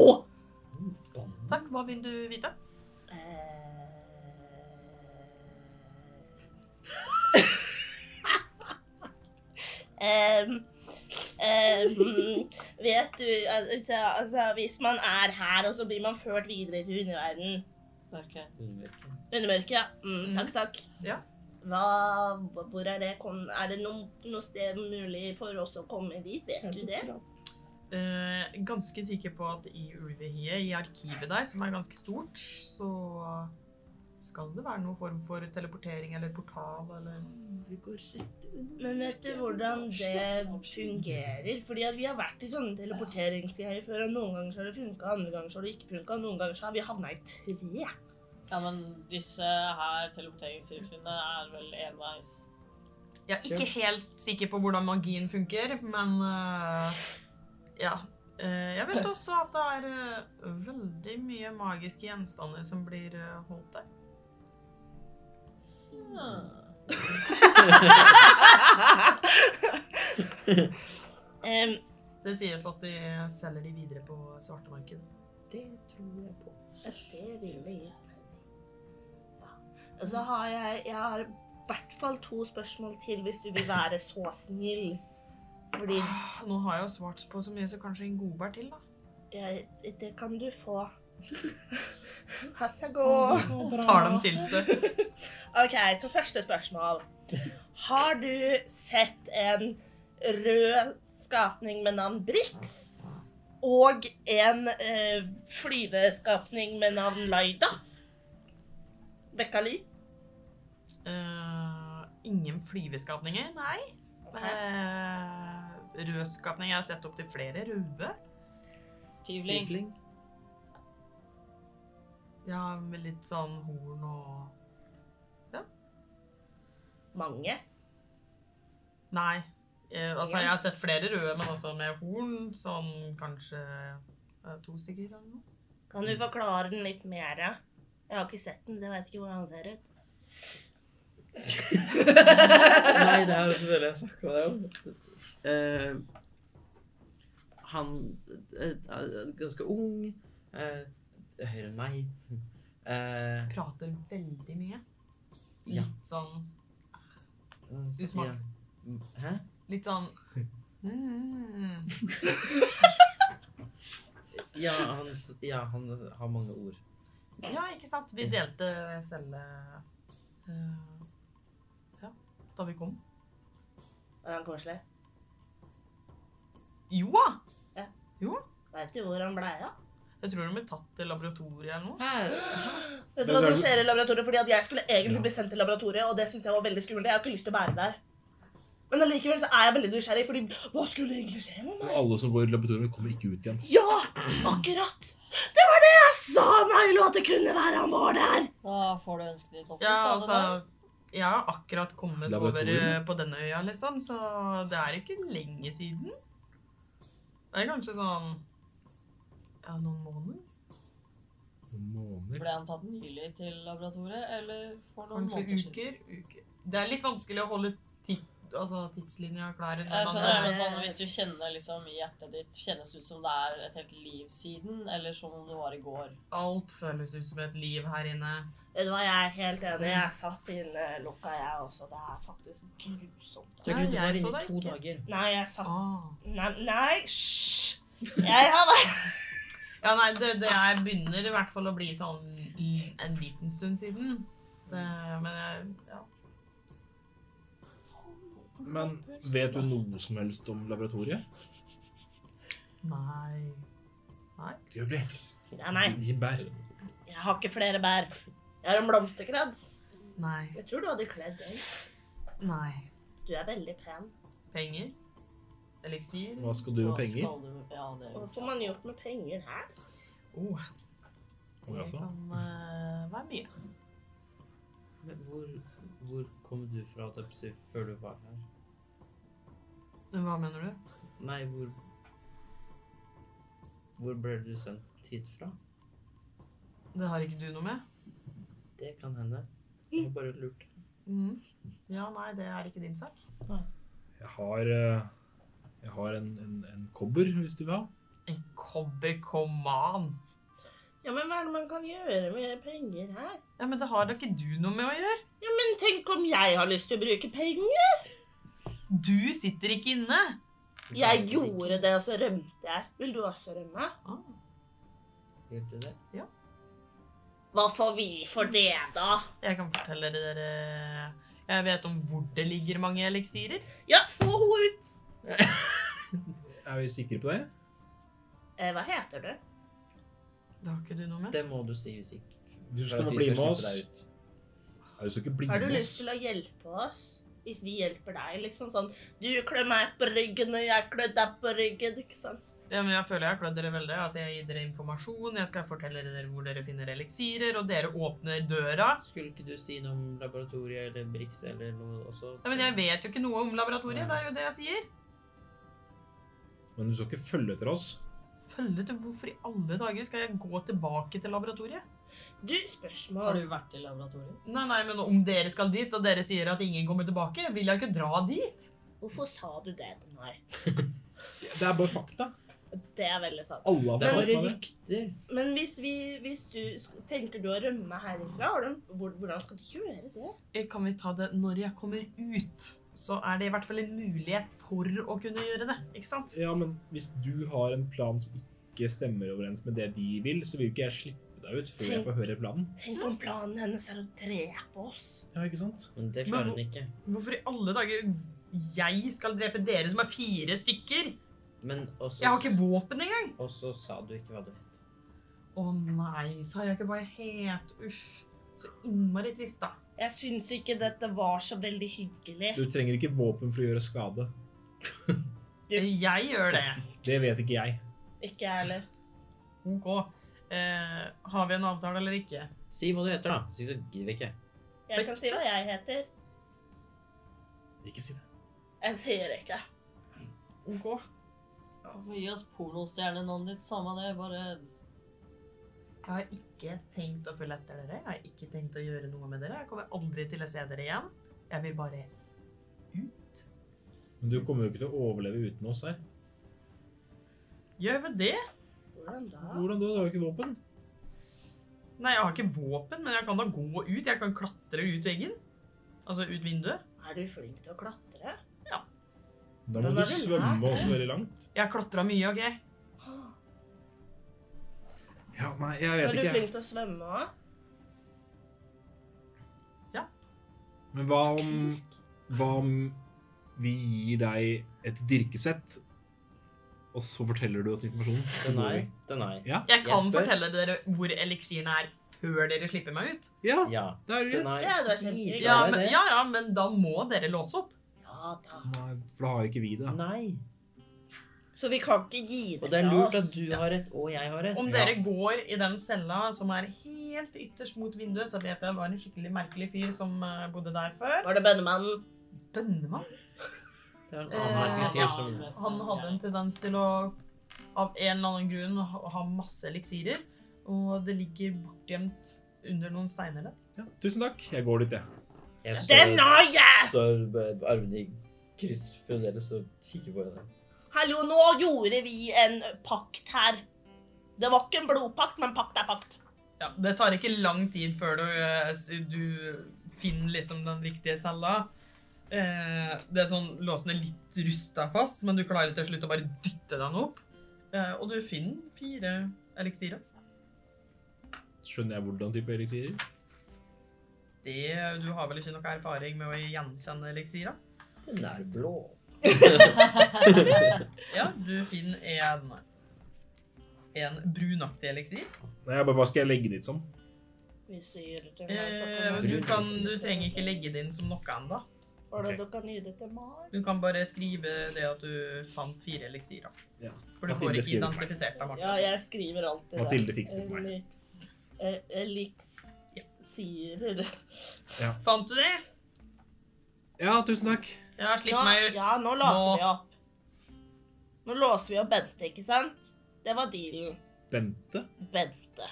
S4: Bann.
S1: Takk, hva vil du vite?
S7: Eh. Ehm, ehm, vet du altså, altså, Hvis man er her, og så blir man ført videre til underverdenen
S2: Ok.
S7: Undermørket, ja. Mm, takk, takk.
S1: Ja.
S7: Hva, hvor er det, kom, er det noe, noe sted mulig for oss å komme dit? Vet du det?
S1: Eh, ganske sikker på at i Ulvehiet, i arkivet der, som er ganske stort, så skal det være noen form for teleportering eller portal eller
S6: Vi går rett under.
S7: Men vet du hvordan det fungerer? Fordi at vi har vært i sånne teleporteringsgreier før, og noen ganger så har det funka, andre ganger så har det ikke funka, noen ganger så har vi havna i tre.
S2: Ja, men disse her teleporteringssirklene er vel enveis.
S1: Jeg er ikke helt sikker på hvordan magien funker, men eh, ja. Eh, jeg vet også at det er eh, veldig mye magiske gjenstander som blir eh, holdt der.
S2: Hmm.
S7: Ehm,
S1: Det sies at de selger de videre på svartemarked.
S7: så det vil vi gjøre. Ja. Og så har jeg, jeg har i hvert fall to spørsmål til hvis du vil være så snill. Fordi
S1: Nå har jeg jo svart på så mye, så kanskje en godbær til, da.
S7: jeg, det kan du få. Vær så god.
S1: Tar dem til seg.
S7: Ok, så første spørsmål. Har du sett en rød skapning med navn Brix? Og en eh, flyveskapning med navn Laida? Bekkali?
S1: Eh, ingen flyveskapninger, nei. Eh, rødskapning, jeg har sett opp til flere røde.
S2: Tyvling.
S1: Ja, med litt sånn horn og...
S7: Mange.
S1: Nei, eh, altså jeg har sett flere røde, men også med horn, sånn kanskje eh, to stykker eller noe.
S7: Kan du forklare den litt mer? Jeg har ikke sett den, så jeg vet ikke hvordan han ser ut.
S4: Nei, det har selvfølgelig jeg snakka om. Eh, han eh, er ganske ung. eh, høyere enn meg. Eh,
S1: Prater veldig mye.
S4: Ja.
S1: Litt sånn, Usmart.
S4: ja. Hæ?
S1: litt sånn... Mm.
S4: Ja, han, s- ja, han har mange ord.
S1: Ja, ikke sant? Vi delte selv eh, ja, da vi kom.
S7: Er han koselig?
S1: Jo da!
S7: Vet du hvor han blei av?
S1: Jeg tror de ble tatt til laboratoriet eller noe.
S7: Vet du hva som skjer i laboratoriet? Fordi at jeg skulle egentlig bli sendt til laboratoriet, og det synes jeg var veldig skummelt. Jeg har ikke lyst til å være der. Men allikevel så er jeg veldig nysgjerrig, fordi hva skulle egentlig skje med
S3: Og
S7: meg?
S3: alle som går i laboratoriet, kommer ikke ut igjen.
S7: Ja, akkurat! Det var det jeg sa, Milo, at det kunne være han var der!
S2: Da får du ønsket ditt oppfylt.
S1: Ja,
S2: da,
S1: altså, jeg har akkurat kommet over
S3: Laboratorium.
S1: eh, på denne øya, liksom, så det er ikke lenge siden. Det er kanskje sånn ja, noen måneder.
S3: Noen
S2: da.
S3: måneder.
S2: Ble han tatt nylig til laboratoriet, eller for noen
S1: Kanskje
S2: måneder siden?
S1: uker, uker. Det er litt vanskelig å holde tid, altså, tidslinja klar.
S2: Jeg skjønner, men
S7: det-
S2: sånn, Hvis du kjenner liksom i hjertet ditt Kjennes det ut som det er et helt liv siden, eller som om det var i går?
S1: Alt føles ut som et liv her inne.
S7: Vet du hva, jeg er helt enig. Jeg satt inne lukka, jeg også. Det er faktisk grusomt.
S1: Nei,
S4: Gud,
S1: jeg
S4: du var
S1: så
S4: inne
S1: deg
S4: i to
S1: ikke.
S4: dager.
S7: Nei, jeg satt
S1: Ah.
S7: Nei, nei, hysj! Jeg har vært
S1: Ja, nei, det, det er begynner i hvert fall å bli sånn i en liten stund siden. Det, men jeg, ja.
S3: Men vet du noe som helst om laboratoriet?
S1: Nei.
S3: Det gjør vi.
S7: Nei, nei,
S3: Gi bær.
S7: jeg har ikke flere bær. Jeg har en blomsterkrans.
S1: Nei.
S7: Jeg tror du hadde kledd den.
S1: Nei.
S7: Du er veldig pen.
S1: Penger? Eliksir?
S3: Hva skal du med
S2: Hva
S3: penger?
S2: skal du med- Ja, det
S7: Hva får man gjort med penger her?
S1: Oh,
S3: Å,
S1: det
S3: jaså.
S1: kan eh, være mye.
S4: Men Hvor, hvor kom du fra holdt jeg på å si, før du var her?
S1: Hva mener du?
S4: Nei, hvor Hvor ble du sendt hit fra?
S1: Det har ikke du noe med?
S4: Det kan hende.
S1: Mm.
S4: Jeg bare lurte.
S1: Mhm. Ja, nei, det er ikke din sak.
S3: Jeg har, eh, jeg har en, en, en kobber, hvis du vil ha.
S1: En kobber, come on!
S7: Ja, men hva er det man kan gjøre med penger her?
S1: Ja, men det har da ikke du noe med å gjøre.
S7: Ja, men tenk om jeg har lyst til å bruke penger?
S1: Du sitter ikke inne.
S7: Jeg gjorde det, og så rømte jeg. Vil du også rømme?
S4: Hjelper det?
S7: Hva får vi for det, da?
S1: Jeg kan fortelle dere Jeg vet om hvor det ligger mange eliksirer.
S7: Ja, få henne ut!
S3: Er vi sikre på det?
S7: Eh, hva heter du?
S1: Det har ikke du noe med.
S4: Det må du si hvis ikke.
S3: Du
S4: For
S3: skal
S4: at
S3: nå
S4: vi
S3: bli
S4: skal
S3: med oss.
S4: slippe deg
S3: Nei,
S4: ut.
S3: du skal ikke bli
S7: Har du
S3: med oss.
S7: lyst til å hjelpe oss? Hvis vi hjelper deg, liksom sånn Du klør meg på ryggen, og jeg klør deg på ryggen, ikke sant?
S1: Ja, men jeg føler jeg har klødd dere veldig. Altså, jeg gir dere informasjon, jeg skal fortelle dere hvor dere finner eliksirer, og dere åpner døra.
S4: Skulle ikke du si noe om laboratoriet eller Brix eller noe også?
S1: Ja, men jeg vet jo ikke noe om laboratoriet,
S4: Nei.
S1: det er jo det jeg sier.
S3: Men du skal ikke følge etter oss.
S1: Følge til hvorfor i alle dager skal jeg gå tilbake til laboratoriet?
S7: Du,
S2: Har
S7: spørsmål.
S2: du vært i laboratoriet?
S1: Nei, nei, men om dere skal dit, og dere sier at ingen kommer tilbake, vil jeg ikke dra dit.
S7: Hvorfor sa du det til meg?
S3: Det er bare fakta.
S7: Det er veldig sant.
S3: Alle har
S4: Det er
S3: vært
S4: bare
S3: med det.
S4: rykter.
S7: Men hvis, vi, hvis du sk- tenker du å rømme herifra, har du, hvor- hvordan skal du gjøre det?
S1: Eh, Kan vi ta det når jeg kommer ut? Så er det i hvert fall en mulighet for å kunne gjøre det, ikke sant?
S3: Ja, men hvis du har en plan som ikke stemmer overens med det vi vil, så vil ikke jeg slippe deg ut før jeg får høre planen.
S7: Tenk om planen hennes er å drepe oss.
S3: Ja, ikke sant?
S4: Men det
S1: Men
S4: klarer
S1: hvor-
S4: hun ikke.
S1: Hvorfor i alle dager jeg skal drepe dere som er fire stykker?
S4: Men også,
S1: Jeg har ikke våpen engang.
S4: også sa du ikke hva du het.
S1: Å nei, sa jeg ikke bare helt, uff. Så innmari trist da.
S7: Jeg syns ikke dette var så veldig hyggelig.
S3: Du trenger ikke våpen for å gjøre skade.
S1: Eh, Jeg gjør det.
S3: Det vet ikke jeg.
S7: Ikke jeg heller.
S1: Ok. Eh, har vi en avtale eller ikke?
S4: Si hva du heter, da. Så gidder vi ikke.
S7: Jeg kan si hva jeg heter.
S3: Ikke si det.
S7: Jeg sier ikke.
S1: Ok.
S2: Gi oss pornostjernenavnet ditt, samme det, bare
S1: Jeg har ikke tenkt å følge etter dere. Jeg har ikke tenkt å gjøre noe med dere. Jeg kommer aldri til å se dere igjen. Jeg vil bare
S3: Men du kommer jo ikke til å overleve uten oss her.
S1: Gjør vel det?
S7: Hvordan da?
S3: Hvordan da? Du har jo ikke våpen.
S1: Nei, jeg har ikke våpen, men jeg kan da gå ut. Jeg kan klatre ut veggen. Altså ut vinduet.
S7: Er du flink til å klatre?
S3: Da må du
S7: Men da er det
S3: svømme
S7: nært,
S3: også veldig langt.
S1: Jeg har klatra mye, OK?
S3: Ja, nei, jeg
S7: Er
S3: vet
S7: du
S3: ikke. jeg.
S7: flink til å svømme òg?
S3: Men hva om, hva om vi gir deg et dirkesett, og så forteller du oss informasjonen? Så
S4: Den
S3: går
S4: er.
S3: vi.
S4: Den er.
S1: Jeg kan
S4: Jeg spør.
S1: fortelle dere hvor eliksirene er før dere slipper meg ut.
S3: Ja,
S4: Ja.
S3: det er
S4: Den
S3: greit.
S4: er.
S7: Ja, du er kjempeflink.
S1: Ja,
S4: det
S1: men,
S4: det?
S1: ja, ja, men da må dere låse opp.
S7: Ja da.
S3: Nei, for da har ikke vi det.
S4: Nei.
S7: Så vi kan ikke gi
S4: Og
S7: det
S4: det er
S7: fra
S4: lurt at
S7: oss.
S4: du
S1: Ja.
S4: har rett, og jeg har rett.
S1: Om
S3: Ja.
S1: dere går i den cella som er helt ytterst mot vinduet, så vet jeg det var en skikkelig merkelig fyr som eh, bodde der før.
S7: Var det bønnemannen?
S1: Bønnemann.
S4: Det er en
S1: Eh,
S4: annen merkelig fyr som
S1: Han hadde en tendens til å av en eller annen grunn ha ha masse eliksirer. Og det ligger bortgjemt under noen steiner der.
S3: Ja, tusen takk. Jeg går dit, jeg.
S4: Jeg står,
S7: Den har jeg!
S4: står med armene i kryss fremdeles og kikker på henne.
S7: Hallo, nå gjorde vi en pakt her. Det var ikke en blodpakt, men pakt er pakt.
S1: Ja, det tar ikke lang tid før du, eh, s- du finner liksom den riktige cella. Eh, det er sånn låsen er litt rusta fast, men du klarer til slutt å bare dytte den opp. Eh, og du finner fire eliksirer.
S3: Skjønner jeg hvordan type eliksirer?
S1: Det, du har vel ikke noe erfaring med å gjenkjenne eliksirer?
S4: Den er blå.
S1: Ja, du finner en, en brunaktig eliksir.
S3: Nei, jeg bare, Hva skal jeg legge dit som?
S7: Hvis du gir det til meg, så
S1: Eh,
S7: kan
S1: du,
S7: jeg...
S1: kan, du trenger ikke legge det inn som noe ennå.
S7: Var det
S3: Ok.
S7: du kan gi det til meg?
S1: Du kan bare skrive det at du fant fire eliksirer.
S3: Ja.
S1: For du
S3: Mathilde
S1: får ikke
S3: skriver for meg.
S1: identifisert deg,
S7: Ja,
S1: Martha.
S7: jeg skriver alltid det.
S3: Mathilde fikser for meg.
S7: Eliks... eh, Eliks...
S1: Ja.
S7: Sier det.
S1: Fant du det?
S3: Ja, tusen takk.
S1: Ja, slipp
S7: Ja,
S1: meg ut.
S7: Ja, nå låser
S1: Nå.
S7: vi opp. Nå låser vi opp Bente, ikke sant? Det var dealen.
S3: Bente?
S7: Bente.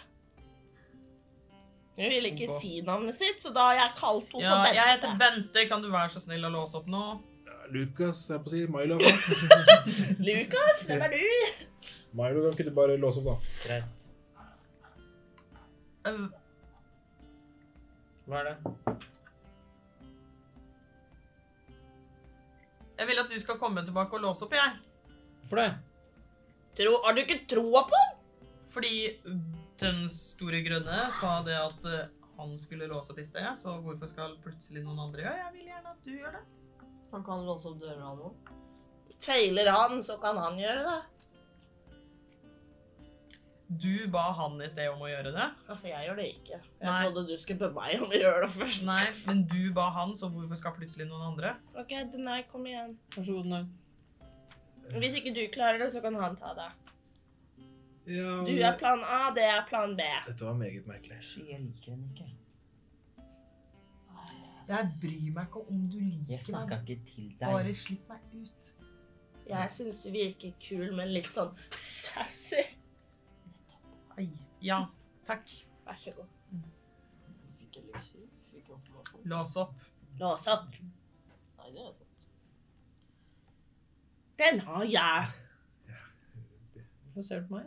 S7: Hun ville ikke
S1: Ok.
S7: si navnet sitt, så da har jeg kalt henne
S1: Ja,
S7: for Bente.
S1: jeg heter Bente. Kan du være så snill å låse opp nå?
S3: Ja, Lukas, jeg er på å si. Milo.
S7: Lukas, hvem er du?
S3: Milo, kan ikke du bare låse opp, da?
S4: Greit.
S1: eh,
S4: Hva er det?
S1: Jeg vil at du skal komme tilbake og låse opp, jeg.
S4: For det?
S7: Tro, har du ikke troa på
S1: Fordi den store grønne sa det at eh, han skulle låse opp i sted, så hvorfor skal plutselig noen andre gjøre det? Jeg vil gjerne at du gjør det.
S2: Han kan låse opp dører og noe.
S7: Feiler han, så kan han gjøre det.
S1: Du ba han i sted om å gjøre det.
S7: Ja, For Altså, jeg gjør det ikke. Jeg
S1: Nei.
S7: trodde du skulle be meg om å gjøre det først.
S1: Nei, men du ba han, så hvorfor skal plutselig noen andre?
S7: Ok, nei, kom igjen.
S2: Vær så god, nei.
S7: Hvis ikke du klarer det, så kan han ta det.
S3: Ja,
S7: Du er plan A, det er plan B.
S3: Dette var meget merkelig.
S4: Sky, jeg liker henne ikke.
S1: Jeg bryr meg ikke om du
S4: Jeg
S1: liker
S4: snakka
S1: meg.
S4: ikke til deg.
S1: Bare slipp meg ut.
S7: Jeg syns du virker kul, men litt sånn sassy.
S1: Ai. Ja, takk.
S7: Vær så god.
S2: Fikk jeg lyser? Fikk jeg oppmål?
S1: Lås opp.
S7: Lås opp.
S2: Nei, det er sant.
S7: Den har jeg.
S2: Hvorfor ser du på meg?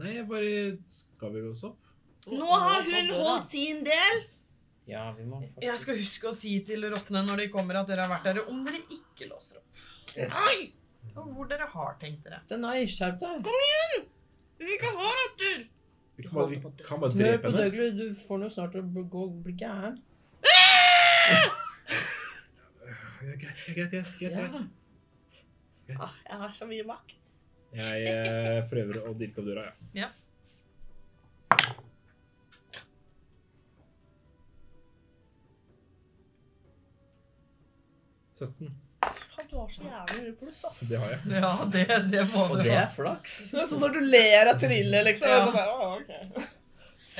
S3: Nei, jeg bare Skal vi låse opp?
S7: Nå har hun holdt sin del.
S4: Ja, vi må
S1: Jeg skal huske å si til rottene når de kommer at dere har vært der, om dere ikke låser opp.
S7: Nei!
S1: Og hvor dere har tenkt dere.
S2: Den er skjerp deg.
S7: Vi kan ha rotter!
S3: Vi kan bare, vi kan bare
S2: Hør
S3: drepe
S2: på
S3: henne.
S2: Dougley, du får noe snart til å bli- gå bli gæren.
S3: Ja, greit, greit, greit. greit, greit.
S7: Ah, jeg har så mye makt.
S3: Jeg eh, prøver å dirke opp døra, ja. Søtten.
S7: Faen, du har så jævlig mye pluss, ass.
S3: Det har jeg.
S1: Ja, det, det må
S4: Og
S1: du
S4: det
S1: ha.
S4: er flaks.
S7: Det er sånn når du ler av thriller, liksom.
S1: Ja.
S7: og Så bare, «Å, ok.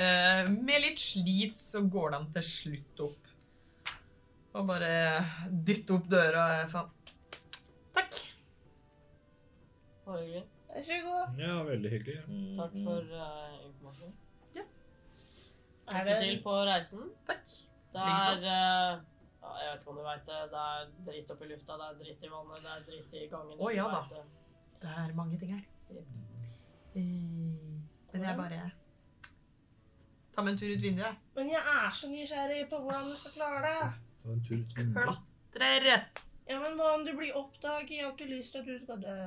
S1: Eh, med litt slit så går den til slutt opp. Og bare dytte opp døra og sånn.
S7: Takk.
S2: Var det hyggelig?
S7: Vær så god.
S3: Ja, veldig hyggelig. ja.
S2: Takk
S4: Mm-hmm. Mm.
S2: for eh, informasjonen.
S1: Ja.
S2: Lykke til på reisen.
S1: Takk.
S2: Det er eh, ja, Jeg vet ikke om du veit det. Det er dritt oppi lufta, det er dritt i vannet, det er dritt i gangen.
S1: Å,
S2: du
S1: ja
S2: vet
S1: da.
S2: det.
S1: Det er mange ting her. Eh, Men jeg bare tar meg en tur ut vinduet.
S7: Men jeg er så nysgjerrig på hvordan du skal klare det.
S3: Ta en tur ut.
S4: Mm.
S3: vinduet.
S1: Klatrer!
S7: Ja, men hva om du blir oppdaget? Jeg har ikke lyst til at du skal dø.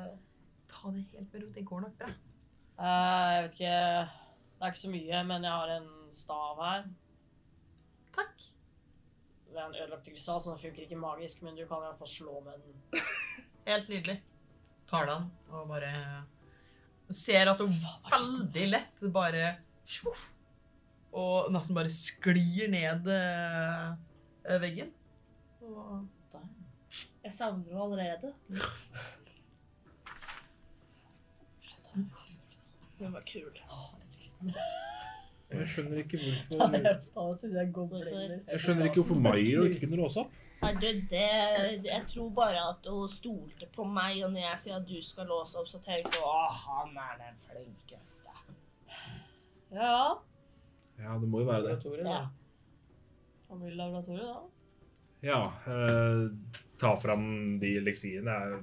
S1: Ta det helt med ro. Det går nok bra.
S2: Eh, jeg vet ikke Det er ikke så mye, men jeg har en stav her.
S1: Takk.
S2: Det er en ødelagt krystall, så den funker ikke magisk, men du kan i hvert fall slå med den.
S1: Helt nydelig. Tar den og bare ser at hun veldig lett bare sjoff, Og nesten bare sklir ned eh, veggen. Og
S7: Jeg savner henne allerede. Hun var kul.
S3: Jeg skjønner ikke
S2: Ja, det
S3: hvorfor
S2: er en stav til det er gobliner.
S3: Jeg skjønner ikke hvorfor Mairo ikke kunne låse opp.
S7: Nei, du, det Jeg tror bare at hun stolte på meg, og når jeg sier at du skal låse opp, så tenker hun at han er den flinkeste.
S2: Ja.
S3: Ja, det må jo være det.
S2: Laboratoriet, da. Han vil laboratoriet, da.
S3: Ja, eh, ta fram de leksiene. Er,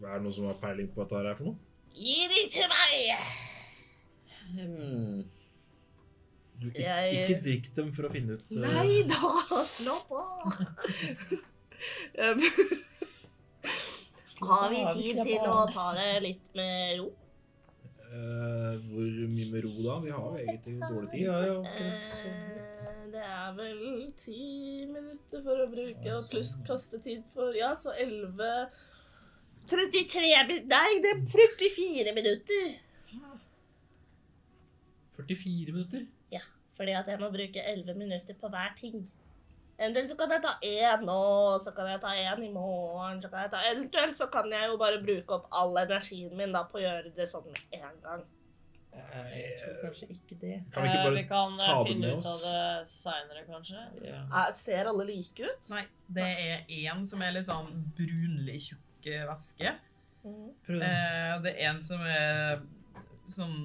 S3: er det noen som har peiling på hva dette her er for noe?
S7: Gi de til meg!
S4: Hmm.
S3: Du, ikke,
S7: Jeg-
S3: ikke drikk dem for å finne ut eh,
S7: da, slå på! Um, Har vi tid til å ta det litt med ro?
S3: eh, hvor mye med ro da? Vi har jo egentlig dårlig tid.
S4: Ja, ja.
S7: Eh, Det er vel ti minutter for å bruke, og pluss kastetid for Ja, så 11 33 min- Nei, det er 44 minutter.
S4: 44 minutter.
S7: Fordi at jeg må bruke 11 minutter på hver ting. Eventuelt så kan jeg ta én nå, så kan jeg ta én i morgen så kan jeg ta, Eventuelt så kan jeg jo bare bruke opp all energien min da på å gjøre det sånn med en gang.
S9: Jeg
S4: Eh,
S9: tror kanskje ikke det.
S3: Kan vi ikke
S2: Eh,
S3: bare
S2: vi kan eh,
S3: ta det
S2: finne
S3: med
S2: ut av
S3: oss?
S2: det seinere, kanskje?
S7: Eh, Ser alle like ut?
S1: Nei, det er én som er litt sånn brunlig tjukk eh, væske.
S7: Mm.
S3: prøve den?
S1: Eh, det er en som er sånn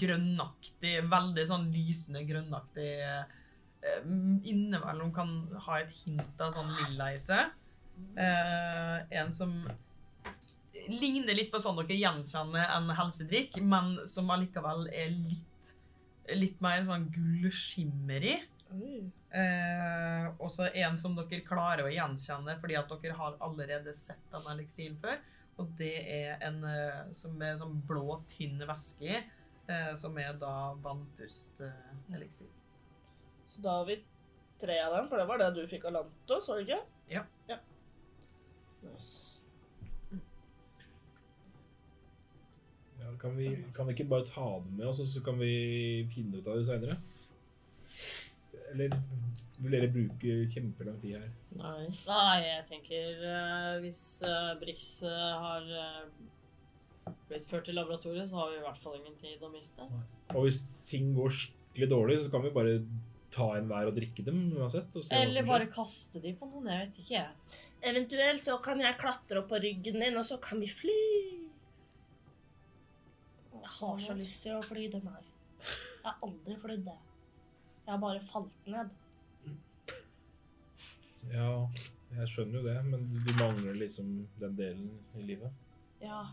S1: grønnaktig, veldig sånn lysende grønnaktig. eh, Innimellom kan ha et hint av sånn lilla i seg. Eh, en som ligner litt på sånn dere gjenkjenner en helsedrikk, men som allikevel er litt litt mer sånn gullskimmer i.
S6: Oi.
S1: Eh, også en som dere klarer å gjenkjenne fordi at dere har allerede sett denne eliksiren før. Og det er en eh, som er sånn blå, tynn væske i, eh, som er da vannpust-eliksir.
S6: Så da har vi tre av dem, for det var det du fikk av Lantos, var det ikke?
S1: Ja.
S6: ja.
S3: Ja, kan, vi, kan vi ikke bare ta det med oss, og så kan vi finne ut av det seinere? Eller vil dere bruke kjempelang tid her?
S6: Nei.
S2: Nei, jeg tenker eh, hvis eh, Brix eh, har eh, blitt ført til laboratoriet, så har vi i hvert fall ingen tid å miste.
S3: Og hvis ting går skikkelig dårlig, så kan vi bare ta en hver og drikke dem uansett. Og se hva
S2: Eller
S3: som
S2: bare
S3: skjer.
S2: kaste de på noen, jeg vet ikke. jeg.
S7: Eventuelt så kan jeg klatre opp på ryggen din, og så kan vi fly. Jeg har så lyst til å fly den her. Jeg har aldri flydd det. Jeg har bare falt ned.
S3: Ja, jeg skjønner jo det, men du mangler liksom den delen i livet.
S7: Ja,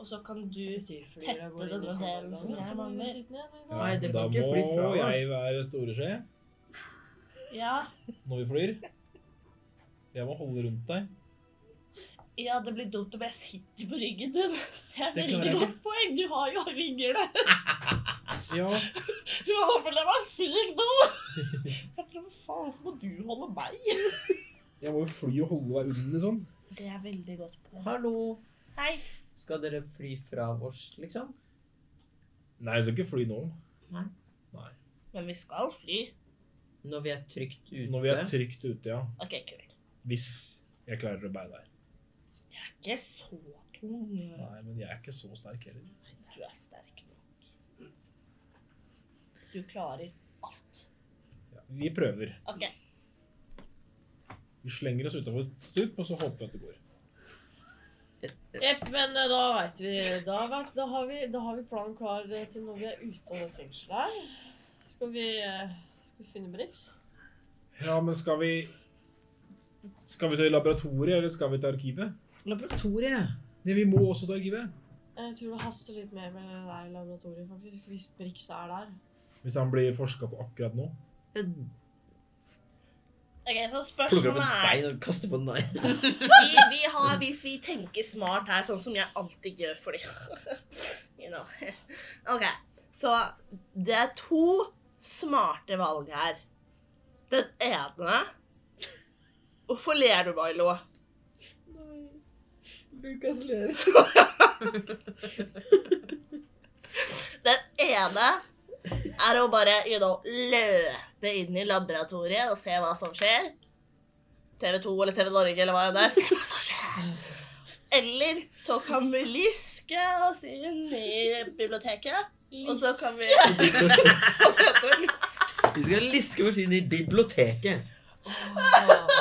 S7: og så kan du
S2: Flyflyere går
S7: Tette
S2: inn i samarbeid,
S7: denne delen som
S2: men
S7: jeg
S2: så må vi
S7: mangler.
S2: sitte ned i dag.
S3: Ja,
S9: Nei, dere
S3: da
S9: kan
S3: må
S9: ikke fly fra oss.
S3: jeg være storeskje
S7: Ja,
S3: når vi flyr. Jeg må holde rundt deg.
S7: ja det blir dumt om jeg sitter på ryggen din. Det er
S3: Det klarer
S7: veldig
S3: jeg
S7: godt poeng. Du har jo vinger, du.
S3: Ja,
S7: Du overlever meg sykt dum. Jeg prøver, faen, hvorfor må du holde meg?
S3: jeg må jo fly og holde deg under sånn.
S7: Det er veldig godt poeng.
S9: Hallo.
S7: Hei.
S9: Skal dere fly fra oss, liksom?
S3: Nei, jeg skal ikke fly nå.
S7: Men vi skal fly.
S9: Når vi er trygt ute?
S3: Når vi er trygt ute, ja.
S7: Ok, kult.
S3: Hvis jeg klarer å bære deg.
S7: Jeg er ikke så tung.
S3: Nei, men jeg er ikke så sterk heller.
S7: Du er sterk nok. Du klarer alt.
S3: Ja, vi prøver.
S7: Ok.
S3: Vi slenger oss utenfor et stup, og så håper vi at det går.
S2: Jepp, men eh, da veit vi. Da, vet, da, har vi. da har vi planen klar eh, til når vi er ute av det fengselet her. Skal vi, eh, skal vi finne Brix?
S3: Ja, men skal vi Skal vi til laboratoriet, eller skal vi til arkivet?
S9: Laboratoriet.
S3: Nei, vi må også til arkivet.
S2: Jeg tror det haster litt mer med det der laboratoriet, faktisk, hvis Brix er der.
S3: Hvis han blir forska på akkurat nå.
S7: Ok, så
S4: Plukker opp
S7: spørsmålet
S4: en
S7: er
S4: stein og kaster på den. Nei.
S7: vi, vi har, Hvis vi tenker smart her, sånn som jeg alltid gjør fordi You know. OK. Så det er to smarte valg her. Den ene Hvorfor ler du, Milo?
S9: Lukas ler.
S7: Den ene er å bare you know, løpe inn i laboratoriet og se hva som skjer. TV 2 eller TV Norge eller hva det er. Se hva som skjer. Eller så kan vi lyske oss inn i biblioteket. Og så kan vi
S4: Vi skal liske oss inn i biblioteket.
S2: Åh.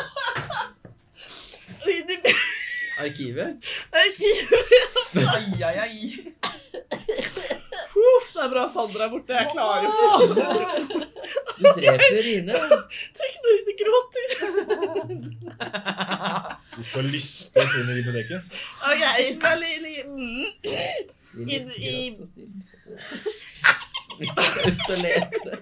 S7: Inn i bi-
S4: Arkivet.
S1: Ai, ai, ai.
S6: Uff, det er bra Sandra er borte. Jeg klarer jo ikke.
S4: Du dreper Ine.
S7: Du gråter.
S3: Vi skal lyste oss inn i biblioteket.
S7: OK, vi skal li, li, mm.
S9: Vi
S7: I-
S9: lysker
S7: i-
S9: oss så stilt.
S4: Vi skal ut og lese.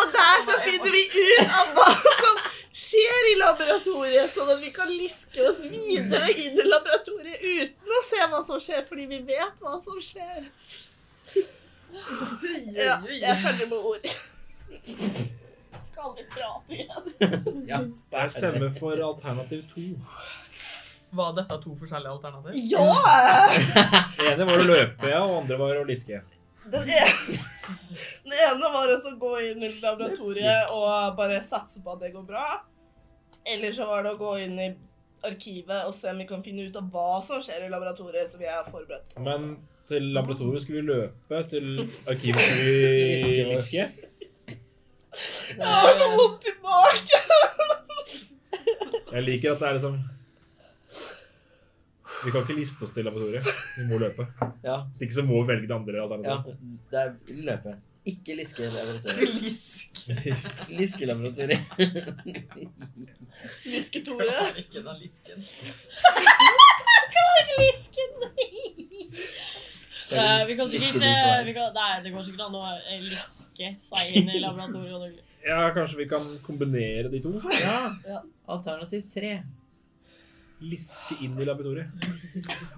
S7: Og der så finner vi ut av hva som skjer i laboratoriet, sånn at vi kan liske oss videre inn i laboratoriet uten å se hva som skjer, fordi vi vet hva som skjer. Ja, jeg følger med ord. Skal aldri prate igjen.
S4: Ja,
S3: Jeg stemmer for alternativ to.
S1: Var dette to forskjellige alternativer?
S7: Ja!
S3: Det ene var å løpe, ja, og det andre var å liske.
S6: Den ene, den ene var altså å gå inn i laboratoriet og bare satse på at det går bra. Eller så var det å gå inn i arkivet og se om vi kan finne ut av hva som skjer i laboratoriet, så vi er forberedt.
S3: Men til laboratoriet skulle vi løpe, til arkivet skulle vi
S4: Liske.
S3: liske.
S2: Det er, eh,
S6: Tilbake!
S3: Jeg liker at det er liksom Vi kan ikke liste oss til laboratoriet. Vi må løpe.
S4: Ja,
S3: Hvis ikke så må vi velge det andre
S4: ja.
S3: alternativet.
S4: Det er løpe. Ikke liske i laboratoriet.
S1: Lisk.
S4: Liske i laboratoriet.
S1: Lisketore. Ikke den lisken.
S7: Lisken!
S2: Det, vi kan sikkert eh, vi kan, Nei, det går sikkert an å eh, liske seg inn i laboratoriet. og det-
S3: Ja, kanskje vi kan kombinere de to?
S4: Ja. Alternativ tre.
S3: Liske inn i laboratoriet.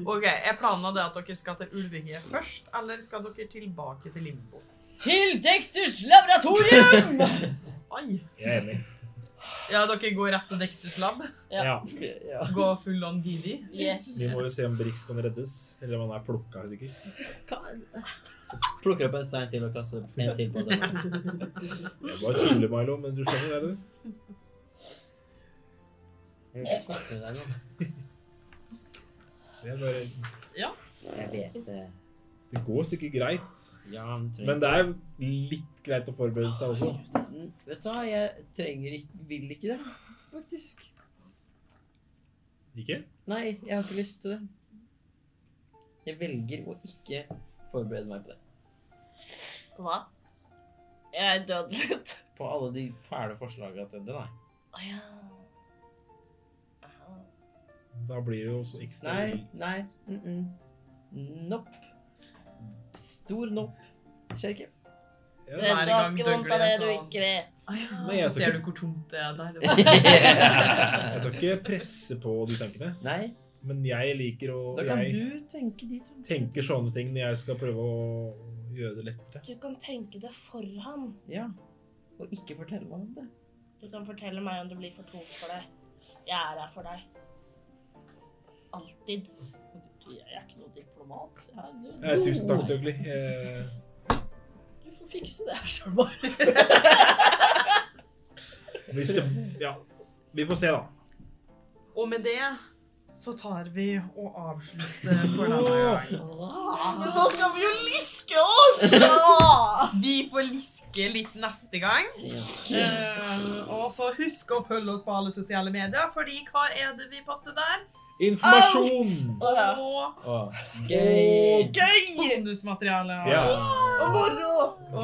S1: Ok, jeg planla det at dere skal til Ulvinge først, eller skal dere tilbake til Limbo?
S2: Til Dexters laboratorium!
S1: Oi!
S3: Jeg er enig.
S1: Ja, dere går rett til Dexters lab.
S2: Ja.
S3: Ja.
S4: Ja.
S1: Går full on Didi.
S2: Yes.
S3: Vi må jo se om Brix kan reddes. Eller om han er plukka, sikkert.
S4: Plukker opp en stein til og kaster en til på den.
S3: Jeg bare tuller, Milo, men du skjønner det, du?
S4: Jeg snakker med deg nå.
S3: Det, er bare,
S4: Jeg vet det.
S3: det går sikkert greit.
S4: Ja, men trenger-
S3: Men det er litt greit å forberede seg også.
S4: Mm, Vet du hva, jeg trenger ikke Vil ikke det, faktisk.
S3: Ikke?
S4: Nei, jeg har ikke lyst til det. Jeg velger å ikke forberede meg på det.
S7: På hva? Jeg er død litt.
S4: På alle de fæle forslagene til det, nei.
S7: Å ja. Aha.
S3: Da blir det jo også ekstra
S4: Nei, nei. Mm -mm. Nopp. Stor nopp. Skjer ikke.
S7: Men
S3: Ja.
S1: Hver
S7: du har
S1: gang
S7: ikke
S1: døgger
S7: vondt av det
S1: det
S7: du
S1: sånn.
S7: ikke vet.
S3: Nei, jeg
S1: Så
S3: skal
S1: ser
S3: ikke-
S1: du hvor tomt det er der. Det var.
S3: Jeg skal ikke presse på de tankene,
S4: Nei,
S3: men jeg liker å
S4: da kan
S3: Jeg
S4: du tenke dit. da.
S3: tenker sånne ting når jeg skal prøve å gjøre det lettere.
S7: Du kan tenke det for han.
S4: Ja. Og ikke fortelle meg om det.
S7: Du kan fortelle meg om du blir for tung for det. Jeg er her for deg. Alltid.
S2: Jeg er ikke noe diplomat. Jeg er- du-
S3: Eh, tusen takk, Dougley. Eh,
S2: Du får fikse det her selv bare.
S3: hvis det Ja. Vi får se, da.
S1: Og med det så tar vi og avslutter for denne gang.
S7: Men nå skal vi jo liske oss! Ja!
S1: Vi får liske litt neste gang.
S4: Ja.
S1: Eh, og så husk å følge oss på alle sosiale medier, fordi hva er det vi poster der?
S3: Informasjon!
S1: Og
S3: Ah.
S4: Å, Gøy.
S7: Gøy!
S1: bonusmateriale.
S3: Ja.
S7: Og moro!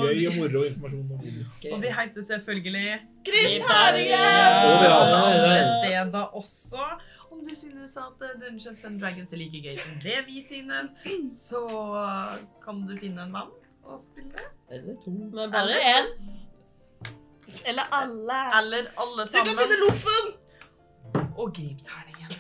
S3: Gøy og moro informasjon. og bonus.
S1: Og vi heter selvfølgelig
S7: Grimt
S3: Overalt.
S1: Steder også. Om du synes at eh, Dungeons and Dragons er like gøy som det vi synes, så eh, kan du finne en venn og spille.
S4: Eller to.
S2: Men bare én.
S7: Eller alle.
S1: Eller alle sammen.
S7: Loffen!
S1: Og grip terningen.